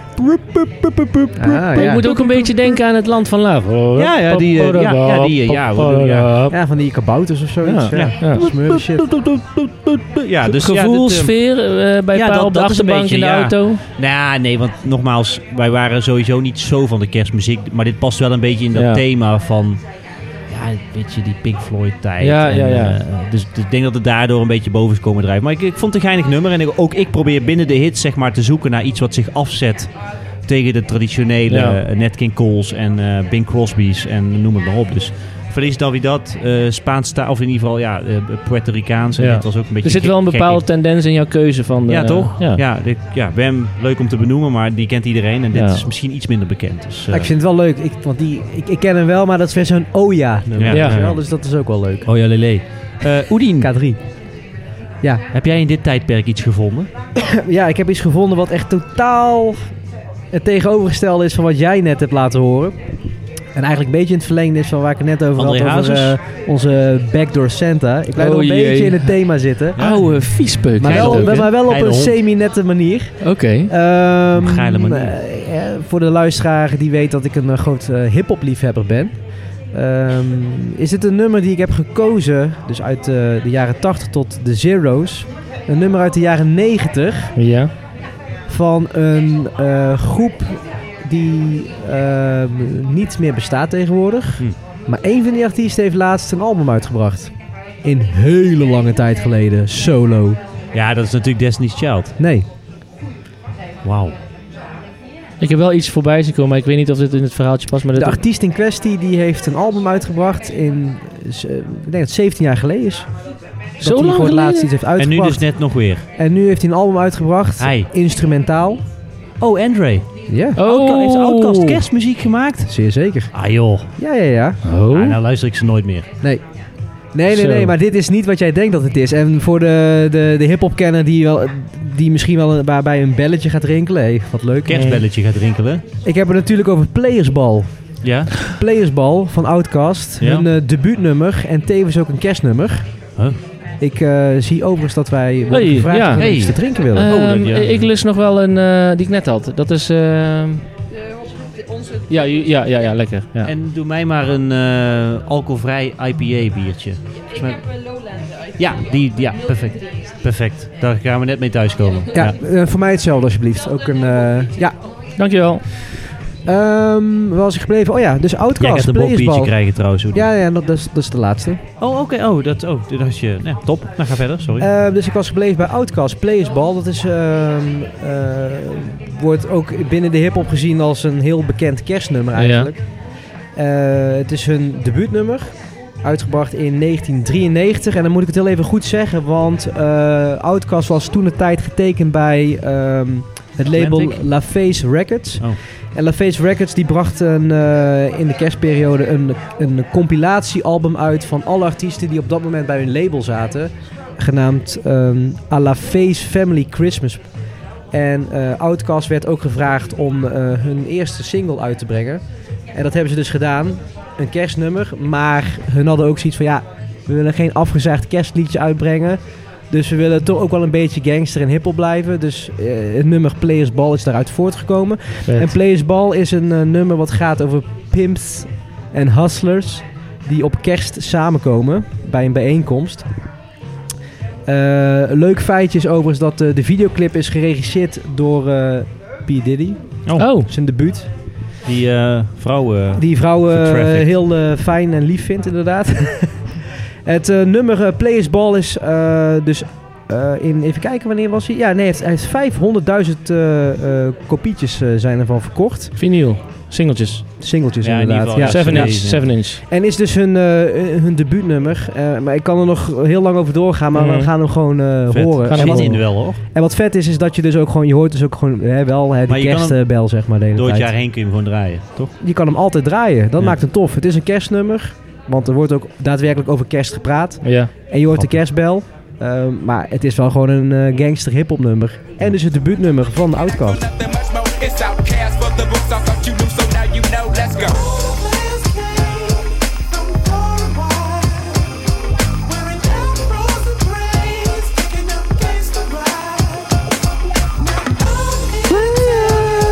[SPEAKER 1] Ah,
[SPEAKER 3] Ik
[SPEAKER 1] ja.
[SPEAKER 3] moet ook een beetje denken aan het land van Love. hoor.
[SPEAKER 2] Ja, ja, die, eh, ja, ja, die, eh, ja, wat doen- ja.
[SPEAKER 1] ja, van die kabouters of zoiets.
[SPEAKER 3] Ja.
[SPEAKER 1] Ja.
[SPEAKER 3] Ja.
[SPEAKER 1] Smurrie shit.
[SPEAKER 2] Ja, dus ja, dit, eh,
[SPEAKER 3] Gevoelsfeer eh, bij
[SPEAKER 2] ja,
[SPEAKER 3] pa
[SPEAKER 2] dat-
[SPEAKER 3] op de
[SPEAKER 2] dat is een
[SPEAKER 3] achterbank
[SPEAKER 2] beetje,
[SPEAKER 3] in de
[SPEAKER 2] ja.
[SPEAKER 3] auto.
[SPEAKER 2] Nou, nee, want nogmaals, wij waren sowieso niet zo van de kerstmuziek. Maar dit past wel een beetje in dat
[SPEAKER 3] Ja.
[SPEAKER 2] thema van. Ja, weet je, die Pink Floyd-tijd.
[SPEAKER 3] Ja,
[SPEAKER 2] En,
[SPEAKER 3] ja, ja.
[SPEAKER 2] eh, dus, dus ik denk dat het daardoor een beetje boven is komen drijven. Maar ik, ik vond het een geinig nummer. En ik- ook ik probeer binnen de hits zeg maar, te zoeken naar iets wat zich afzet tegen de traditionele
[SPEAKER 3] Ja.
[SPEAKER 2] eh, Nat King Cole's en eh, Bing Crosby's en noem het maar op. Dus Feliz Navidad, eh Spaans taal, of in ieder geval ja, eh, Puerto Ricaans. En
[SPEAKER 3] Ja.
[SPEAKER 2] dit was ook een beetje
[SPEAKER 3] Er zit
[SPEAKER 2] gek-
[SPEAKER 3] wel een
[SPEAKER 2] gekkig.
[SPEAKER 3] bepaalde tendens in jouw keuze van... de-
[SPEAKER 2] Ja, toch?
[SPEAKER 3] Ja.
[SPEAKER 2] Eh, Ja. Ja, dit- ja, Wem, leuk om te benoemen, maar die kent iedereen. En dit
[SPEAKER 3] Ja.
[SPEAKER 2] is misschien iets minder bekend. Dus, eh,
[SPEAKER 1] Ja, ik vind het wel leuk, ik, want die, ik, ik ken hem wel, maar dat is weer zo'n Oja-nummer.
[SPEAKER 2] eh, Ja.
[SPEAKER 1] weet je
[SPEAKER 3] Ja.
[SPEAKER 1] wel, Dus dat is ook wel leuk.
[SPEAKER 2] Oh ja, Lele. Eh, Oedien,
[SPEAKER 1] K3.
[SPEAKER 2] heb jij in dit tijdperk iets gevonden?
[SPEAKER 1] Ja, ik heb iets gevonden wat echt totaal het tegenovergestelde is van wat jij net hebt laten horen. En eigenlijk een beetje in het verlengde is van waar ik het net over
[SPEAKER 2] André
[SPEAKER 1] had, over
[SPEAKER 2] Hazes?
[SPEAKER 1] eh, onze Backdoor Santa. Ik blijf
[SPEAKER 3] Oh
[SPEAKER 1] nog een
[SPEAKER 3] jee.
[SPEAKER 1] beetje in het thema zitten.
[SPEAKER 3] Oude viespeuk.
[SPEAKER 1] Maar
[SPEAKER 3] is dat
[SPEAKER 1] wel,
[SPEAKER 3] ook, hè?
[SPEAKER 1] maar wel op
[SPEAKER 2] Geile
[SPEAKER 1] een
[SPEAKER 2] hond.
[SPEAKER 1] semi-nette manier.
[SPEAKER 3] Oké.
[SPEAKER 1] Ehm,
[SPEAKER 2] Op een geile manier.
[SPEAKER 1] eh, eh, voor de luisteraar die weet dat ik een eh, groot eh, hip-hop liefhebber ben. ehm, is dit een nummer die ik heb gekozen, dus uit eh, de jaren 80 tot de Zero's. Een nummer uit de jaren 90
[SPEAKER 3] Ja.
[SPEAKER 1] van een eh, groep die ehm, niet meer bestaat tegenwoordig.
[SPEAKER 2] Hm.
[SPEAKER 1] Maar één van die artiesten heeft laatst een album uitgebracht. In hele lange tijd geleden, solo.
[SPEAKER 2] Ja, dat is natuurlijk Destiny's Child.
[SPEAKER 1] Nee,
[SPEAKER 2] Wauw.
[SPEAKER 3] Ik heb wel iets voorbij zien komen, maar ik weet niet of dit in het verhaaltje past. Maar
[SPEAKER 1] De
[SPEAKER 3] dat
[SPEAKER 1] artiest in kwestie die heeft een album uitgebracht in, eh, z- eh, ik denk dat het 17 jaar geleden is. Dat
[SPEAKER 3] Zo
[SPEAKER 1] hij
[SPEAKER 3] lang
[SPEAKER 1] voor het laatst
[SPEAKER 3] geleden?
[SPEAKER 1] iets heeft
[SPEAKER 2] En nu dus
[SPEAKER 1] uitgebracht. En nu,
[SPEAKER 2] net nog weer.
[SPEAKER 1] heeft hij een album uitgebracht,
[SPEAKER 2] Hij.
[SPEAKER 1] instrumentaal.
[SPEAKER 2] Oh, Andre.
[SPEAKER 1] Ja,
[SPEAKER 3] Oh,
[SPEAKER 2] Heeft Outkast kerstmuziek gemaakt?
[SPEAKER 1] zeer zeker.
[SPEAKER 2] Ah joh.
[SPEAKER 1] Ja, ja, ja.
[SPEAKER 2] Ah,
[SPEAKER 3] Oh.
[SPEAKER 2] nou luister ik ze nooit meer.
[SPEAKER 1] Nee, nee,
[SPEAKER 3] Zo.
[SPEAKER 1] nee, maar dit is niet wat jij denkt dat het is. En voor de, de, de hip-hop kenner die, wel, die misschien wel een- waarbij een belletje gaat rinkelen. Hé, wat leuk.
[SPEAKER 2] Kerstbelletje gaat rinkelen.
[SPEAKER 1] Ik heb het natuurlijk over Playersball.
[SPEAKER 2] Ja.
[SPEAKER 1] Playersball van Outkast.
[SPEAKER 2] Ja.
[SPEAKER 1] Hun eh, debuutnummer en tevens ook een kerstnummer.
[SPEAKER 2] Huh?
[SPEAKER 1] Ik eh, zie overigens dat wij worden
[SPEAKER 3] Hey,
[SPEAKER 1] gevraagd
[SPEAKER 3] ja.
[SPEAKER 1] of we
[SPEAKER 2] Hey.
[SPEAKER 1] iets te drinken willen.
[SPEAKER 2] Oh, dat-
[SPEAKER 3] Ehm,
[SPEAKER 2] ja.
[SPEAKER 3] Ik lust nog wel een eh, die ik net had. Dat is... ehm, ja, ju- ja, ja, ja, lekker. Ja.
[SPEAKER 2] En doe mij maar een eh, alcoholvrij IPA biertje. Ik heb eh, een Lowland Ja, die, ja, perfect. Perfect. Daar gaan we net mee thuiskomen.
[SPEAKER 1] ja, eh, voor mij hetzelfde alsjeblieft. Ook een, eh, ja.
[SPEAKER 3] Dankjewel.
[SPEAKER 1] Ehm, waar was ik gebleven? Oh ja, dus
[SPEAKER 2] Jij gaat
[SPEAKER 1] Outcast,
[SPEAKER 2] een bokbiertje
[SPEAKER 1] Playersball.
[SPEAKER 2] krijgen trouwens. Oedien.
[SPEAKER 1] Ja, ja dat, dat, is, dat is de laatste.
[SPEAKER 2] Oh, oké. Oh, dat, oh, dat is je... nou, top. Nou, ga verder. Sorry.
[SPEAKER 1] Eh, dus ik was gebleven bij Outcast, Playersball. Dat is, ehm, eh, wordt ook binnen de hip-hop gezien als een heel bekend kerstnummer eigenlijk. Eh, het is hun debuutnummer. Uitgebracht in 1993. En dan moet ik het heel even goed zeggen, want eh Outcast was toen de tijd getekend bij ehm, het label
[SPEAKER 2] Atlantic?
[SPEAKER 1] LaFace Records.
[SPEAKER 2] Oh.
[SPEAKER 1] En LaFace Records die bracht een, eh, in de kerstperiode een, een compilatiealbum uit van alle artiesten die op dat moment bij hun label zaten genaamd ehm A La Face Family Christmas. En eh Outcast werd ook gevraagd om eh, hun eerste single uit te brengen. En dat hebben ze dus gedaan. Een kerstnummer. Maar hun hadden ook zoiets van ja, we willen geen afgezaagd kerstliedje uitbrengen. Dus we willen toch ook wel een beetje gangster en hiphop blijven. Dus eh, het nummer Players Ball is daaruit voortgekomen. En Players Ball is een eh, nummer wat gaat over pimps en hustlers die op kerst samenkomen bij een bijeenkomst. Eh, leuk feitje is overigens dat eh, de videoclip is geregisseerd door eh P. Diddy,
[SPEAKER 2] Oh,
[SPEAKER 3] Oh,
[SPEAKER 1] zijn debuut.
[SPEAKER 2] die eh, vrouw... eh,
[SPEAKER 1] Die vrouw eh,
[SPEAKER 2] Voor Traffic.
[SPEAKER 1] heel eh, fijn en lief vindt inderdaad. [LAUGHS] Het eh, nummer eh, Players Ball is eh, dus eh, in, even kijken wanneer was hij? Ja, nee, hij heeft, hij heeft 500.000 eh, eh, kopietjes eh, zijn ervan verkocht.
[SPEAKER 3] vinyl. Singeltjes.
[SPEAKER 1] Singeltjes
[SPEAKER 2] Oh, Ja, in ieder
[SPEAKER 1] inderdaad.
[SPEAKER 2] geval.
[SPEAKER 1] Ja,
[SPEAKER 3] Seven
[SPEAKER 1] ja.
[SPEAKER 3] inch, seven inch.
[SPEAKER 1] En is dus hun, eh, hun debuutnummer. Eh, maar ik kan er nog heel lang over doorgaan, maar we
[SPEAKER 3] Mhm.
[SPEAKER 1] gaan hem gewoon eh,
[SPEAKER 2] Vet.
[SPEAKER 1] horen.
[SPEAKER 3] Gaan
[SPEAKER 1] en,
[SPEAKER 3] hem
[SPEAKER 2] Zit
[SPEAKER 1] wat,
[SPEAKER 2] in wel hoor.
[SPEAKER 1] en wat vet is, is dat je dus ook gewoon, je hoort dus ook gewoon hè, wel hè,
[SPEAKER 2] Maar
[SPEAKER 1] de
[SPEAKER 2] je kan
[SPEAKER 1] kerstbel, zeg maar, de hele
[SPEAKER 2] Door het
[SPEAKER 1] tijd.
[SPEAKER 2] jaar heen kun je hem gewoon draaien, toch?
[SPEAKER 1] Je kan hem altijd draaien. Dat
[SPEAKER 2] Ja.
[SPEAKER 1] maakt hem tof. Het is een kerstnummer, want er wordt ook daadwerkelijk over kerst gepraat.
[SPEAKER 3] Ja.
[SPEAKER 1] En je hoort de kerstbel. eh, maar het is wel gewoon een eh, gangster hip-hop nummer. En dus het debuutnummer van Outkast.
[SPEAKER 10] Nothing much more. It's outcast for the roots. I thought you knew, so now you know. Let's go.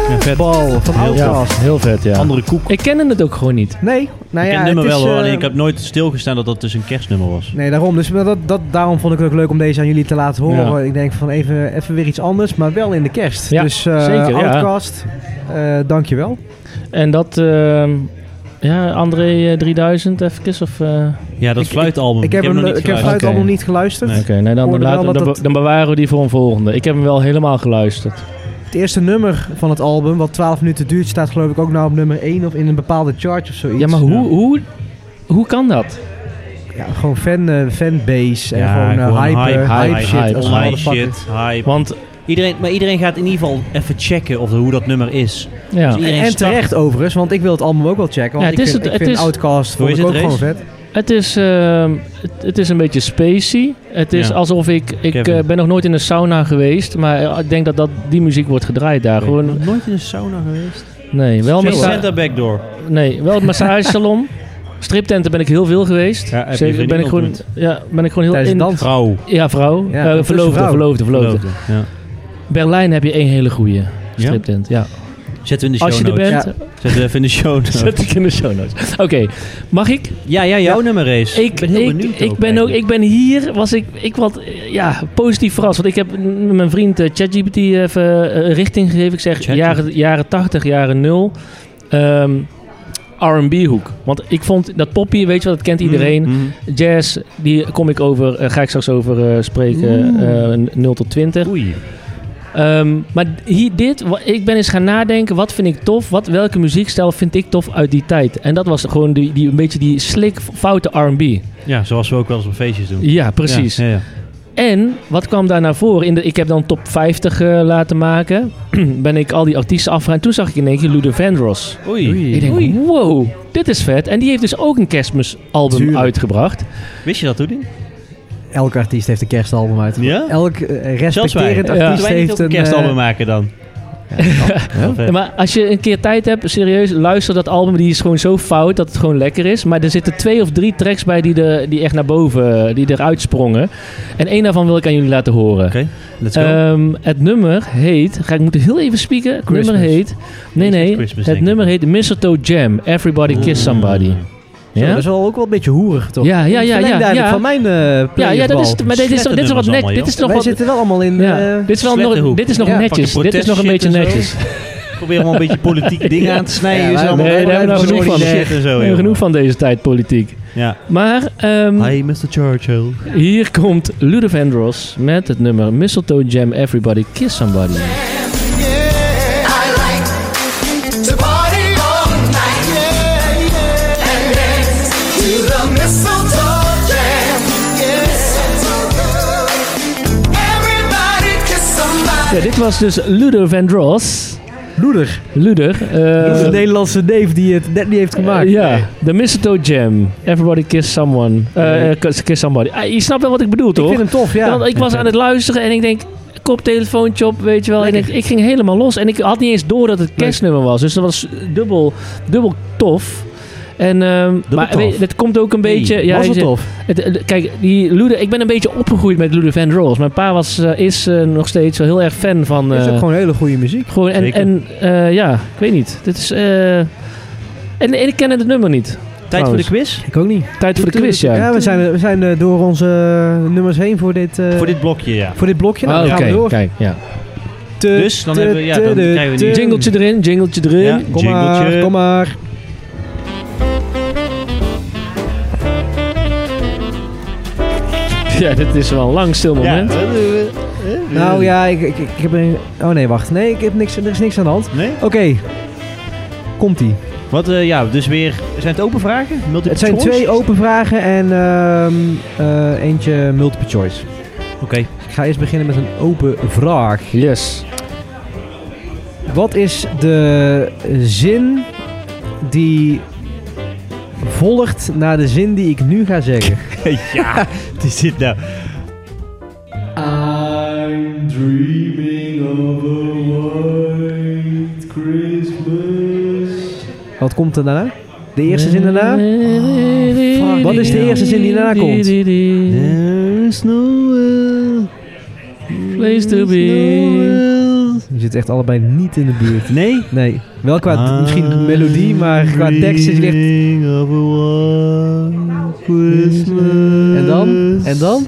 [SPEAKER 2] Ja, vet.
[SPEAKER 1] Bal van
[SPEAKER 2] Heel
[SPEAKER 3] ja.
[SPEAKER 1] Outkast.
[SPEAKER 3] Heel vet, ja.
[SPEAKER 2] Andere koek.
[SPEAKER 3] Ik kende het ook gewoon niet.
[SPEAKER 1] Nee, nou
[SPEAKER 2] ik
[SPEAKER 1] ja,
[SPEAKER 2] ken het
[SPEAKER 1] het
[SPEAKER 2] nummer
[SPEAKER 1] is,
[SPEAKER 2] wel hoor,
[SPEAKER 1] eh,
[SPEAKER 2] alleen ik heb nooit stilgestaan dat dat dus een kerstnummer was.
[SPEAKER 1] Nee, daarom. Dus dat, dat, daarom vond ik het ook leuk om deze aan jullie te laten horen. Ik denk van even, even weer iets anders, maar wel in de kerst.
[SPEAKER 3] Ja,
[SPEAKER 1] dus eh
[SPEAKER 3] zeker, ja.
[SPEAKER 1] Outcast, eh, dankjewel.
[SPEAKER 3] En dat, ehm, ja, André eh, 3000 even, of... eh,
[SPEAKER 2] Ja, dat
[SPEAKER 1] Ik-
[SPEAKER 2] fluitalbum.
[SPEAKER 1] Ik heb, hem, eh,
[SPEAKER 2] nog niet
[SPEAKER 1] ik heb
[SPEAKER 2] geluisterd.
[SPEAKER 1] fluit allemaal
[SPEAKER 3] Oké.
[SPEAKER 1] niet geluisterd.
[SPEAKER 3] Oké, nee, dan,
[SPEAKER 1] hoorde
[SPEAKER 3] dan, laten-
[SPEAKER 1] wel dat
[SPEAKER 3] dan,
[SPEAKER 1] het-
[SPEAKER 3] dan bewaren we die voor een volgende. Ik heb hem wel helemaal geluisterd.
[SPEAKER 1] Het eerste nummer van het album, wat 12 minuten duurt, staat geloof ik ook nou op nummer 1 of in een bepaalde chart of zoiets.
[SPEAKER 3] Ja, maar hoe, hoe, hoe kan dat?
[SPEAKER 1] Ja, gewoon fan, eh, fanbase en
[SPEAKER 2] Ja,
[SPEAKER 1] gewoon, eh,
[SPEAKER 2] gewoon
[SPEAKER 1] hype,
[SPEAKER 2] hype,
[SPEAKER 1] eh, hype,
[SPEAKER 3] hype,
[SPEAKER 1] shit.
[SPEAKER 3] hype,
[SPEAKER 1] als een
[SPEAKER 2] High
[SPEAKER 1] motherfucker.
[SPEAKER 2] shit, hype.
[SPEAKER 3] Want,
[SPEAKER 2] Iedereen, maar iedereen gaat in ieder geval even checken of, hoe dat nummer is.
[SPEAKER 3] ja.
[SPEAKER 2] Dus iedereen
[SPEAKER 1] En
[SPEAKER 2] start-
[SPEAKER 1] terecht overigens, want ik wil het album ook wel checken. Want
[SPEAKER 3] Ja,
[SPEAKER 1] het is ik vind, het, ik
[SPEAKER 3] het
[SPEAKER 1] vind
[SPEAKER 3] is-
[SPEAKER 1] Outcast vond
[SPEAKER 2] is
[SPEAKER 1] ik
[SPEAKER 2] het,
[SPEAKER 1] ook gewoon
[SPEAKER 2] Rees?
[SPEAKER 1] vet.
[SPEAKER 3] Het is, ehm, het, het is een beetje spacey. Het is
[SPEAKER 2] Ja.
[SPEAKER 3] alsof ik... Ik
[SPEAKER 2] Kevin.
[SPEAKER 3] eh, ben nog nooit in een sauna geweest. Maar eh, ik denk dat, dat die muziek wordt gedraaid daar. Gewoon,
[SPEAKER 2] nooit in een sauna geweest.
[SPEAKER 3] nee, wel
[SPEAKER 2] Geen
[SPEAKER 3] massa-
[SPEAKER 2] Santa Backdoor.
[SPEAKER 3] nee, wel het massagesalon. Striptenten ben ik heel veel geweest.
[SPEAKER 2] Ja, heb je
[SPEAKER 3] Zeker,
[SPEAKER 2] vriendin
[SPEAKER 3] ben ik gewoon,
[SPEAKER 2] ontmoet?
[SPEAKER 3] ja, ben ik gewoon heel
[SPEAKER 1] Tijdens
[SPEAKER 3] in...
[SPEAKER 1] het dansen.
[SPEAKER 2] Trouw.
[SPEAKER 3] Ja, vrouw.
[SPEAKER 1] Ja,
[SPEAKER 3] Eh,
[SPEAKER 1] dat is
[SPEAKER 3] verloofde,
[SPEAKER 1] vrouw.
[SPEAKER 3] verloofde, verloofde.
[SPEAKER 2] Ja.
[SPEAKER 3] Berlijn heb je één hele goede striptent. Ja.
[SPEAKER 2] Zetten we in de
[SPEAKER 3] Als je
[SPEAKER 2] show
[SPEAKER 3] er
[SPEAKER 2] notes.
[SPEAKER 3] bent,
[SPEAKER 1] Ja.
[SPEAKER 2] Zetten we even in de
[SPEAKER 3] [LAUGHS]
[SPEAKER 2] show notes.
[SPEAKER 3] zet ik in de show notes. Oké, mag ik?
[SPEAKER 2] Ja, ja, jouw nummer is.
[SPEAKER 3] Ik,
[SPEAKER 2] ben heel
[SPEAKER 3] ik,
[SPEAKER 2] benieuwd
[SPEAKER 3] Ik
[SPEAKER 2] ook
[SPEAKER 3] ben, ook,
[SPEAKER 2] eigenlijk.
[SPEAKER 3] ik ben hier, was ik, ik wat, eh, ja, positief verrast. Want ik heb m- mijn vriend eh, ChatGPT even eh, richting gegeven. Ik zeg
[SPEAKER 2] ChatGPT.
[SPEAKER 3] jaren, jaren 80, jaren 0. Ehm, R&B hoek. Want ik vond dat poppy, weet je wel, dat kent iedereen. Mhm.
[SPEAKER 2] Mm, mm.
[SPEAKER 3] Jazz, die kom ik over, eh, ga ik straks over eh, spreken, eh, 0 tot 20.
[SPEAKER 2] Oei.
[SPEAKER 3] Ehm, maar hier, dit, wa- ik ben eens gaan nadenken, wat vind ik tof? Wat, welke muziekstijl vind ik tof uit die tijd? En dat was gewoon die, die, een beetje die slick, foute R&B.
[SPEAKER 2] Ja, zoals we ook wel eens op feestjes doen.
[SPEAKER 3] Ja, precies.
[SPEAKER 2] Ja, ja, ja.
[SPEAKER 3] En wat kwam daar naar voren? In de, ik heb dan top 50 eh, laten maken. [CLEARS THROAT] ben ik al die artiesten afgegaan. En toen zag ik in één keer Ludo Vandross.
[SPEAKER 2] Oei.
[SPEAKER 3] Ik denk, wow, dit is vet. En die heeft dus ook een kerstmisalbum
[SPEAKER 1] Tuurlijk.
[SPEAKER 3] uitgebracht.
[SPEAKER 2] Wist je dat toen?
[SPEAKER 1] Elke artiest heeft een kerstalbum uit.
[SPEAKER 2] Ja?
[SPEAKER 1] Elk eh,
[SPEAKER 2] Zelfs wij.
[SPEAKER 1] respecterend
[SPEAKER 2] Moeten
[SPEAKER 1] artiest
[SPEAKER 2] wij niet ook
[SPEAKER 1] heeft
[SPEAKER 2] een
[SPEAKER 1] een...
[SPEAKER 2] kerstalbum
[SPEAKER 1] eh,
[SPEAKER 2] maken
[SPEAKER 3] [LAUGHS]
[SPEAKER 2] dan? eh,
[SPEAKER 3] Ja, maar als je een keer tijd hebt, serieus, luister dat album. Die is gewoon zo fout dat het gewoon lekker is. Maar er zitten twee of drie tracks bij die, de, die echt naar boven, eh, die eruit sprongen. En één daarvan wil ik aan jullie laten horen.
[SPEAKER 2] Let's go.
[SPEAKER 3] Ehm, het nummer heet. Ga ik moeten heel even spieken. Het
[SPEAKER 2] Christmas.
[SPEAKER 3] nummer heet. Nee,
[SPEAKER 2] is niet
[SPEAKER 3] nee.
[SPEAKER 2] Christmas, denk
[SPEAKER 3] het
[SPEAKER 2] ik.
[SPEAKER 3] nummer heet Mistletoe Jam. Everybody Kiss Somebody.
[SPEAKER 1] zo,
[SPEAKER 3] Ja?
[SPEAKER 1] Dat is wel ook wel een beetje hoerig, toch?
[SPEAKER 3] Ja, ja, ja,
[SPEAKER 1] Verlengde
[SPEAKER 3] ja,
[SPEAKER 1] eigenlijk
[SPEAKER 3] ja.
[SPEAKER 1] van mijn eh
[SPEAKER 3] Ja, ja, dat is,
[SPEAKER 1] playerbal.
[SPEAKER 3] maar dit is, dit is wat
[SPEAKER 2] Slechte
[SPEAKER 3] net.
[SPEAKER 2] nummers
[SPEAKER 3] Dit is nog
[SPEAKER 1] Wij
[SPEAKER 3] wat.
[SPEAKER 1] zitten wel allemaal in...
[SPEAKER 3] Ja,
[SPEAKER 1] eh,
[SPEAKER 3] dit is wel
[SPEAKER 2] slechte
[SPEAKER 3] nog,
[SPEAKER 2] hoek.
[SPEAKER 3] dit is nog
[SPEAKER 1] Ja,
[SPEAKER 3] netjes.
[SPEAKER 2] pak je
[SPEAKER 3] Dit is nog een beetje
[SPEAKER 2] protestshit en zo.
[SPEAKER 3] netjes.
[SPEAKER 2] Probeer allemaal een beetje
[SPEAKER 3] [LAUGHS]
[SPEAKER 2] politieke dingen aan te snijden.
[SPEAKER 1] Ja, wij-
[SPEAKER 2] zo.
[SPEAKER 3] nee, daar hebben we
[SPEAKER 2] Allemaal
[SPEAKER 3] genoeg van.
[SPEAKER 2] shit en zo,
[SPEAKER 3] We hebben
[SPEAKER 2] joh.
[SPEAKER 3] genoeg van deze tijd politiek.
[SPEAKER 2] Ja.
[SPEAKER 3] Maar ehm,
[SPEAKER 2] Hi, Mr. Churchill.
[SPEAKER 3] hier komt Ludo Vandross met het nummer Mistletoe Jam Everybody Kiss Somebody. Ja, dit was dus Ludo Vandross.
[SPEAKER 1] Loeder.
[SPEAKER 3] Luder. eh,
[SPEAKER 1] dat is de Nederlandse neef die het net niet heeft gemaakt.
[SPEAKER 3] Eh, Ja, de Mistletoe Jam. Everybody kiss someone. Eh, eh, kiss- kiss somebody. Ah, je snapt wel wat ik bedoel,
[SPEAKER 1] Ik
[SPEAKER 3] toch?
[SPEAKER 1] vind hem tof, ja.
[SPEAKER 3] Want ik was aan het luisteren en ik denk... Koptelefoontje op, weet je wel. En ik, ik ging helemaal los. En ik had niet eens door dat het kerstnummer was. Dus dat was dubbel, dubbel tof. En, ehm, maar
[SPEAKER 2] tof.
[SPEAKER 3] weet je, het komt ook een beetje... ja,
[SPEAKER 1] was wel
[SPEAKER 3] je zegt-
[SPEAKER 1] tof.
[SPEAKER 3] het- het- kijk, die Lude, ik ben een beetje opgegroeid met Lude Van Rolls. Mijn pa was, eh, is eh, nog steeds wel heel erg fan van...
[SPEAKER 1] Het is
[SPEAKER 3] eh,
[SPEAKER 1] ook gewoon hele goede muziek.
[SPEAKER 3] gewoon, en,
[SPEAKER 2] Zeker.
[SPEAKER 3] en eh, ja, ik weet niet. Dit is. eh, en, en ik ken het nummer niet.
[SPEAKER 2] Tijd voor de
[SPEAKER 3] Trouwens.
[SPEAKER 2] quiz?
[SPEAKER 1] Ik ook niet.
[SPEAKER 3] Tijd voor de quiz, ja.
[SPEAKER 1] we zijn, we zijn eh, door onze nummers heen voor dit, eh,
[SPEAKER 2] Voor dit blokje, ja.
[SPEAKER 1] voor dit blokje. Nou,
[SPEAKER 3] Ah,
[SPEAKER 1] dan
[SPEAKER 3] Oké,
[SPEAKER 1] gaan we door.
[SPEAKER 3] kijk, ja.
[SPEAKER 2] Dus, dan hebben we- ja, dan krijgen we die-
[SPEAKER 3] Jingletje erin, jingletje erin.
[SPEAKER 2] Ja,
[SPEAKER 1] Kom maar,
[SPEAKER 2] jingletje.
[SPEAKER 1] kom maar.
[SPEAKER 3] Ja, dit is wel een lang stil
[SPEAKER 2] Ja.
[SPEAKER 3] moment.
[SPEAKER 1] Nou ja, ik, ik, ik heb een... Oh nee, wacht. Nee, ik heb niks, er is niks aan de hand.
[SPEAKER 2] Nee?
[SPEAKER 1] Oké. Komt-ie.
[SPEAKER 2] Wat, eh, ja, dus weer... Zijn het open vragen? Multiple
[SPEAKER 1] Het zijn
[SPEAKER 2] choice?
[SPEAKER 1] twee open vragen en ehm, eh, eentje multiple choice.
[SPEAKER 2] Oké.
[SPEAKER 1] [LAUGHS] Ik ga eerst beginnen met een open vraag.
[SPEAKER 3] Yes.
[SPEAKER 1] Wat is de zin die volgt na de zin die ik nu ga zeggen?
[SPEAKER 2] ja, die zit nou...
[SPEAKER 9] I'm dreaming of a white Christmas.
[SPEAKER 1] Wat komt er daarna? De eerste zin daarna?
[SPEAKER 3] fuck.
[SPEAKER 1] Wat is de eerste zin die daarna komt? There is no
[SPEAKER 3] Place to be.
[SPEAKER 1] Je zit echt allebei niet in de buurt.
[SPEAKER 2] Nee?
[SPEAKER 1] Nee, wel qua
[SPEAKER 3] Ah.
[SPEAKER 1] misschien de melodie, maar qua tekst is het echt... En dan? En dan?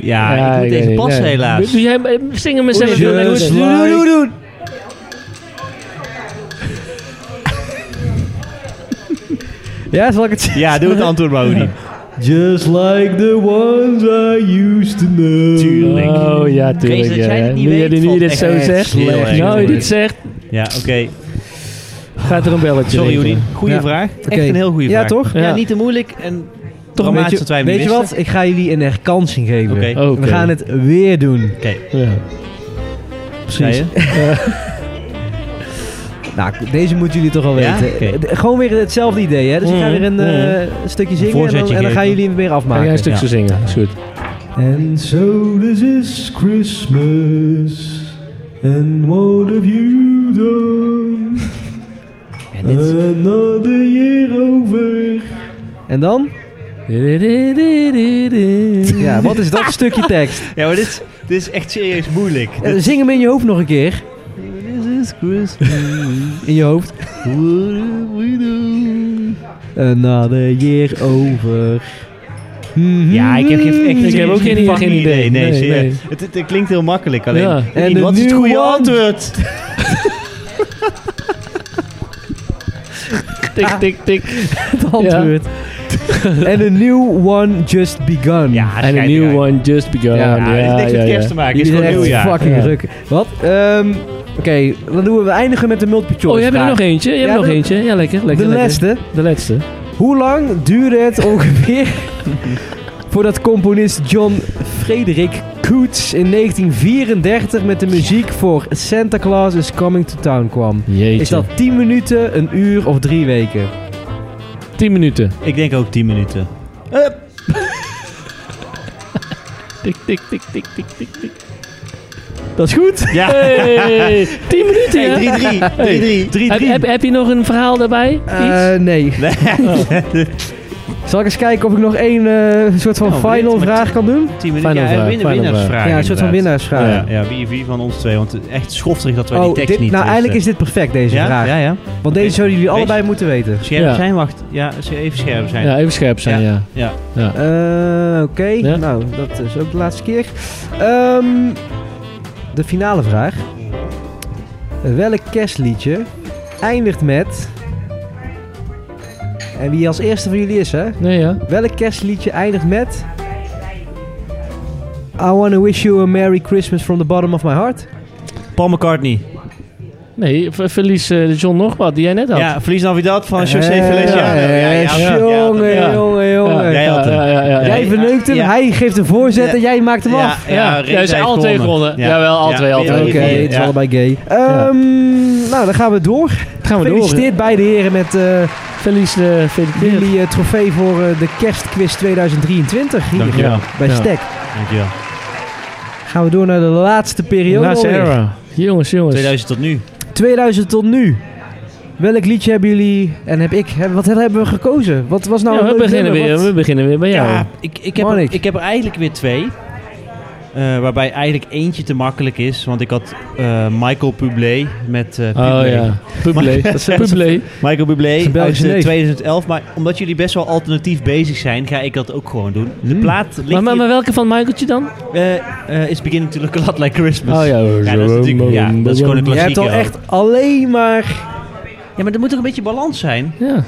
[SPEAKER 2] Ja, ik moet
[SPEAKER 3] weet
[SPEAKER 2] deze
[SPEAKER 3] niet,
[SPEAKER 2] passen
[SPEAKER 3] nee.
[SPEAKER 2] helaas.
[SPEAKER 3] Doe jij, eh, zing hem mezelf.
[SPEAKER 1] Just like- Ja, zal ik het zeggen?
[SPEAKER 2] Ja, doe het antwoord
[SPEAKER 1] [LAUGHS]
[SPEAKER 2] maar, Hoodie.
[SPEAKER 1] Just like the ones I used to know.
[SPEAKER 2] Tuurlijk.
[SPEAKER 3] Oh ja,
[SPEAKER 2] Kees,
[SPEAKER 3] tuurlijk.
[SPEAKER 2] dat jij
[SPEAKER 3] ja.
[SPEAKER 2] dit niet
[SPEAKER 3] Nu je
[SPEAKER 2] weet,
[SPEAKER 3] dit- nu je
[SPEAKER 2] valt
[SPEAKER 3] dit
[SPEAKER 2] echt
[SPEAKER 3] zo
[SPEAKER 2] echt
[SPEAKER 3] zegt.
[SPEAKER 2] heel erg
[SPEAKER 3] Nou,
[SPEAKER 2] mee.
[SPEAKER 3] je dit zegt,
[SPEAKER 2] Ja, oké.
[SPEAKER 3] gaat er een belletje
[SPEAKER 2] Sorry,
[SPEAKER 3] rinkelen.
[SPEAKER 2] Hoodie. Goeie
[SPEAKER 1] Ja.
[SPEAKER 2] vraag.
[SPEAKER 1] Oké.
[SPEAKER 2] Echt een heel goede
[SPEAKER 1] Ja,
[SPEAKER 2] vraag.
[SPEAKER 1] toch?
[SPEAKER 2] Ja,
[SPEAKER 3] Ja.
[SPEAKER 2] niet te moeilijk en toch
[SPEAKER 1] Weet
[SPEAKER 2] dramatisch
[SPEAKER 1] je,
[SPEAKER 2] dat wij hem
[SPEAKER 1] weet je
[SPEAKER 2] misten.
[SPEAKER 1] wat? Ik ga jullie een herkansing geven.
[SPEAKER 2] Oké.
[SPEAKER 3] Oké.
[SPEAKER 1] We gaan het weer doen.
[SPEAKER 3] Ja.
[SPEAKER 2] Zei [LAUGHS] je?
[SPEAKER 1] Nou, deze moeten jullie toch al
[SPEAKER 2] Ja?
[SPEAKER 1] weten.
[SPEAKER 2] Oké. Mm,
[SPEAKER 1] D- Gewoon weer hetzelfde idee, hè? Dus ik ga weer een eh, stukje zingen en dan,
[SPEAKER 2] voorzetje
[SPEAKER 1] en dan gaan
[SPEAKER 2] geven.
[SPEAKER 1] jullie hem weer
[SPEAKER 3] Ga jij een
[SPEAKER 1] afmaken.
[SPEAKER 3] stukje
[SPEAKER 2] Ja.
[SPEAKER 3] zingen? Is goed.
[SPEAKER 1] And so this is Christmas. And what have you done?
[SPEAKER 2] En dit is-
[SPEAKER 1] Another year over. En dan? Ja, wat is dat stukje tekst?
[SPEAKER 3] [LAUGHS]
[SPEAKER 2] Ja, maar dit, is- dit is echt serieus moeilijk.
[SPEAKER 1] Eh,
[SPEAKER 2] Dit-
[SPEAKER 1] Zing hem in je hoofd nog een keer. In je hoofd. Another year over.
[SPEAKER 2] Ja, ik heb geen, echt,
[SPEAKER 3] Ik heb ook Mhm. geen-
[SPEAKER 2] fucking
[SPEAKER 3] geen idee.
[SPEAKER 2] Nee,
[SPEAKER 3] Nee,
[SPEAKER 2] serieus.
[SPEAKER 3] nee.
[SPEAKER 2] Het, het, het klinkt heel makkelijk, alleen...
[SPEAKER 3] Ja.
[SPEAKER 2] En
[SPEAKER 1] de
[SPEAKER 2] wat is het
[SPEAKER 1] nieuwe
[SPEAKER 2] goede
[SPEAKER 1] one.
[SPEAKER 2] antwoord?
[SPEAKER 3] [LAUGHS] Tik, tik, tik.
[SPEAKER 1] Het antwoord. [LAUGHS] En a new one just begun.
[SPEAKER 2] Ja,
[SPEAKER 3] En een
[SPEAKER 2] schijt eruit.
[SPEAKER 3] new one just begun.
[SPEAKER 2] Ja,
[SPEAKER 3] Ja,
[SPEAKER 2] het heeft niks
[SPEAKER 3] ja, Oh,
[SPEAKER 2] met
[SPEAKER 3] ja.
[SPEAKER 2] kerst te maken. Het
[SPEAKER 1] Jullie
[SPEAKER 2] is
[SPEAKER 1] zijn
[SPEAKER 2] gewoon
[SPEAKER 1] echt
[SPEAKER 2] nieuwjaar.
[SPEAKER 1] fucking
[SPEAKER 3] Ja.
[SPEAKER 1] druk. Wat? Ehm, Oké, dan doen we, we eindigen met de multiple choice
[SPEAKER 3] Oh, jij hebt er nog eentje? Jij hebt
[SPEAKER 1] Ja,
[SPEAKER 3] er nog
[SPEAKER 1] de-
[SPEAKER 3] eentje? Ja, lekker. lekker
[SPEAKER 1] De
[SPEAKER 3] lekker.
[SPEAKER 1] laatste.
[SPEAKER 3] De laatste.
[SPEAKER 1] Hoe lang duurde
[SPEAKER 3] [LAUGHS]
[SPEAKER 1] het ongeveer voordat componist John Frederik Coots in 1934 met de muziek voor Santa Claus is Coming to Town kwam?
[SPEAKER 3] Jeetje.
[SPEAKER 1] Is dat 10 minuten, een uur of drie weken?
[SPEAKER 3] 10 minuten?
[SPEAKER 2] Ik denk ook 10 minuten.
[SPEAKER 3] Tik, tik, tik, tik, tik, tik, tik.
[SPEAKER 1] Dat is goed.
[SPEAKER 2] Ja.
[SPEAKER 3] Hey, 10 minuten, hè? [LAUGHS]
[SPEAKER 2] 3-3. 3-3. 3-3.
[SPEAKER 3] Heb, heb, heb je nog een verhaal daarbij? Iets?
[SPEAKER 1] Eh, nee.
[SPEAKER 3] [LAUGHS]
[SPEAKER 1] Zal ik eens kijken of ik nog één eh, soort van
[SPEAKER 3] Oh,
[SPEAKER 2] Nou,
[SPEAKER 1] final
[SPEAKER 2] met-
[SPEAKER 1] vraag kan doen?
[SPEAKER 2] 10
[SPEAKER 3] Final
[SPEAKER 2] minuten. Ja,
[SPEAKER 3] vraag,
[SPEAKER 2] winnen,
[SPEAKER 3] final
[SPEAKER 2] winnaarsvraag.
[SPEAKER 3] vraag.
[SPEAKER 1] Ja, een soort van
[SPEAKER 2] inderdaad.
[SPEAKER 1] winnaarsvraag.
[SPEAKER 2] Ja, ja, wie, wie van ons twee? Want het is echt schofterig dat wij
[SPEAKER 3] Oh,
[SPEAKER 2] die tekst
[SPEAKER 1] dit-
[SPEAKER 2] niet...
[SPEAKER 1] nou,
[SPEAKER 2] eh,
[SPEAKER 1] eigenlijk is dit perfect, deze
[SPEAKER 2] ja?
[SPEAKER 1] vraag.
[SPEAKER 2] Ja, ja.
[SPEAKER 1] Want deze zouden jullie
[SPEAKER 2] Deze-
[SPEAKER 1] allebei moeten weten.
[SPEAKER 2] Scherp
[SPEAKER 3] Ja.
[SPEAKER 2] zijn, wacht. Ja, ze- even scherp zijn.
[SPEAKER 3] Ja, even scherp zijn, ja.
[SPEAKER 2] Ja.
[SPEAKER 1] Eh, Oké,
[SPEAKER 3] Ja.
[SPEAKER 1] nou, dat is ook de laatste keer. Ehm, de finale vraag. Welk kerstliedje eindigt met... En wie als eerste van jullie is, hè?
[SPEAKER 3] Nee, ja.
[SPEAKER 1] Welk kerstliedje eindigt met... I wanna wish you a Merry Christmas from the bottom of my heart.
[SPEAKER 2] Paul McCartney.
[SPEAKER 3] Nee, ver- verlies eh, de John nog wat, die jij net had.
[SPEAKER 2] Ja, Verlies Navidad van José
[SPEAKER 1] Eh,
[SPEAKER 2] Feliciano. Ja, ja, ja, ja,
[SPEAKER 1] Jongen,
[SPEAKER 2] ja.
[SPEAKER 1] jongen, jongen.
[SPEAKER 2] Jij had hem.
[SPEAKER 3] Ja, ja, ja.
[SPEAKER 1] Oh, Jij
[SPEAKER 2] Ja,
[SPEAKER 1] verneukt hem,
[SPEAKER 2] ja.
[SPEAKER 1] hij geeft een voorzet
[SPEAKER 2] Ja.
[SPEAKER 1] en jij maakt hem
[SPEAKER 2] Ja,
[SPEAKER 1] af.
[SPEAKER 2] ja,
[SPEAKER 3] Ja,
[SPEAKER 2] Reza
[SPEAKER 3] ja, ze zijn
[SPEAKER 2] heeft
[SPEAKER 3] alle twee gewonnen. Jawel, alle twee, alle
[SPEAKER 2] Ja,
[SPEAKER 3] twee.
[SPEAKER 1] Oké,
[SPEAKER 2] ja,
[SPEAKER 1] het is
[SPEAKER 2] ja.
[SPEAKER 1] allebei gay. Ehm, Nou, dan gaan we door.
[SPEAKER 3] Gaan we door.
[SPEAKER 1] Gefeliciteerd beide heren met eh,
[SPEAKER 3] Verlies, eh feliciteer.
[SPEAKER 1] jullie eh, trofee voor eh, de kerstquiz 2023 hier eh,
[SPEAKER 2] Dankjewel.
[SPEAKER 1] bij
[SPEAKER 3] Ja.
[SPEAKER 1] Stek.
[SPEAKER 2] Dankjewel.
[SPEAKER 1] Gaan we door naar de laatste periode.
[SPEAKER 3] Laatste
[SPEAKER 1] alweer.
[SPEAKER 3] era. Jongens, jongens.
[SPEAKER 2] 2000 tot nu.
[SPEAKER 1] 2000 tot nu. Welk liedje hebben jullie en heb ik? Heb- Wat hebben we gekozen? Wat was nou
[SPEAKER 3] Ja,
[SPEAKER 1] een
[SPEAKER 3] we,
[SPEAKER 1] leuk
[SPEAKER 3] beginnen
[SPEAKER 1] nummer?
[SPEAKER 3] weer,
[SPEAKER 1] Wat-
[SPEAKER 3] we beginnen weer bij jou.
[SPEAKER 2] Ja, ik, ik, heb er,
[SPEAKER 1] Marnik.
[SPEAKER 2] ik heb er eigenlijk weer twee. Eh, waarbij eigenlijk eentje te makkelijk is. Want ik had eh, Michael Bublé met eh
[SPEAKER 3] Oh
[SPEAKER 2] Bublé.
[SPEAKER 3] ja, Publé. Publé.
[SPEAKER 2] Michael
[SPEAKER 1] een
[SPEAKER 2] Bublé uit
[SPEAKER 1] Belgische
[SPEAKER 2] eh,
[SPEAKER 1] neef.
[SPEAKER 2] 2011. Maar omdat jullie best wel alternatief bezig zijn, ga ik dat ook gewoon doen. De plaat ligt
[SPEAKER 3] Maar, maar, maar
[SPEAKER 2] hier-
[SPEAKER 3] welke van Michaeltje dan?
[SPEAKER 2] eh, eh, is beginning to look a lot like Christmas.
[SPEAKER 1] Ah,
[SPEAKER 3] Oh ja.
[SPEAKER 2] Ja, dat is natuurlijk ja, dat is gewoon een
[SPEAKER 1] Je hebt
[SPEAKER 2] klassieker.
[SPEAKER 1] al
[SPEAKER 2] ook.
[SPEAKER 1] echt alleen maar...
[SPEAKER 2] Ja, maar er moet toch een beetje balans zijn?
[SPEAKER 3] Ja.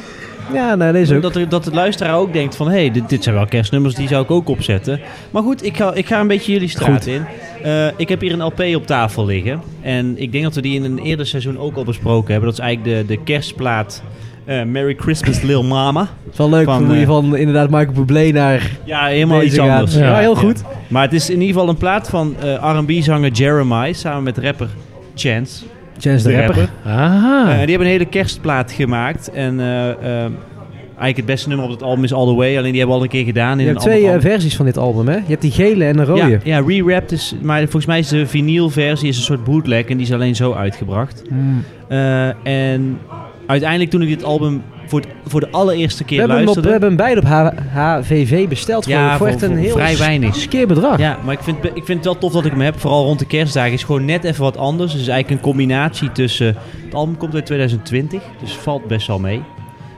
[SPEAKER 1] Ja, nee, deze ook.
[SPEAKER 2] Dat, er- dat de luisteraar ook denkt van... hé, hey, dit, dit zijn wel kerstnummers, die zou ik ook opzetten. Maar goed, ik ga, ik ga een beetje jullie straat
[SPEAKER 1] Goed.
[SPEAKER 2] in. Eh, ik heb hier een LP op tafel liggen. En ik denk dat we die in een eerder seizoen ook al besproken hebben. Dat is eigenlijk de, de kerstplaat... eh, Merry Christmas Lil Mama.
[SPEAKER 1] Het is wel leuk
[SPEAKER 2] Van,
[SPEAKER 1] van, hoe je
[SPEAKER 2] eh,
[SPEAKER 1] van inderdaad Michael Bublé naar...
[SPEAKER 2] Ja, helemaal
[SPEAKER 1] Deze
[SPEAKER 2] iets
[SPEAKER 1] gaat.
[SPEAKER 2] anders.
[SPEAKER 1] Ja. Ja, heel goed.
[SPEAKER 2] Maar het is in ieder geval een plaat van eh, R&B-zanger Jeremiah... samen met rapper Chance.
[SPEAKER 1] Chance de rapper.
[SPEAKER 2] Eh, die
[SPEAKER 3] Ah.
[SPEAKER 2] hebben een hele kerstplaat gemaakt. En eh, ehm, eigenlijk het beste nummer op het album is All The Way. Alleen die hebben we al een keer gedaan. In
[SPEAKER 1] Je
[SPEAKER 2] een
[SPEAKER 1] hebt twee
[SPEAKER 2] ander
[SPEAKER 1] eh,
[SPEAKER 2] album.
[SPEAKER 1] versies van dit album, hè? Je hebt die gele en een rode.
[SPEAKER 2] Ja, ja, re-wrapped is... Maar volgens mij is de vinylversie is een soort bootleg. En die is alleen zo uitgebracht.
[SPEAKER 1] Hmm.
[SPEAKER 2] Eh, en uiteindelijk toen ik dit album voor, het- voor de allereerste
[SPEAKER 1] We,
[SPEAKER 2] keer
[SPEAKER 1] hebben hem op, we
[SPEAKER 2] luisterde...
[SPEAKER 1] hebben hem beide op H- HVV besteld
[SPEAKER 2] Ja,
[SPEAKER 1] geloof ik, voor
[SPEAKER 2] voor-
[SPEAKER 1] echt een
[SPEAKER 2] voor
[SPEAKER 1] heel
[SPEAKER 2] vrij weinig.
[SPEAKER 1] skeer bedrag.
[SPEAKER 2] Ja, maar ik vind, ik vind het wel tof dat ik hem heb. Vooral rond de kerstdagen is gewoon net even wat anders. Het is eigenlijk een combinatie tussen... Het album komt uit 2020, dus valt best wel mee.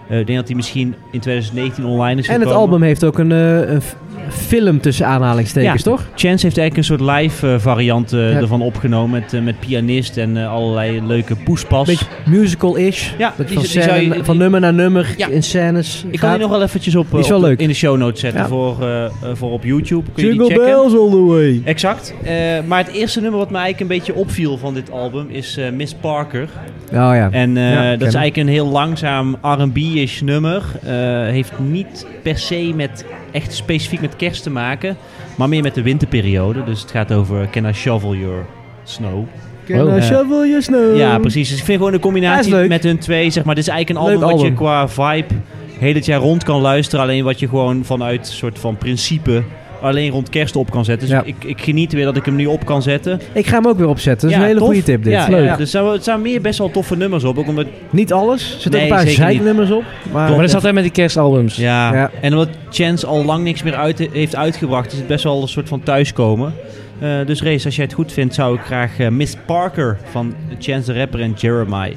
[SPEAKER 2] Eh, ik denk dat hij misschien in 2019 online is
[SPEAKER 1] en het
[SPEAKER 2] gekomen.
[SPEAKER 1] album heeft ook een, eh, een f- film tussen aanhalingstekens,
[SPEAKER 2] Ja.
[SPEAKER 1] toch?
[SPEAKER 2] Chance heeft eigenlijk een soort live eh, variant eh,
[SPEAKER 1] Ja.
[SPEAKER 2] ervan opgenomen. Met, eh, met pianist en eh, allerlei leuke poespas.
[SPEAKER 1] Beetje musical-ish.
[SPEAKER 2] Ja,
[SPEAKER 1] Dat je
[SPEAKER 2] die
[SPEAKER 1] van,
[SPEAKER 2] z- die
[SPEAKER 1] scène-
[SPEAKER 2] zou je- die-
[SPEAKER 1] van nummer naar nummer
[SPEAKER 2] Ja.
[SPEAKER 1] in scènes
[SPEAKER 2] ik kan die
[SPEAKER 1] gaat.
[SPEAKER 2] nog wel eventjes op, eh,
[SPEAKER 1] Die is wel
[SPEAKER 2] op de-
[SPEAKER 1] leuk.
[SPEAKER 2] in de show notes zetten
[SPEAKER 1] Ja.
[SPEAKER 2] voor, eh, eh, voor op YouTube. Kun je die
[SPEAKER 1] Jingle
[SPEAKER 2] checken.
[SPEAKER 1] bells all the way.
[SPEAKER 2] Exact. Eh, maar het eerste nummer wat mij eigenlijk een beetje opviel van dit album is eh, Miss Parker.
[SPEAKER 1] Oh ja.
[SPEAKER 2] En eh,
[SPEAKER 1] Ja,
[SPEAKER 2] dat
[SPEAKER 1] ken
[SPEAKER 2] is
[SPEAKER 1] hem.
[SPEAKER 2] eigenlijk een heel langzaam R&B-ish nummer. Eh, heeft niet per se met echt specifiek met kerst te maken, maar meer met de winterperiode. Dus het gaat over Can I Shovel Your Snow.
[SPEAKER 1] Can
[SPEAKER 3] Oh,
[SPEAKER 1] I
[SPEAKER 2] eh,
[SPEAKER 1] shovel your snow?
[SPEAKER 2] Ja, precies. Dus ik vind gewoon de
[SPEAKER 1] Ehm, Ja, is
[SPEAKER 2] combinatie
[SPEAKER 1] leuk.
[SPEAKER 2] met hun twee, zeg maar. Dit is eigenlijk een
[SPEAKER 1] Leuk
[SPEAKER 2] album wat je
[SPEAKER 1] album.
[SPEAKER 2] qua vibe heel het jaar rond kan luisteren. Alleen wat je gewoon vanuit soort van principe alleen rond kerst op kan zetten. Dus
[SPEAKER 1] Ja.
[SPEAKER 2] ik, ik geniet weer dat ik hem nu op kan zetten.
[SPEAKER 1] Ik ga hem ook weer opzetten. Dat is
[SPEAKER 2] Ja,
[SPEAKER 1] een hele
[SPEAKER 2] tof.
[SPEAKER 1] goede tip dit.
[SPEAKER 2] Ja,
[SPEAKER 1] Leuk.
[SPEAKER 2] Ja, dus er staan meer best wel toffe nummers op. Ook omdat
[SPEAKER 1] Niet alles. Er zitten
[SPEAKER 2] Nee,
[SPEAKER 1] ook een paar
[SPEAKER 2] zeker niet.
[SPEAKER 1] zijknummers op. Maar,
[SPEAKER 3] Maar dat is altijd met die kerstalbums.
[SPEAKER 2] Ja.
[SPEAKER 1] Ja.
[SPEAKER 2] en omdat Chance al lang niks meer uit heeft uitgebracht, is het best wel een soort van thuiskomen. Eh, dus Race, als jij het goed vindt, zou ik graag eh, Miss Parker van Chance de Rapper en Jeremiah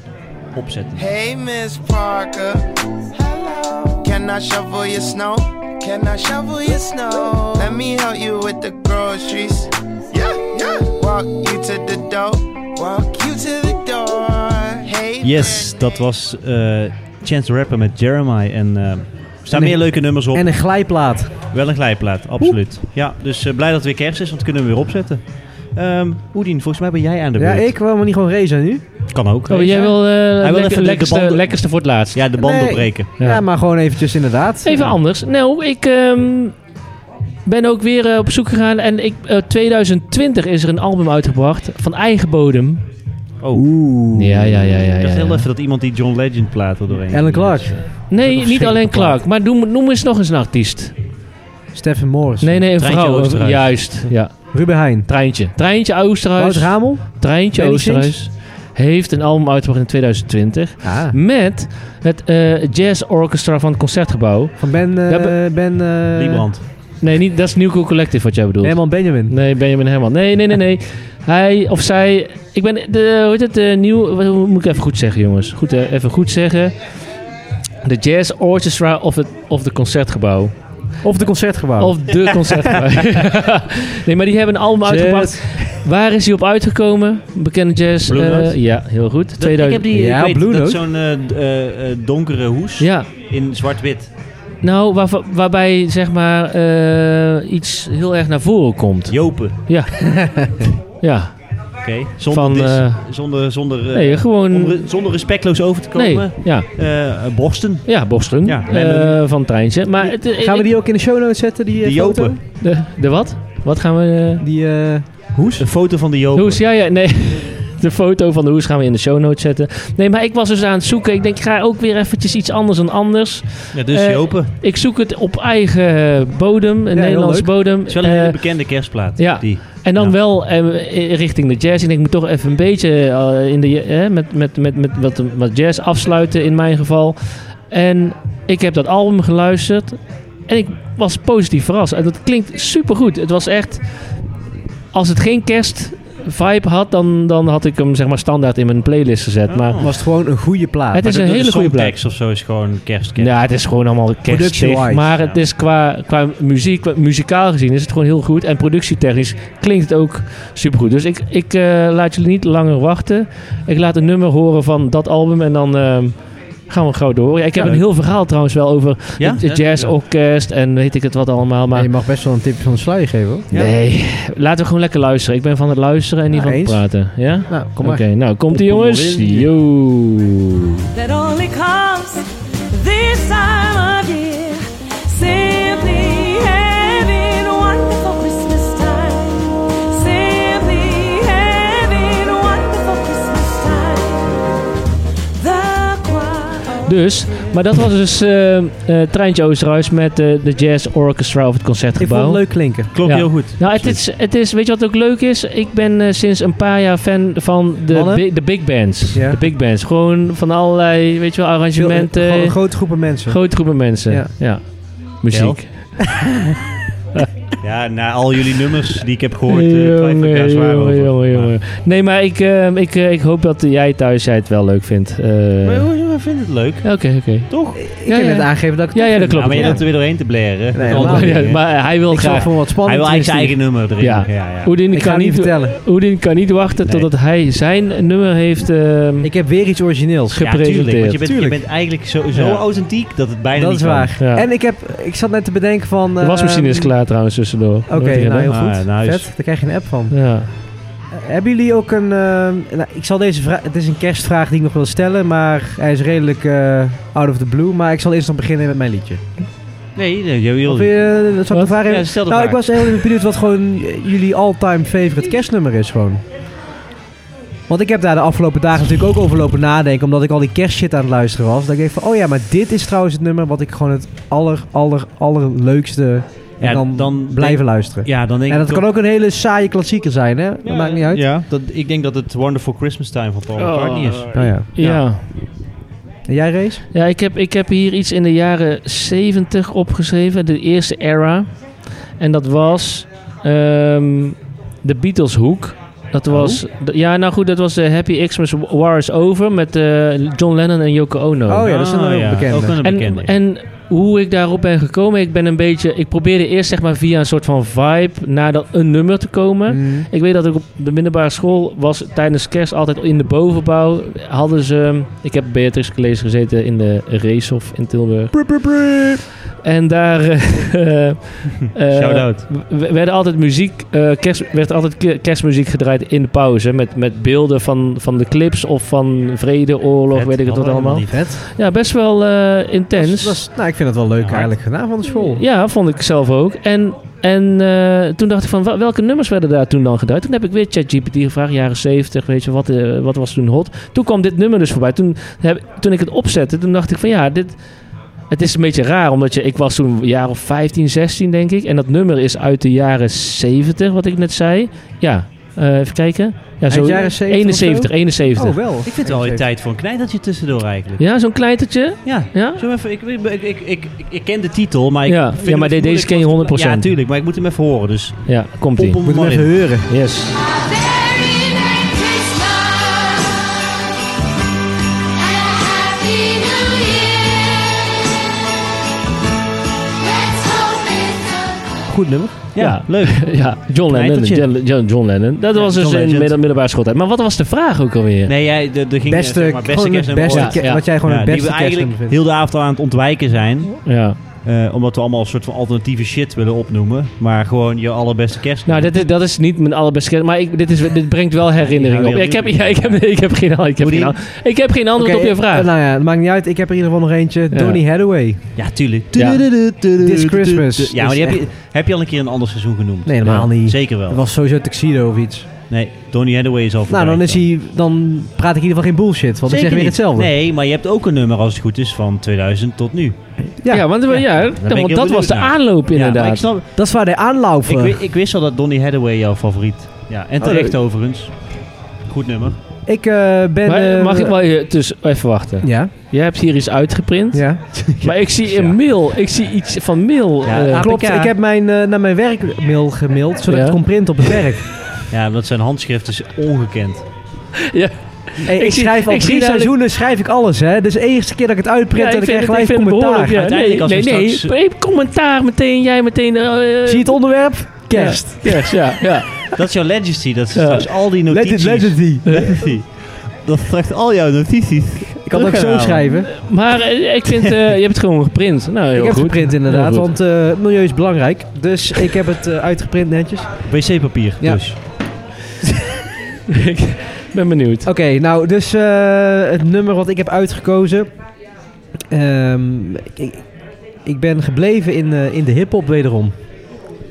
[SPEAKER 2] opzetten.
[SPEAKER 5] Hey, Miss Parker. Hello. Can I shovel your snow? Can I shovel your snow? Let me help you with the groceries. Yeah, yeah. Walk you to the door. Walk you to the door. Hey,
[SPEAKER 2] Yes, dat was eh, Chance the Rapper met Jeremiah. En eh, er staan
[SPEAKER 1] En een-
[SPEAKER 2] meer leuke nummers op.
[SPEAKER 1] en een glijplaat.
[SPEAKER 2] Wel een glijplaat, absoluut. Ja, dus eh, blij dat het weer kerst is, want kunnen we weer opzetten. Ehm Oedien, volgens mij ben jij aan de
[SPEAKER 1] Ja,
[SPEAKER 2] beurt.
[SPEAKER 1] ik wil maar niet gewoon racen nu.
[SPEAKER 2] Kan ook.
[SPEAKER 3] Oh, jij wil eh
[SPEAKER 2] wil
[SPEAKER 3] lekker-
[SPEAKER 2] even de- de
[SPEAKER 3] lekkerste,
[SPEAKER 2] banden-
[SPEAKER 3] lekkerste voor het laatst.
[SPEAKER 2] Ja, de band
[SPEAKER 1] Nee.
[SPEAKER 2] opbreken.
[SPEAKER 1] Ja. maar gewoon eventjes inderdaad.
[SPEAKER 3] Even anders. Nou, ik ehm, ben ook weer eh, op zoek gegaan. En ik, eh, 2020 is er een album uitgebracht van eigen bodem.
[SPEAKER 2] Oh,
[SPEAKER 1] Oeh.
[SPEAKER 3] Ja, ja, ja, ja.
[SPEAKER 2] ik
[SPEAKER 3] ja,
[SPEAKER 2] dacht
[SPEAKER 3] ja.
[SPEAKER 2] heel even dat iemand die John Legend plaat er doorheen.
[SPEAKER 1] Alan Clark.
[SPEAKER 3] Nee,
[SPEAKER 1] Dat
[SPEAKER 3] niet
[SPEAKER 1] was
[SPEAKER 3] alleen
[SPEAKER 1] geen
[SPEAKER 3] Clark. Maar noem, noem eens nog eens een artiest.
[SPEAKER 1] Stephen Morris.
[SPEAKER 3] Nee, nee, een
[SPEAKER 2] Treintje
[SPEAKER 3] vrouw.
[SPEAKER 2] Oosterhuis.
[SPEAKER 3] Juist, ja.
[SPEAKER 1] Ruben Heijn.
[SPEAKER 3] Treintje. Treintje
[SPEAKER 1] Wout
[SPEAKER 3] Oosterhuis.
[SPEAKER 1] Hamel.
[SPEAKER 3] Treintje
[SPEAKER 1] Benny
[SPEAKER 3] Oosterhuis. Heeft een album uitgebracht in 2020.
[SPEAKER 1] Ah.
[SPEAKER 3] Met het eh, Jazz Orchestra van het Concertgebouw.
[SPEAKER 1] Van Ben... eh,
[SPEAKER 3] Ja, be-
[SPEAKER 1] ben eh,
[SPEAKER 2] Liebrand.
[SPEAKER 3] Nee, niet, dat is New Cool Collective wat jij bedoelt.
[SPEAKER 1] Herman Benjamin.
[SPEAKER 3] Nee, Benjamin Herman. Nee, nee, nee, nee. Hij of zij... Ik ben... De, hoe heet het? De nieuw... wat- Hoe moet ik even goed zeggen, jongens? Goed, hè? even goed zeggen. De Jazz Orchestra of het of de Concertgebouw.
[SPEAKER 1] Of de
[SPEAKER 2] Oh.
[SPEAKER 1] Concertgebouw.
[SPEAKER 3] Of de
[SPEAKER 2] [LAUGHS]
[SPEAKER 3] Concertgebouw. nee, maar die hebben een album uitgebracht. Waar is hij op uitgekomen? Bekende jazz...
[SPEAKER 2] Blue
[SPEAKER 3] eh,
[SPEAKER 2] Note?
[SPEAKER 3] ja, heel goed.
[SPEAKER 2] Dat- Ik
[SPEAKER 3] 2000.
[SPEAKER 2] heb die,
[SPEAKER 1] Ja,
[SPEAKER 2] ik weet
[SPEAKER 1] Blue
[SPEAKER 2] dat
[SPEAKER 1] Note.
[SPEAKER 2] zo'n eh, d- eh, eh, donkere hoes
[SPEAKER 3] Ja,
[SPEAKER 2] in zwart-wit.
[SPEAKER 3] nou, waar- waarbij zeg maar eh, iets heel erg naar voren komt.
[SPEAKER 2] Jopen. [LAUGHS]
[SPEAKER 3] Ja,
[SPEAKER 2] Oké. Zonder,
[SPEAKER 3] Van,
[SPEAKER 2] dis-
[SPEAKER 3] eh,
[SPEAKER 2] zonder, zonder, eh,
[SPEAKER 3] nee,
[SPEAKER 2] om
[SPEAKER 3] gewoon...
[SPEAKER 2] re- zonder respectloos over te
[SPEAKER 3] Nee,
[SPEAKER 2] komen.
[SPEAKER 3] ja.
[SPEAKER 2] Eh, eh, borsten.
[SPEAKER 3] Ja, Boström.
[SPEAKER 2] Ja,
[SPEAKER 3] Eh,
[SPEAKER 2] Lennon.
[SPEAKER 3] van Treintje. Maar het, eh,
[SPEAKER 1] Gaan we
[SPEAKER 3] ik-
[SPEAKER 1] die ook in de show notes zetten, die, eh,
[SPEAKER 2] De
[SPEAKER 1] foto?
[SPEAKER 2] Jopen.
[SPEAKER 3] De, de wat? Wat gaan we... eh,
[SPEAKER 1] Die... eh,
[SPEAKER 2] Een foto van de Jopen.
[SPEAKER 3] hoes? Ja, ja, nee. [LAUGHS] De foto van de hoes gaan we in de show notes zetten. Nee, maar ik was dus aan het zoeken. Ik denk, ik ga ook weer eventjes iets anders dan anders.
[SPEAKER 2] Ja, dus
[SPEAKER 3] Eh,
[SPEAKER 2] Jopen.
[SPEAKER 3] Ik zoek het op eigen bodem, een
[SPEAKER 1] heel
[SPEAKER 3] Nederlands
[SPEAKER 1] leuk.
[SPEAKER 3] bodem.
[SPEAKER 2] Het is wel een
[SPEAKER 3] Eh,
[SPEAKER 2] hele bekende kerstplaat.
[SPEAKER 3] ja.
[SPEAKER 2] Die.
[SPEAKER 3] en dan
[SPEAKER 2] ja.
[SPEAKER 3] wel eh, richting de jazz. Ik denk, ik moet toch even een beetje eh, in de, eh, met, met, met, met wat, wat jazz afsluiten in mijn geval. En ik heb dat album geluisterd. En ik was positief verrast. En dat klinkt supergoed. Het was echt... Als het geen kerst vibe had, dan, dan had ik hem zeg maar standaard in mijn playlist gezet. Maar
[SPEAKER 1] was het gewoon een goede plaat.
[SPEAKER 3] het is een hele goede plaat.
[SPEAKER 2] tekst of zo is gewoon kerstkerst.
[SPEAKER 3] Ja, het is gewoon allemaal kerstig.
[SPEAKER 1] Productie-wise,
[SPEAKER 3] Maar het
[SPEAKER 2] ja.
[SPEAKER 3] is qua, qua muziek, qua- muzikaal gezien, is het gewoon heel goed. En productietechnisch klinkt het ook supergoed. Dus ik, ik eh, laat jullie niet langer wachten. Ik laat een nummer horen van dat album. En dan eh, Gaan we gauw door. Ja, ik heb
[SPEAKER 2] Ja.
[SPEAKER 3] een heel verhaal trouwens wel over
[SPEAKER 2] Ja?
[SPEAKER 3] het- het
[SPEAKER 2] Ja,
[SPEAKER 3] jazzorkest en weet ik het wat allemaal. Maar
[SPEAKER 1] je mag best wel een tipje van de sluier geven hoor.
[SPEAKER 3] nee, laten we gewoon lekker luisteren. Ik ben van het luisteren en niet
[SPEAKER 1] Nou,
[SPEAKER 3] van het
[SPEAKER 1] eens.
[SPEAKER 3] praten. Ja?
[SPEAKER 1] Nou, kom
[SPEAKER 3] Oké,
[SPEAKER 1] maar.
[SPEAKER 3] nou komt ie jongens. Yo.
[SPEAKER 8] that only comes this time of year. Simply having a wonderful Christmas time. Simply having a wonderful Christmas time. The choir.
[SPEAKER 3] Dus, maar dat was dus eh, eh, Treintje Oosterhuis met eh, de Jazz Orchestra of het
[SPEAKER 1] Ik vond het
[SPEAKER 3] Concertgebouw.
[SPEAKER 1] leuk klinken.
[SPEAKER 2] Klopt
[SPEAKER 3] Ja.
[SPEAKER 2] heel goed.
[SPEAKER 3] Nou, het is, het is, weet je wat ook leuk is? Ik ben eh, sinds een paar jaar fan van de,
[SPEAKER 1] Mannen?
[SPEAKER 3] bi- de big bands.
[SPEAKER 1] Ja. eh,
[SPEAKER 3] De big bands. Gewoon van allerlei, weet je wel, arrangementen.
[SPEAKER 1] Gewoon een grote groepen mensen.
[SPEAKER 3] grote groepen mensen. Ja.
[SPEAKER 1] Ja.
[SPEAKER 3] Muziek.
[SPEAKER 2] Ja, na al jullie nummers die ik heb gehoord, eh twijfel ik
[SPEAKER 3] Jongen,
[SPEAKER 2] daar zwaar
[SPEAKER 3] jongen,
[SPEAKER 2] over.
[SPEAKER 3] jongen,
[SPEAKER 2] Maar-
[SPEAKER 3] jongen. Nee, maar ik, eh, ik, eh, ik hoop dat jij thuis jij het wel leuk vindt. Eh,
[SPEAKER 2] Maar
[SPEAKER 3] Oké,
[SPEAKER 2] hoe- hoe vind het leuk?
[SPEAKER 3] oké.
[SPEAKER 2] Toch?
[SPEAKER 1] Ik
[SPEAKER 3] Ja,
[SPEAKER 1] heb
[SPEAKER 3] ja.
[SPEAKER 1] net aangegeven dat ik het
[SPEAKER 3] Ja, ja, dat
[SPEAKER 1] leuk
[SPEAKER 3] klopt.
[SPEAKER 2] Ja, maar je
[SPEAKER 3] ja.
[SPEAKER 2] hebt er weer doorheen te blaren.
[SPEAKER 1] Nee,
[SPEAKER 2] Met al die
[SPEAKER 1] helemaal
[SPEAKER 3] Ja,
[SPEAKER 2] dingen.
[SPEAKER 3] maar hij wil
[SPEAKER 1] vind. Ik zag
[SPEAKER 3] graag...
[SPEAKER 1] voor wat
[SPEAKER 2] Hij
[SPEAKER 1] spannend.
[SPEAKER 2] wil eigenlijk zijn
[SPEAKER 1] is.
[SPEAKER 2] eigen nummer erin.
[SPEAKER 3] Ja.
[SPEAKER 2] Ja. Ja, ja.
[SPEAKER 3] Houdin
[SPEAKER 1] Ik ga
[SPEAKER 3] kan,
[SPEAKER 1] het niet
[SPEAKER 3] niet,
[SPEAKER 1] vertellen.
[SPEAKER 3] Houdin kan niet wachten
[SPEAKER 2] Nee.
[SPEAKER 3] totdat hij zijn nummer heeft... ehm,
[SPEAKER 1] Ik heb weer iets origineels.
[SPEAKER 3] Ge-
[SPEAKER 2] tuurlijk, want je bent, je
[SPEAKER 1] Tuurlijk.
[SPEAKER 2] bent eigenlijk zo, zo
[SPEAKER 1] Ja.
[SPEAKER 2] authentiek dat het bijna
[SPEAKER 1] Dat
[SPEAKER 2] niet
[SPEAKER 1] is
[SPEAKER 2] kan.
[SPEAKER 1] waar.
[SPEAKER 3] Ja.
[SPEAKER 1] En ik, heb, ik zat net te bedenken van...
[SPEAKER 3] de wasmachine
[SPEAKER 1] ehm,
[SPEAKER 3] is klaar trouwens tussendoor.
[SPEAKER 1] Oké,
[SPEAKER 3] Wordt die
[SPEAKER 1] nou
[SPEAKER 3] gedaan?
[SPEAKER 1] heel
[SPEAKER 2] Ah,
[SPEAKER 1] goed.
[SPEAKER 2] nou is-
[SPEAKER 1] Vet, daar krijg je een app van.
[SPEAKER 3] Ja.
[SPEAKER 1] Eh, Hebben jullie ook een... ehm, nou, ik zal deze vraag... Het is een kerstvraag die ik nog wil stellen, maar hij is redelijk eh, out of the blue. Maar ik zal eerst nog beginnen met mijn liedje.
[SPEAKER 2] Nee, nee, je wil
[SPEAKER 1] Of je, dat zal ik
[SPEAKER 3] Wat?
[SPEAKER 1] de vraag even-
[SPEAKER 2] Ja, stel de
[SPEAKER 1] Nou, ik
[SPEAKER 2] vraag.
[SPEAKER 1] was heel even benieuwd wat gewoon eh, jullie all-time favorite kerstnummer is gewoon. Want ik heb daar de afgelopen dagen natuurlijk ook over lopen nadenken, omdat ik al die kerstshit aan het luisteren was. Dat ik denk van, oh ja, maar dit is trouwens het nummer wat ik gewoon het aller, aller, allerleukste en
[SPEAKER 2] Ja,
[SPEAKER 1] dan,
[SPEAKER 2] dan
[SPEAKER 1] blijven
[SPEAKER 2] denk-
[SPEAKER 1] luisteren.
[SPEAKER 2] Ja, dan denk
[SPEAKER 1] en
[SPEAKER 2] ik
[SPEAKER 1] dat kan ook een hele saaie klassieker zijn, hè? dat maakt niet uit.
[SPEAKER 2] Ja, dat, ik denk dat het Wonderful Christmas Time van Paul
[SPEAKER 3] Oh.
[SPEAKER 2] McCartney is.
[SPEAKER 1] Nou ja.
[SPEAKER 3] Ja.
[SPEAKER 1] En jij, Race?
[SPEAKER 3] Ja, ik heb, ik heb hier iets in de jaren 70 opgeschreven, de eerste era. En dat was ehm, de Beatles hoek. Dat
[SPEAKER 1] Oh.
[SPEAKER 3] was, d- ja nou goed, dat was de Happy Xmas War is Over met eh, John Lennon en Yoko Ono.
[SPEAKER 1] Oh ja, dat is een
[SPEAKER 2] Ah,
[SPEAKER 1] heel bekende.
[SPEAKER 2] Ook een
[SPEAKER 3] En,
[SPEAKER 2] bekende.
[SPEAKER 3] en hoe ik daarop ben gekomen, ik ben een beetje, ik probeerde eerst zeg maar via een soort van vibe naar dat een nummer te komen.
[SPEAKER 1] Mm.
[SPEAKER 3] Ik weet dat ik op de middelbare school was tijdens kerst altijd in de bovenbouw. Hadden ze, ik heb Beatrix College gezeten in de Racehof in Tilburg. En daar [LAUGHS] eh, eh,
[SPEAKER 2] Shout-out.
[SPEAKER 3] w- werden altijd muziek, eh, kerst, werd altijd ke- kerstmuziek gedraaid in de pauze. Met, met beelden van, van de clips of van vrede, oorlog,
[SPEAKER 2] Vet,
[SPEAKER 3] weet ik het wat
[SPEAKER 2] hadden we
[SPEAKER 3] allemaal.
[SPEAKER 2] helemaal
[SPEAKER 1] Vet.
[SPEAKER 3] Ja, best wel eh, intens.
[SPEAKER 1] Dat is- dat is- nou, ik vind het wel leuk
[SPEAKER 2] Dus- Ja.
[SPEAKER 1] eigenlijk gedaan van de school.
[SPEAKER 3] Ja, vond ik zelf ook. En, en eh, toen dacht ik van, wa- welke nummers werden daar toen dan gedraaid? Toen heb ik weer ChatGPT gevraagd, jaren 70, weet je, wat, eh, wat was toen hot? Toen kwam dit nummer dus voorbij. Toen, heb, toen ik het opzette, toen dacht ik van, ja, dit... Het is een beetje raar, omdat je, ik was toen een jaar of 15, 16 denk ik. En dat nummer is uit de jaren 70, wat ik net zei. Ja, eh, even kijken. Ja,
[SPEAKER 1] Uit jaren 70 of
[SPEAKER 3] 71, 71.
[SPEAKER 1] Oh, wel.
[SPEAKER 2] Ik vind het wel weer tijd voor een knijtertje tussendoor eigenlijk.
[SPEAKER 3] Ja, zo'n kleitertje.
[SPEAKER 2] Ja.
[SPEAKER 3] Ja?
[SPEAKER 2] Zullen we even, ik, ik, ik, ik, ik, ik ken de titel, maar ik
[SPEAKER 3] Ja,
[SPEAKER 2] vind
[SPEAKER 3] ja, maar
[SPEAKER 2] het
[SPEAKER 3] de- deze
[SPEAKER 2] moeilijk
[SPEAKER 3] ken je
[SPEAKER 2] om-
[SPEAKER 3] 100%.
[SPEAKER 2] Ja, tuurlijk, maar ik moet hem even horen, dus
[SPEAKER 3] Ja, komt ie.
[SPEAKER 2] pomp
[SPEAKER 1] Moet
[SPEAKER 2] hem
[SPEAKER 1] hem
[SPEAKER 2] maar
[SPEAKER 1] even
[SPEAKER 2] in.
[SPEAKER 1] horen.
[SPEAKER 3] Yes.
[SPEAKER 8] Very Merry Christmas and a Happy New Year. Let's hope it's a
[SPEAKER 1] Goed nummer.
[SPEAKER 2] Ja, leuk.
[SPEAKER 3] [LAUGHS] Ja, John Lennon.
[SPEAKER 2] Knijtertje.
[SPEAKER 3] John, John- John Lennon. Dat was dus
[SPEAKER 2] John
[SPEAKER 3] in
[SPEAKER 2] Legend.
[SPEAKER 3] midden, middelbare schooltijd. Maar wat was de vraag ook alweer?
[SPEAKER 2] Nee, jij, de, de ging
[SPEAKER 1] Beste,
[SPEAKER 2] zeg maar, beste
[SPEAKER 1] gewoon het
[SPEAKER 2] kerstnummer
[SPEAKER 1] beste
[SPEAKER 2] ooit.
[SPEAKER 1] ke-
[SPEAKER 3] Ja.
[SPEAKER 1] Wat jij gewoon
[SPEAKER 2] Ja,
[SPEAKER 1] het
[SPEAKER 2] die we
[SPEAKER 1] beste kerstnummer
[SPEAKER 2] eigenlijk
[SPEAKER 1] vindt.
[SPEAKER 2] heel de avond aan het ontwijken zijn.
[SPEAKER 3] Ja.
[SPEAKER 2] eh, omdat we allemaal een soort van alternatieve shit willen opnoemen. Maar gewoon je allerbeste kerst.
[SPEAKER 3] Nou, dat is, dat is niet mijn allerbeste kennis, Maar ik, dit, is, dit brengt wel herinneringen op. Ja, ik, heb, ja, ik, heb, ik, heb geen, ik, heb
[SPEAKER 2] Hoe
[SPEAKER 3] geen,
[SPEAKER 2] die?
[SPEAKER 3] an- ik heb geen antwoord
[SPEAKER 1] Oké,
[SPEAKER 3] op je
[SPEAKER 1] eh,
[SPEAKER 3] vraag.
[SPEAKER 1] Nou ja, het maakt niet uit. Ik heb er in ieder geval nog eentje.
[SPEAKER 3] Ja.
[SPEAKER 1] Donny Hathaway.
[SPEAKER 2] Ja, tuurlijk.
[SPEAKER 3] Ja.
[SPEAKER 1] This Christmas.
[SPEAKER 2] Ja, maar die
[SPEAKER 1] Is
[SPEAKER 2] heb, je, heb je al een keer een ander seizoen genoemd?
[SPEAKER 1] Nee, helemaal
[SPEAKER 2] Ja,
[SPEAKER 1] niet.
[SPEAKER 2] Zeker
[SPEAKER 1] Dat
[SPEAKER 2] wel.
[SPEAKER 1] was sowieso Tuxedo of iets.
[SPEAKER 2] Nee, Donny Hathaway is al
[SPEAKER 1] Nou,
[SPEAKER 2] voorbij
[SPEAKER 1] dan, is
[SPEAKER 2] gekomen.
[SPEAKER 1] hij, dan praat ik in ieder geval geen bullshit. Want
[SPEAKER 2] Zeker
[SPEAKER 1] ik zeg weer
[SPEAKER 2] niet.
[SPEAKER 1] hetzelfde.
[SPEAKER 2] Nee, maar je hebt ook een nummer als het goed is van 2000 tot nu.
[SPEAKER 3] ja,
[SPEAKER 1] ja.
[SPEAKER 3] want, ja, want
[SPEAKER 2] ben ik heel
[SPEAKER 3] dat was
[SPEAKER 2] benieuwd
[SPEAKER 3] de
[SPEAKER 2] naar.
[SPEAKER 3] aanloop
[SPEAKER 2] Ja, maar ik
[SPEAKER 3] inderdaad.
[SPEAKER 2] snap,
[SPEAKER 1] Dat is waar de aanloop
[SPEAKER 2] ik,
[SPEAKER 1] voor. Ik,
[SPEAKER 2] wi- ik wist al dat Donny Hathaway jouw favoriet. Ja,
[SPEAKER 1] Oh,
[SPEAKER 2] en terecht overigens. Goed nummer.
[SPEAKER 1] eh, ben...
[SPEAKER 3] Maar,
[SPEAKER 1] eh,
[SPEAKER 3] mag ik wel je, dus even wachten.
[SPEAKER 1] Ja,
[SPEAKER 3] Jij hebt hier iets uitgeprint.
[SPEAKER 1] ja.
[SPEAKER 3] Maar ik zie
[SPEAKER 2] Ja.
[SPEAKER 3] een mail. Ik zie iets van mail.
[SPEAKER 2] Ja,
[SPEAKER 3] eh,
[SPEAKER 2] APK.
[SPEAKER 1] Klopt, ik heb mijn, eh, naar mijn werkmail gemaild, zodat
[SPEAKER 3] Ja.
[SPEAKER 1] ik het kon printen op het
[SPEAKER 3] [LAUGHS]
[SPEAKER 1] werk.
[SPEAKER 2] Ja, dat zijn handschriften is ongekend.
[SPEAKER 1] Hey, ik,
[SPEAKER 3] Ik zie-
[SPEAKER 1] schrijf al
[SPEAKER 3] ik zie
[SPEAKER 1] drie
[SPEAKER 3] duidelijk-
[SPEAKER 1] seizoenen schrijf ik alles, hè. Dus de eerste keer dat ik het uitprint
[SPEAKER 3] ja,
[SPEAKER 1] en ik krijg
[SPEAKER 3] het-
[SPEAKER 1] gelijk
[SPEAKER 3] het
[SPEAKER 1] commentaar.
[SPEAKER 3] behoorlijk, ja.
[SPEAKER 2] Uiteindelijk als
[SPEAKER 3] nee,
[SPEAKER 2] we
[SPEAKER 3] nee,
[SPEAKER 2] straks-
[SPEAKER 3] nee, commentaar meteen. Jij meteen. eh,
[SPEAKER 1] Zie je het onderwerp? Kerst.
[SPEAKER 3] Ja, kerst, ja. ja.
[SPEAKER 2] Dat is jouw legacy, dat is
[SPEAKER 3] Ja.
[SPEAKER 2] straks al die [LAUGHS]
[SPEAKER 1] Legend,
[SPEAKER 2] notities.
[SPEAKER 1] legacy.
[SPEAKER 2] Legacy. Dat straks al jouw notities
[SPEAKER 1] kan het ook zo
[SPEAKER 2] nou.
[SPEAKER 3] teruggaan.
[SPEAKER 1] schrijven.
[SPEAKER 3] Maar eh, ik vind, eh, je hebt het gewoon geprint. Nou, heel
[SPEAKER 1] ik heb
[SPEAKER 3] goed.
[SPEAKER 1] geprint inderdaad,
[SPEAKER 3] Heel goed.
[SPEAKER 1] want eh, milieu is belangrijk. Dus ik heb het eh, uitgeprint netjes.
[SPEAKER 2] Wc-papier
[SPEAKER 1] Ja.
[SPEAKER 2] dus.
[SPEAKER 3] [LAUGHS] ik ben benieuwd.
[SPEAKER 1] Oké, nou, dus eh, het nummer wat ik heb uitgekozen. Ehm, ik, ik ben gebleven in, eh, in de hip-hop wederom.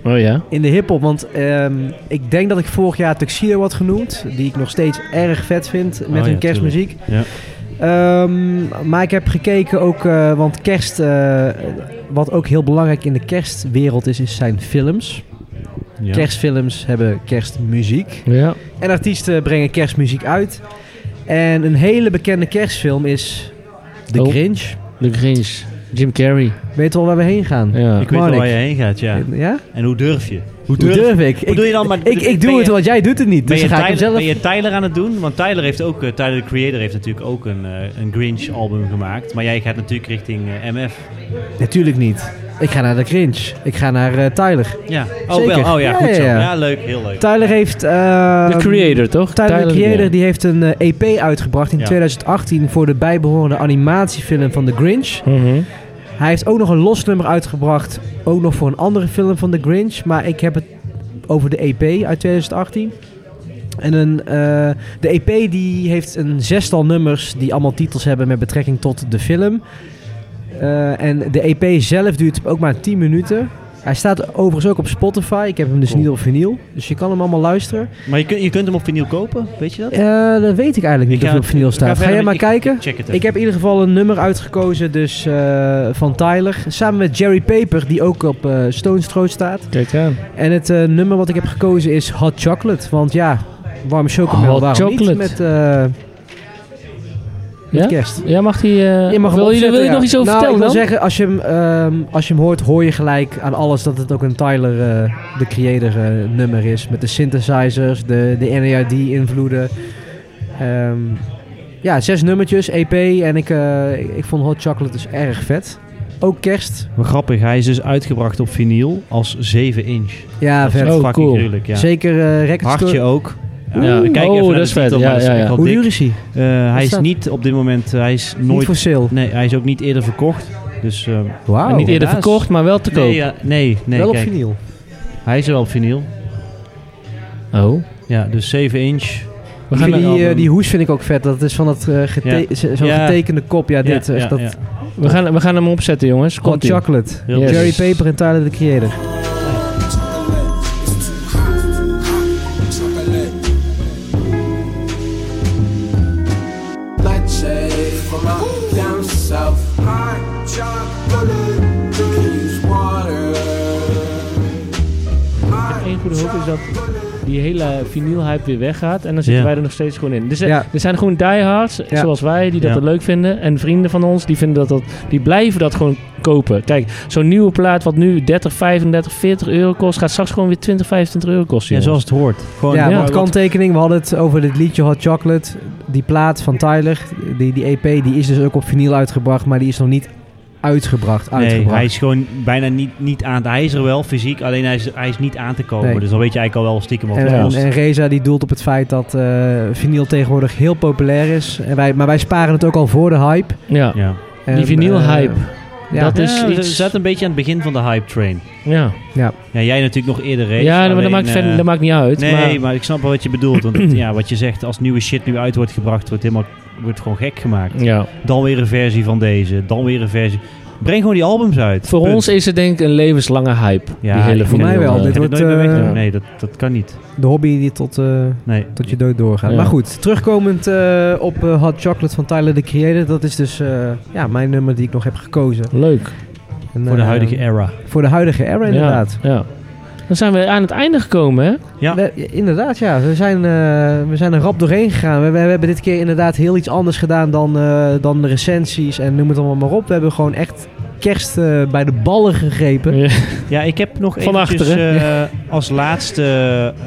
[SPEAKER 3] Oh ja?
[SPEAKER 1] In de hip-hop, want ehm, ik denk dat ik vorig jaar Tuxedo had genoemd. Die ik nog steeds erg vet vind met
[SPEAKER 2] Oh
[SPEAKER 1] hun
[SPEAKER 2] ja,
[SPEAKER 1] kerstmuziek.
[SPEAKER 2] Ja.
[SPEAKER 1] Ehm, maar ik heb gekeken ook, eh, want kerst, eh, wat ook heel belangrijk in de kerstwereld is, is zijn films.
[SPEAKER 2] Ja.
[SPEAKER 1] Kerstfilms hebben kerstmuziek.
[SPEAKER 3] Ja.
[SPEAKER 1] En artiesten brengen kerstmuziek uit. En een hele bekende kerstfilm is The
[SPEAKER 3] Oh.
[SPEAKER 1] Grinch.
[SPEAKER 3] De Grinch. Jim Carrey.
[SPEAKER 1] Weet wel waar we heen gaan?
[SPEAKER 3] Ja.
[SPEAKER 2] Ik weet wel
[SPEAKER 1] Marnik.
[SPEAKER 2] waar je heen gaat, ja.
[SPEAKER 1] Ja?
[SPEAKER 2] En hoe durf je?
[SPEAKER 1] Hoe durf, ik?
[SPEAKER 2] Hoe doe je dan? Maar
[SPEAKER 1] ik, ik,
[SPEAKER 2] ben
[SPEAKER 1] doe het,
[SPEAKER 2] je-
[SPEAKER 1] want jij doet het niet.
[SPEAKER 2] Ben
[SPEAKER 1] Dus
[SPEAKER 2] je,
[SPEAKER 1] dan ga ik hem
[SPEAKER 2] Tyler,
[SPEAKER 1] zelf...
[SPEAKER 2] ben je Tyler aan het doen? Want Tyler heeft ook, eh, Tyler the Creator heeft natuurlijk ook een, eh, een Grinch album gemaakt. Maar jij gaat natuurlijk richting eh, MF.
[SPEAKER 1] Natuurlijk niet. Ik ga naar The Grinch. Ik ga naar eh, Tyler.
[SPEAKER 2] Ja. Oh
[SPEAKER 1] Zeker.
[SPEAKER 2] wel, oh ja,
[SPEAKER 1] Ja,
[SPEAKER 2] goed zo.
[SPEAKER 1] ja, ja.
[SPEAKER 2] Ja, leuk, heel leuk.
[SPEAKER 1] Tyler heeft... eh,
[SPEAKER 3] De creator, toch?
[SPEAKER 1] Tyler, the Creator
[SPEAKER 3] ja.
[SPEAKER 1] die heeft een eh, EP uitgebracht in
[SPEAKER 2] Ja.
[SPEAKER 1] 2018 voor de bijbehorende animatiefilm van The Grinch.
[SPEAKER 3] Mhm.
[SPEAKER 1] Hij heeft ook nog een los nummer uitgebracht, ook nog voor een andere film van The Grinch. Maar ik heb het over de EP uit 2018. En een, eh, de EP die heeft een zestal nummers die allemaal titels hebben met betrekking tot de film. Eh, en de EP zelf duurt ook maar 10 minuten. Hij staat overigens ook op Spotify. Ik heb hem dus
[SPEAKER 2] Cool.
[SPEAKER 1] niet op vinyl. Dus je kan hem allemaal luisteren.
[SPEAKER 2] Maar je, kunt- je kunt hem op vinyl kopen, weet je dat?
[SPEAKER 1] Eh, dat weet ik eigenlijk niet of
[SPEAKER 2] Ik ga-
[SPEAKER 1] hij op vinyl
[SPEAKER 2] ik ga
[SPEAKER 1] staat. Ga
[SPEAKER 2] verder
[SPEAKER 1] jij
[SPEAKER 2] met-
[SPEAKER 1] maar
[SPEAKER 2] ik-
[SPEAKER 1] kijken?
[SPEAKER 2] Check het even.
[SPEAKER 1] Ik heb in ieder geval een nummer uitgekozen dus, eh, van Tyler. Samen met Jerry Paper, die ook op eh Stone's Throw staat.
[SPEAKER 3] Kijk aan.
[SPEAKER 1] En het eh, nummer wat ik heb gekozen is Hot Chocolate. Want ja, warme chocomel,
[SPEAKER 3] Hot
[SPEAKER 1] waarom
[SPEAKER 3] Chocolate.
[SPEAKER 1] niet met, eh, met
[SPEAKER 3] Ja?
[SPEAKER 1] kerst?
[SPEAKER 3] Ja, mag die... eh,
[SPEAKER 1] Je mag hem
[SPEAKER 3] wil, je,
[SPEAKER 1] opzetten,
[SPEAKER 3] wil je
[SPEAKER 1] ja.
[SPEAKER 3] nog iets over
[SPEAKER 1] nou,
[SPEAKER 3] vertellen
[SPEAKER 1] ik
[SPEAKER 3] dan?
[SPEAKER 1] wil zeggen, als je, hem, ehm, als je hem hoort, hoor je gelijk aan alles dat het ook een Tyler, eh, de creator, eh, nummer is. Met de synthesizers, de, de NERD-invloeden. Ehm, ja, zes nummertjes, EP. En ik, eh, ik- ik vond Hot Chocolate dus erg vet. Ook kerst.
[SPEAKER 2] Maar grappig, hij is dus uitgebracht op vinyl als 7 inch.
[SPEAKER 1] Ja,
[SPEAKER 2] Dat is
[SPEAKER 1] vet.
[SPEAKER 3] Oh,
[SPEAKER 2] fucking
[SPEAKER 3] cool.
[SPEAKER 2] gruwelijk, ja.
[SPEAKER 1] Zeker eh record store.
[SPEAKER 2] Hartje ook.
[SPEAKER 3] Oeh.
[SPEAKER 2] Ja, we kijken
[SPEAKER 3] Oh,
[SPEAKER 2] even naar
[SPEAKER 3] dat
[SPEAKER 2] de
[SPEAKER 3] is vet.
[SPEAKER 2] titel,
[SPEAKER 3] Ja,
[SPEAKER 2] maar dat is
[SPEAKER 3] ja,
[SPEAKER 2] echt
[SPEAKER 3] ja.
[SPEAKER 2] wel
[SPEAKER 1] Hoe
[SPEAKER 2] dik.
[SPEAKER 1] duur is hij?
[SPEAKER 2] Eh, hij is
[SPEAKER 1] staat-
[SPEAKER 2] niet op dit moment, eh, hij is
[SPEAKER 1] Niet voor
[SPEAKER 2] nooit...
[SPEAKER 1] sale.
[SPEAKER 2] Nee, hij is ook niet eerder verkocht. Dus, eh,
[SPEAKER 1] Wauw.
[SPEAKER 3] En niet eerder
[SPEAKER 2] helaas.
[SPEAKER 3] verkocht, maar wel te koop.
[SPEAKER 2] nee, ja, nee, nee,
[SPEAKER 1] Wel op
[SPEAKER 2] kijk.
[SPEAKER 1] vinyl.
[SPEAKER 2] Hij is er wel op vinyl.
[SPEAKER 3] Oh.
[SPEAKER 2] Ja, dus 7 inch.
[SPEAKER 3] We
[SPEAKER 1] Die,
[SPEAKER 3] gaan,
[SPEAKER 1] die, eh, die hoes vind ik ook vet. Dat is van dat eh, gete-
[SPEAKER 2] Ja.
[SPEAKER 1] zo- zo'n
[SPEAKER 2] Ja.
[SPEAKER 1] getekende kop. Ja, dit.
[SPEAKER 2] Ja,
[SPEAKER 1] echt
[SPEAKER 2] ja,
[SPEAKER 1] dat
[SPEAKER 2] ja.
[SPEAKER 3] we, gaan, we gaan hem opzetten, jongens.
[SPEAKER 1] Hot
[SPEAKER 3] Komt
[SPEAKER 1] Chocolate.
[SPEAKER 2] Heel
[SPEAKER 3] Yes.
[SPEAKER 1] Jerry
[SPEAKER 2] leuk.
[SPEAKER 1] Paper en Tyler, the Creator.
[SPEAKER 10] Nightshade from out down south. Hot chocolate. Can use water.
[SPEAKER 3] Eén goede hoop is dat die hele vinylhype weer weggaat. En dan zitten
[SPEAKER 2] Ja.
[SPEAKER 3] wij er nog steeds gewoon in. Dus er,
[SPEAKER 1] Ja.
[SPEAKER 3] er zijn gewoon diehards, zoals wij, die dat
[SPEAKER 2] Ja.
[SPEAKER 3] er leuk vinden. En vrienden van ons, die, vinden dat dat, die blijven dat gewoon kopen. Kijk, zo'n nieuwe plaat wat nu 30, 35, 40 euro kost... gaat straks gewoon weer 20, 25 euro kosten.
[SPEAKER 2] Ja,
[SPEAKER 3] jongens.
[SPEAKER 2] zoals het hoort. Gewoon,
[SPEAKER 1] Ja,
[SPEAKER 3] ja,
[SPEAKER 1] want
[SPEAKER 3] wat-
[SPEAKER 1] kanttekening. We hadden het over dit liedje Hot Chocolate. Die plaat van Tyler, die, die EP, die is dus ook op vinyl uitgebracht. Maar die is nog niet uitgebracht.
[SPEAKER 2] Nee,
[SPEAKER 1] uitgebracht.
[SPEAKER 2] hij is gewoon bijna niet, niet aan te... Hij is er wel fysiek, alleen hij is, hij is niet aan te komen.
[SPEAKER 1] Nee.
[SPEAKER 2] Dus dan weet je eigenlijk al wel stiekem wat
[SPEAKER 1] en,
[SPEAKER 2] het
[SPEAKER 1] en,
[SPEAKER 2] kost.
[SPEAKER 1] en Reza die doelt op het feit dat eh, vinyl tegenwoordig heel populair is. En wij, maar wij sparen het ook al voor de hype.
[SPEAKER 3] Ja,
[SPEAKER 2] Ja.
[SPEAKER 1] En,
[SPEAKER 3] die vinylhype.
[SPEAKER 1] eh, ja.
[SPEAKER 3] dat is
[SPEAKER 2] Ja, we
[SPEAKER 3] iets...
[SPEAKER 2] zaten een beetje aan het begin van de hype train.
[SPEAKER 3] Ja,
[SPEAKER 2] Ja, jij natuurlijk nog eerder race.
[SPEAKER 3] ja maar
[SPEAKER 2] alleen,
[SPEAKER 3] dat maakt,
[SPEAKER 2] eh,
[SPEAKER 3] verder, dat maakt niet uit.
[SPEAKER 2] Nee,
[SPEAKER 3] maar,
[SPEAKER 2] maar... ik snap wel wat je bedoelt. Want
[SPEAKER 3] [CLEARS THROAT]
[SPEAKER 2] het- ja, wat je zegt, als nieuwe shit nu uit wordt gebracht, wordt helemaal wordt gewoon gek gemaakt.
[SPEAKER 3] ja.
[SPEAKER 2] Dan weer een versie van deze, dan weer een versie. Breng gewoon die albums uit.
[SPEAKER 3] Voor
[SPEAKER 2] Punt.
[SPEAKER 3] ons is het denk ik een levenslange hype.
[SPEAKER 2] Ja,
[SPEAKER 3] die hele
[SPEAKER 2] ik vind
[SPEAKER 1] mij
[SPEAKER 3] vinyl,
[SPEAKER 1] wel.
[SPEAKER 3] eh,
[SPEAKER 2] Ga
[SPEAKER 1] Dit
[SPEAKER 2] je
[SPEAKER 1] wordt,
[SPEAKER 2] nooit meer
[SPEAKER 1] eh,
[SPEAKER 2] wegdoen? Nee, dat, dat kan niet.
[SPEAKER 1] De hobby die tot, eh,
[SPEAKER 2] Nee.
[SPEAKER 1] tot je dood doorgaat.
[SPEAKER 3] Ja.
[SPEAKER 1] Maar goed, terugkomend eh, op eh, Hot Chocolate van Tyler, the Creator. Dat is dus eh, ja, mijn nummer die ik nog heb gekozen.
[SPEAKER 3] Leuk.
[SPEAKER 1] En,
[SPEAKER 2] Voor de
[SPEAKER 1] eh,
[SPEAKER 2] huidige era.
[SPEAKER 1] Voor de huidige era, inderdaad.
[SPEAKER 3] Ja, ja. Dan zijn we aan het einde gekomen, hè?
[SPEAKER 2] Ja.
[SPEAKER 1] We- inderdaad, ja. We zijn, eh, we zijn er rap doorheen gegaan. We, we hebben dit keer inderdaad heel iets anders gedaan dan, eh, dan de recensies en noem het allemaal maar op. We hebben gewoon echt kerst eh, bij de ballen gegrepen.
[SPEAKER 2] Ja, ik heb nog
[SPEAKER 3] Van
[SPEAKER 2] eventjes
[SPEAKER 3] achteren.
[SPEAKER 2] eh, als laatste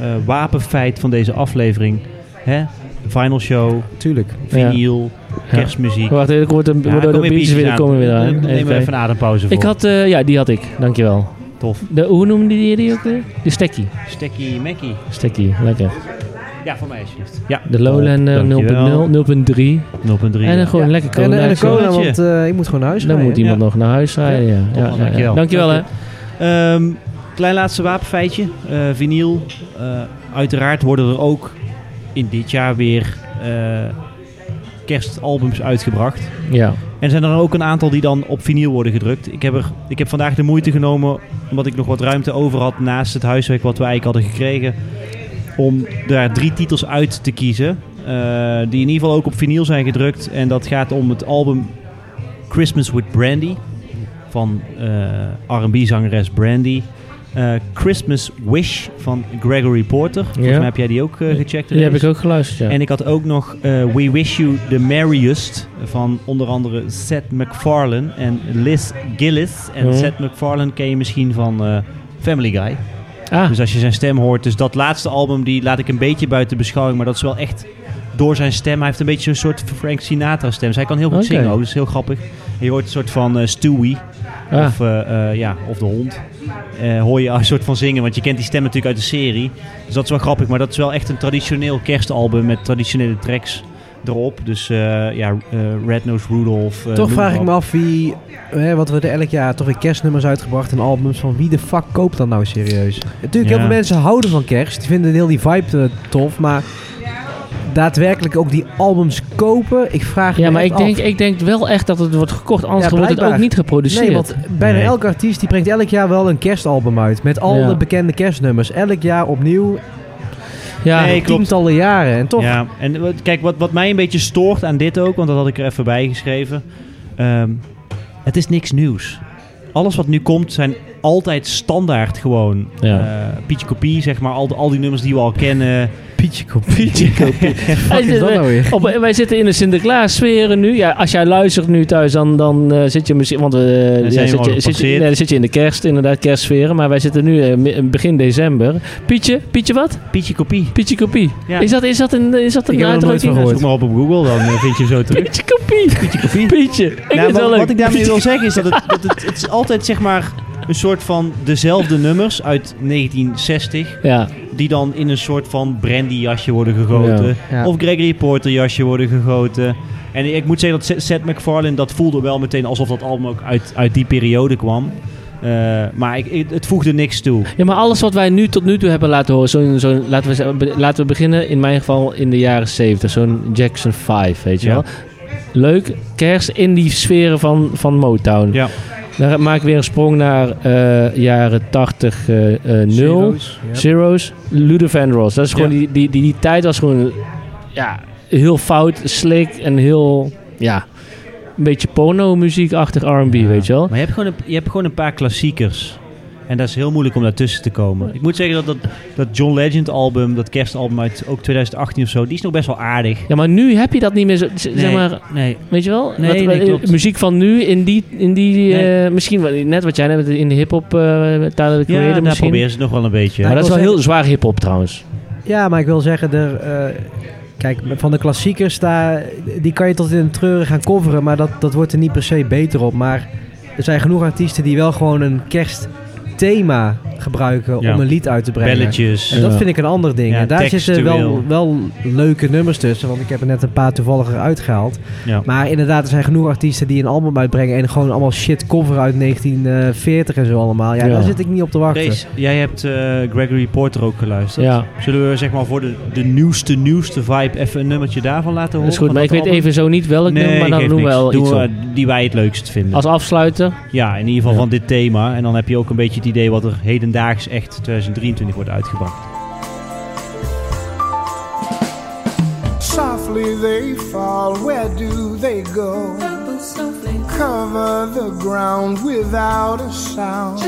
[SPEAKER 2] eh, wapenfeit van deze aflevering. Hè? Final show,
[SPEAKER 1] Tuurlijk.
[SPEAKER 2] vinyl, kerstmuziek.
[SPEAKER 3] Wacht, ik word een,
[SPEAKER 2] Hm. Ja,
[SPEAKER 3] worden de
[SPEAKER 2] kom weer
[SPEAKER 3] biertjes weer,
[SPEAKER 2] biertjes
[SPEAKER 3] komen weer aan.
[SPEAKER 2] Neem
[SPEAKER 3] Even
[SPEAKER 2] even,
[SPEAKER 3] kijken.
[SPEAKER 2] even een adempauze voor.
[SPEAKER 3] Ik had, eh, ja, die had ik. Dankjewel.
[SPEAKER 2] Tof.
[SPEAKER 3] De, hoe noemde je die ook weer? De stekkie.
[SPEAKER 2] Stekkie Mackie.
[SPEAKER 3] Stekkie, lekker.
[SPEAKER 2] Ja, voor mij alsjeblieft.
[SPEAKER 3] Ja, de eh, Lowlander
[SPEAKER 2] 0.3.
[SPEAKER 3] 0.0, 0.3. En dan gewoon een lekker
[SPEAKER 1] En, en een
[SPEAKER 3] colaatje.
[SPEAKER 1] cola, want eh, ik moet gewoon naar huis
[SPEAKER 3] Dan
[SPEAKER 1] rijden.
[SPEAKER 3] moet iemand nog naar huis rijden. Ja. Ja,
[SPEAKER 2] Top,
[SPEAKER 3] ja,
[SPEAKER 2] man,
[SPEAKER 3] ja.
[SPEAKER 2] dankjewel.
[SPEAKER 3] Dankjewel hè.
[SPEAKER 2] Ehm, klein laatste wapenfeitje. eh vinyl. Eh, uiteraard worden er ook in dit jaar weer eh, kerstalbums uitgebracht.
[SPEAKER 3] Ja.
[SPEAKER 2] En zijn er dan ook een aantal die dan op vinyl worden gedrukt. Ik heb, er, ik heb vandaag de moeite genomen, omdat ik nog wat ruimte over had naast het huiswerk wat we eigenlijk hadden gekregen, om daar drie titels uit te kiezen. eh, die in ieder geval ook op vinyl zijn gedrukt. En dat gaat om het album Christmas with Brandy van eh, R&B-zangeres Brandy. Eh, Christmas Wish van Gregory Porter. Volgens
[SPEAKER 3] Ja.
[SPEAKER 2] mij heb jij die ook eh, gecheckt.
[SPEAKER 3] Die heb
[SPEAKER 2] Rees.
[SPEAKER 3] ik ook geluisterd, ja.
[SPEAKER 2] En ik had ook nog eh, We Wish You The Merriest van onder andere Seth MacFarlane en Liz Gillis. En
[SPEAKER 3] Mhm.
[SPEAKER 2] Seth MacFarlane ken je misschien van eh, Family Guy.
[SPEAKER 3] Ah.
[SPEAKER 2] Dus als je zijn stem hoort. Dus dat laatste album die laat ik een beetje buiten beschouwing. Maar dat is wel echt door zijn stem. Hij heeft een beetje een soort Frank Sinatra stem. Dus hij kan heel goed
[SPEAKER 3] Oké.
[SPEAKER 2] zingen ook. Dat is heel grappig. En je hoort een soort van eh, Stewie.
[SPEAKER 3] Ah.
[SPEAKER 2] Of, eh, eh, ja, of de hond. Eh, hoor je een soort van zingen. Want je kent die stem natuurlijk uit de serie. Dus dat is wel grappig. Maar dat is wel echt een traditioneel kerstalbum. Met traditionele tracks erop. Dus eh, ja, eh, Red Nose Rudolph. eh,
[SPEAKER 1] Toch
[SPEAKER 2] noem
[SPEAKER 1] vraag
[SPEAKER 2] maar
[SPEAKER 1] ik
[SPEAKER 2] op.
[SPEAKER 1] me af wie, hè, want we hebben elk jaar toch weer kerstnummers uitgebracht en albums. Van wie de fuck koopt dat nou serieus? Natuurlijk, heel
[SPEAKER 2] Ja.
[SPEAKER 1] veel mensen houden van kerst. Die vinden heel die vibe eh, tof, maar daadwerkelijk ook die albums kopen. Ik vraag
[SPEAKER 3] Ja,
[SPEAKER 1] me
[SPEAKER 3] maar
[SPEAKER 1] echt
[SPEAKER 3] ik denk,
[SPEAKER 1] af.
[SPEAKER 3] ik denk wel echt dat het wordt gekocht. Anders
[SPEAKER 1] Ja,
[SPEAKER 3] wordt het ook
[SPEAKER 1] blijkbaar.
[SPEAKER 3] niet geproduceerd.
[SPEAKER 1] Nee, want bijna
[SPEAKER 2] Nee.
[SPEAKER 1] elke artiest die brengt elk jaar wel een kerstalbum uit. Met al
[SPEAKER 3] Ja.
[SPEAKER 1] de bekende kerstnummers. Elk jaar opnieuw.
[SPEAKER 3] ja,
[SPEAKER 2] Nee, klopt.
[SPEAKER 1] Tientallen jaren. En toch,
[SPEAKER 2] Ja, en wat- kijk, wat, wat mij een beetje stoort aan dit ook, want dat had ik er even bij geschreven. ehm, het is niks nieuws. Alles wat nu komt zijn altijd standaard gewoon.
[SPEAKER 3] Ja.
[SPEAKER 2] eh, Pietje Kopie, zeg maar. Al, al die nummers die we al kennen.
[SPEAKER 1] Pietje Kopie.
[SPEAKER 3] Wij
[SPEAKER 1] Wat is dat
[SPEAKER 3] zitten-
[SPEAKER 1] nou weer?
[SPEAKER 3] Op, eh, wij zitten in de Sinterklaas sferen nu. Ja, als jij luistert nu thuis, dan, dan eh, zit je misschien. Want we ja,
[SPEAKER 2] zijn we
[SPEAKER 3] zit,
[SPEAKER 2] al
[SPEAKER 3] je, zit, je,
[SPEAKER 2] gepasseerd.
[SPEAKER 3] nee, dan zit je in de kerst, inderdaad, kerstsferen. Maar wij zitten nu eh, mi- begin december. Pietje, Pietje wat?
[SPEAKER 2] [LAUGHS] Pietje Kopie.
[SPEAKER 3] Pietje Kopie.
[SPEAKER 2] Ja.
[SPEAKER 3] Is, dat, is dat een, is dat een
[SPEAKER 1] Ik heb er nog nooit
[SPEAKER 3] uitdrukking?
[SPEAKER 1] van gehoord.
[SPEAKER 2] Zoek maar op op Google, dan eh, vind je hem zo terug.
[SPEAKER 3] [LAUGHS] Pietje Kopie. Pietje Kopie. Pietje. [LAUGHS] Ik vind
[SPEAKER 2] Nou,
[SPEAKER 3] het wel
[SPEAKER 2] wat,
[SPEAKER 3] leuk.
[SPEAKER 2] wat ik daarmee
[SPEAKER 3] [LAUGHS]
[SPEAKER 2] wil zeggen is dat, het, dat het, het is altijd zeg maar een soort van dezelfde nummers uit 1960.
[SPEAKER 3] Ja,
[SPEAKER 2] die dan in een soort van brandy jasje worden gegoten.
[SPEAKER 1] Ja. Ja.
[SPEAKER 2] Of Gregory Porter jasje worden gegoten. En ik moet zeggen dat Seth- Seth MacFarlane, dat voelde wel meteen alsof dat album ook uit, uit die periode kwam. Eh, maar ik, ik- het voegde niks toe.
[SPEAKER 3] Ja, maar alles wat wij nu tot nu toe hebben laten horen, zo'n zo'n- laten, we, zeggen, be- laten we beginnen in mijn geval in de jaren 70, zo'n Jackson 5, weet je
[SPEAKER 2] Ja.
[SPEAKER 3] wel. Leuk, kerst in die sferen van, van Motown.
[SPEAKER 2] Ja.
[SPEAKER 3] Dan maak ik weer een sprong naar eh, jaren 80, eh eh, nul.
[SPEAKER 1] Zero's, ja.
[SPEAKER 3] Zero's, Luther Vandross. Dat is gewoon
[SPEAKER 2] Ja.
[SPEAKER 3] die, die, die, die tijd was gewoon ja, heel fout, slick en heel, ja, een beetje porno-muziekachtig R&B, weet je wel.
[SPEAKER 2] Maar je hebt, gewoon een, je hebt gewoon een paar klassiekers. En dat is heel moeilijk om daartussen te komen. Ik moet zeggen dat dat, dat John Legend album, dat kerstalbum uit ook 2018 of zo, die is nog best wel aardig.
[SPEAKER 3] Ja, maar nu heb je dat niet meer zo, z- zeg maar,
[SPEAKER 2] nee.
[SPEAKER 3] Weet je wel?
[SPEAKER 2] Nee,
[SPEAKER 3] Wat-
[SPEAKER 2] nee,
[SPEAKER 3] eh,
[SPEAKER 2] klopt.
[SPEAKER 3] Muziek van nu in die... In die
[SPEAKER 2] Nee.
[SPEAKER 3] eh, misschien wel- net wat jij net in de hip-hop eh Tyler the Creator
[SPEAKER 2] Ja, nou, daar
[SPEAKER 3] misschien.
[SPEAKER 2] proberen ze het nog wel een beetje.
[SPEAKER 3] Maar
[SPEAKER 1] Ja,
[SPEAKER 3] dat is
[SPEAKER 1] ik
[SPEAKER 3] wel
[SPEAKER 1] wil
[SPEAKER 3] heel zwaar hip-hop trouwens.
[SPEAKER 1] Ja, maar ik wil zeggen, er, eh, kijk, van de klassiekers, daar, die kan je tot in een treuren gaan coveren, maar dat, dat wordt er niet per se beter op. Maar er zijn genoeg artiesten die wel gewoon een kerstthema gebruiken
[SPEAKER 2] Ja.
[SPEAKER 1] om een lied uit te brengen.
[SPEAKER 2] Belletjes.
[SPEAKER 1] En dat
[SPEAKER 3] Ja.
[SPEAKER 1] vind ik een ander ding.
[SPEAKER 2] Ja,
[SPEAKER 1] en daar zitten wel,
[SPEAKER 2] textueel.
[SPEAKER 1] wel leuke nummers tussen, want ik heb er net een paar toevallig uitgehaald.
[SPEAKER 2] Ja.
[SPEAKER 1] Maar inderdaad, er zijn genoeg artiesten die een album uitbrengen en gewoon allemaal shit coveren uit 1940 en zo allemaal. Ja,
[SPEAKER 3] Ja.
[SPEAKER 1] daar zit ik niet op te wachten.
[SPEAKER 2] Kees, jij hebt eh, Gregory Porter ook geluisterd.
[SPEAKER 3] Ja,
[SPEAKER 2] Zullen we zeg maar voor de, de nieuwste, nieuwste vibe even een nummertje daarvan laten
[SPEAKER 3] dat
[SPEAKER 2] horen?
[SPEAKER 3] is goed.
[SPEAKER 2] Van
[SPEAKER 3] Maar ik
[SPEAKER 2] dat
[SPEAKER 3] weet
[SPEAKER 2] album?
[SPEAKER 3] even zo niet welk
[SPEAKER 2] nee,
[SPEAKER 3] nummer, maar dan
[SPEAKER 2] geeft
[SPEAKER 3] doen we
[SPEAKER 2] niks.
[SPEAKER 3] wel
[SPEAKER 2] Doen
[SPEAKER 3] iets
[SPEAKER 2] we,
[SPEAKER 3] op.
[SPEAKER 2] eh, die wij het leukst vinden.
[SPEAKER 3] Als afsluiter.
[SPEAKER 2] Ja, in ieder geval
[SPEAKER 3] Ja.
[SPEAKER 2] van dit thema. En dan heb je ook een beetje het idee wat er hedendaags echt 2023 wordt uitgebracht.
[SPEAKER 10] Softly they fall, where do they go? Cover the ground without a sound.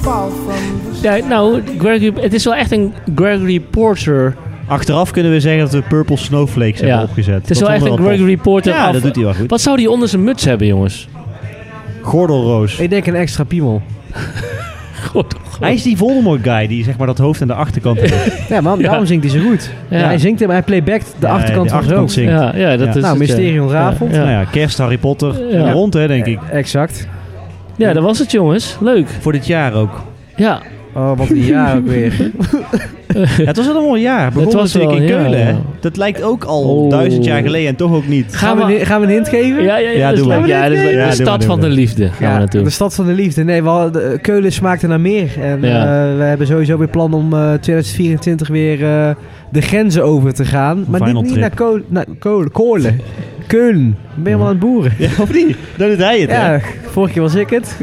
[SPEAKER 10] Fall from the
[SPEAKER 3] Ja, nou, Gregory, het is wel echt een Gregory Porter.
[SPEAKER 2] Achteraf kunnen we zeggen dat we Purple Snowflakes hebben
[SPEAKER 3] Ja.
[SPEAKER 2] opgezet.
[SPEAKER 3] Het
[SPEAKER 2] Dat
[SPEAKER 3] is wel echt
[SPEAKER 2] vonden
[SPEAKER 3] een
[SPEAKER 2] we tof.
[SPEAKER 3] Gregory Porter.
[SPEAKER 2] Ja,
[SPEAKER 3] af-
[SPEAKER 2] dat doet hij wel goed.
[SPEAKER 3] Wat zou die onder zijn muts hebben, jongens?
[SPEAKER 2] Gordelroos.
[SPEAKER 1] Ik denk een extra piemel.
[SPEAKER 3] God,
[SPEAKER 2] Hij is die Voldemort guy die zeg maar dat hoofd aan de achterkant heeft.
[SPEAKER 1] Ja, man, daarom zingt hij zo goed.
[SPEAKER 3] Ja.
[SPEAKER 1] Ja, hij zingt hem, hij playbackt de achterkant van zo.
[SPEAKER 2] zingt.
[SPEAKER 3] Ja, ja, dat
[SPEAKER 2] Ja.
[SPEAKER 3] is
[SPEAKER 1] Nou,
[SPEAKER 3] het, ja.
[SPEAKER 1] Mysterie ontrafeld.
[SPEAKER 3] Ja,
[SPEAKER 2] Nou
[SPEAKER 3] ja.
[SPEAKER 2] ja, kerst, Harry Potter.
[SPEAKER 3] Ja.
[SPEAKER 2] Rond hè, denk ik.
[SPEAKER 1] Exact.
[SPEAKER 3] ja, dat was het, jongens. Leuk.
[SPEAKER 2] Voor dit jaar ook.
[SPEAKER 3] Ja,
[SPEAKER 1] Oh, wat een jaar ook weer.
[SPEAKER 2] Ja, het was wel een mooi jaar. Begon
[SPEAKER 1] Het was
[SPEAKER 2] natuurlijk in
[SPEAKER 1] wel, ja,
[SPEAKER 2] Keulen. hè.
[SPEAKER 1] ja.
[SPEAKER 2] Dat lijkt ook al duizend jaar geleden en toch ook niet.
[SPEAKER 1] Gaan we, een- gaan we een hint geven?
[SPEAKER 2] Ja, ja, ja, Ja, dat is doe leuk. maar. Ja, dat is leuk. Ja, De doe stad maar, doe van maar. de liefde gaan we naartoe.
[SPEAKER 1] De stad van de liefde. Nee, we hadden- eh, Keulen smaakte naar meer. En
[SPEAKER 2] Ja.
[SPEAKER 1] eh, we hebben sowieso weer plan om eh, 2024 weer eh, de grenzen over te gaan. Maar niet,
[SPEAKER 2] Final
[SPEAKER 1] niet
[SPEAKER 2] trip.
[SPEAKER 1] naar Keulen. Naar Keulen. Keulen. Keulen. Ik Ben je wel aan het boeren?
[SPEAKER 2] Ja, of niet? Dan doet hij het, hè?
[SPEAKER 1] Ja, vorige keer was ik het.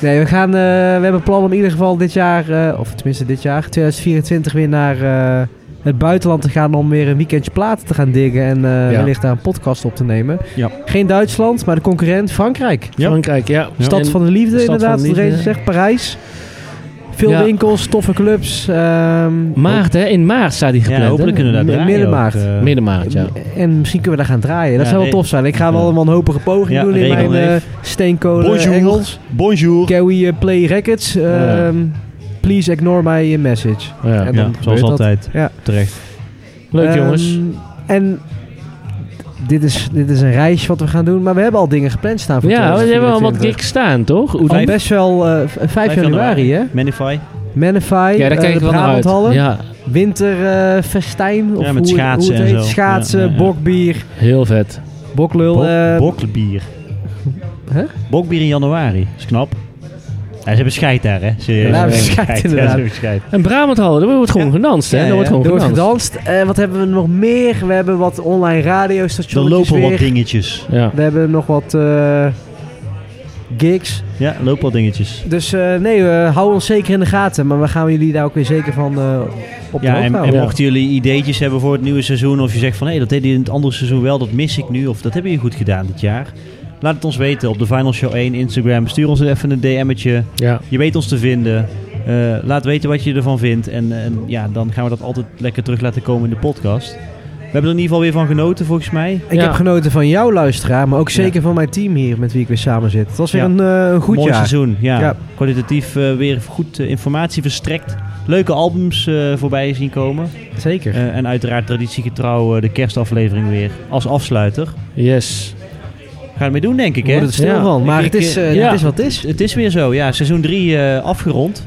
[SPEAKER 1] Nee, we, gaan, eh, we hebben plan om in ieder geval dit jaar, eh, of tenminste dit jaar, 2024 weer naar eh, het buitenland te gaan om weer een weekendje platen te gaan diggen en eh,
[SPEAKER 3] Ja.
[SPEAKER 1] wellicht daar een podcast op te nemen.
[SPEAKER 2] Ja.
[SPEAKER 1] Geen Duitsland, maar de concurrent Frankrijk.
[SPEAKER 3] Frankrijk, ja.
[SPEAKER 1] Stad
[SPEAKER 3] En-
[SPEAKER 1] van de liefde
[SPEAKER 3] Stad van de
[SPEAKER 1] inderdaad,
[SPEAKER 3] liefde,
[SPEAKER 1] iedereen
[SPEAKER 3] ja.
[SPEAKER 1] zegt Parijs. Veel
[SPEAKER 3] Ja.
[SPEAKER 1] winkels, toffe clubs. ehm,
[SPEAKER 3] Maart, hè? In maart staat die gepland.
[SPEAKER 1] hopelijk kunnen we daar draaien midden ook, maart. eh.
[SPEAKER 3] Midden maart, ja.
[SPEAKER 1] En misschien kunnen we daar gaan draaien. Dat
[SPEAKER 3] Ja,
[SPEAKER 1] zou wel
[SPEAKER 3] nee.
[SPEAKER 1] tof zijn. Ik ga wel een wanhopige poging
[SPEAKER 3] Ja,
[SPEAKER 1] doen in
[SPEAKER 3] regel
[SPEAKER 1] mijn eh
[SPEAKER 3] even.
[SPEAKER 1] steenkolen
[SPEAKER 3] Bonjour.
[SPEAKER 1] Engels.
[SPEAKER 2] Bonjour.
[SPEAKER 1] Can we eh, play records?
[SPEAKER 2] Ja.
[SPEAKER 1] Ehm, Please ignore my eh, message.
[SPEAKER 2] Ja,
[SPEAKER 1] En dan gebeurt
[SPEAKER 2] zoals
[SPEAKER 1] dat.
[SPEAKER 2] altijd.
[SPEAKER 1] Ja.
[SPEAKER 2] Terecht.
[SPEAKER 1] Ehm, En dit is, dit is een reis wat we gaan doen. Maar we hebben al dingen gepland staan voor
[SPEAKER 3] Ja, we hebben al wat
[SPEAKER 1] 2024.
[SPEAKER 3] gigs staan, toch? Hoe
[SPEAKER 1] Al
[SPEAKER 3] dan?
[SPEAKER 1] best wel eh, v- 5 januari, hè?
[SPEAKER 2] Manify.
[SPEAKER 1] Manify,
[SPEAKER 3] Ja, daar kijk
[SPEAKER 1] eh,
[SPEAKER 3] ik
[SPEAKER 1] de
[SPEAKER 3] wel naar uit.
[SPEAKER 1] Brabanthallen.
[SPEAKER 3] Ja.
[SPEAKER 1] Winterfestijn. of
[SPEAKER 3] Ja, met
[SPEAKER 1] hoe,
[SPEAKER 3] schaatsen
[SPEAKER 1] hoe het
[SPEAKER 3] en
[SPEAKER 1] heet.
[SPEAKER 3] zo.
[SPEAKER 1] Schaatsen,
[SPEAKER 3] Ja, ja, ja.
[SPEAKER 1] bokbier.
[SPEAKER 3] Heel vet.
[SPEAKER 1] Boklul.
[SPEAKER 2] Bok,
[SPEAKER 1] eh,
[SPEAKER 2] bokbier. Bokbier in januari. Is knap. Ja, ze hebben scheid daar, hè?
[SPEAKER 1] Ja,
[SPEAKER 2] Serieus. Ze
[SPEAKER 1] we
[SPEAKER 2] hebben
[SPEAKER 1] scheid,
[SPEAKER 2] Ja, ze
[SPEAKER 1] inderdaad.
[SPEAKER 2] hebben scheid.
[SPEAKER 3] En Brabantallen, er wordt gewoon gedanst, hè?
[SPEAKER 1] Ja,
[SPEAKER 3] Er wordt
[SPEAKER 1] ja.
[SPEAKER 3] gewoon
[SPEAKER 1] Er wordt
[SPEAKER 3] gedanst.
[SPEAKER 1] gedanst. Eh, wat hebben we nog meer? We hebben wat online
[SPEAKER 2] Er
[SPEAKER 1] radiostations.
[SPEAKER 2] lopen
[SPEAKER 1] weer.
[SPEAKER 2] wat dingetjes.
[SPEAKER 3] Ja.
[SPEAKER 1] We hebben nog wat eh, gigs.
[SPEAKER 2] Ja, lopen wat dingetjes.
[SPEAKER 1] Dus eh, nee, we houden ons zeker in de gaten. Maar we gaan jullie daar ook weer zeker van eh, op de
[SPEAKER 2] Ja,
[SPEAKER 1] hoogte
[SPEAKER 2] en, en
[SPEAKER 1] houden.
[SPEAKER 2] mochten jullie ideetjes hebben voor het nieuwe seizoen, of je zegt van hé, dat deed je in het andere seizoen wel, dat mis ik nu, of dat hebben jullie goed gedaan dit jaar, laat het ons weten op de Final Show 1 Instagram. Stuur ons even een DM'tje.
[SPEAKER 3] Ja.
[SPEAKER 2] Je weet ons te vinden. Eh, laat weten wat je ervan vindt. En, en ja, dan gaan we dat altijd lekker terug laten komen in de podcast. We hebben er in ieder geval weer van genoten, volgens mij.
[SPEAKER 1] Ik heb genoten van jouw luisteraar, maar ook zeker van mijn team hier met wie ik weer samen zit. Het was weer
[SPEAKER 2] Ja.
[SPEAKER 1] een eh, een goed
[SPEAKER 2] Mooi
[SPEAKER 1] jaar.
[SPEAKER 2] seizoen, ja.
[SPEAKER 1] Ja.
[SPEAKER 2] Kwalitatief eh, weer goed eh, informatie verstrekt. Leuke albums eh, voorbij zien komen. Eh,
[SPEAKER 1] Zeker.
[SPEAKER 2] en uiteraard traditiegetrouw eh, de kerstaflevering weer als afsluiter.
[SPEAKER 3] Yes.
[SPEAKER 2] Ga ermee doen, denk ik,
[SPEAKER 1] We
[SPEAKER 2] hè?
[SPEAKER 1] worden er stil van, maar het is,
[SPEAKER 2] eh,
[SPEAKER 1] eh, het is wat het is.
[SPEAKER 2] Het is weer zo, ja. Seizoen 3 afgerond.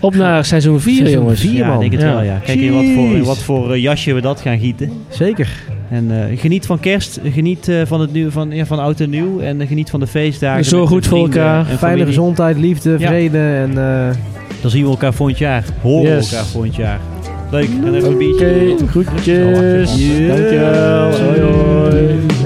[SPEAKER 3] Op naar seizoen 4,
[SPEAKER 2] Seizoen
[SPEAKER 3] jongens.
[SPEAKER 2] vier, Ja, ik denk het wel, ja. Kijk in wat voor, in wat voor eh, jasje we dat gaan gieten.
[SPEAKER 1] Zeker.
[SPEAKER 2] En eh, geniet van kerst, geniet eh, van, het nieuw, van, ja, van oud en nieuw en eh, geniet van de feestdagen.
[SPEAKER 1] Zo
[SPEAKER 2] met
[SPEAKER 1] goed
[SPEAKER 2] je
[SPEAKER 1] voor
[SPEAKER 2] vrienden
[SPEAKER 1] elkaar.
[SPEAKER 2] en
[SPEAKER 1] Fijne
[SPEAKER 2] familie.
[SPEAKER 1] gezondheid, liefde,
[SPEAKER 2] Ja.
[SPEAKER 1] vrede en... eh,
[SPEAKER 2] Dan zien we elkaar volgend jaar. Horen
[SPEAKER 1] Yes.
[SPEAKER 2] we elkaar volgend jaar. Leuk, dan even een biertje.
[SPEAKER 3] Groetjes.
[SPEAKER 2] Dankjewel.
[SPEAKER 3] Dankjewel. Hoi, hoi.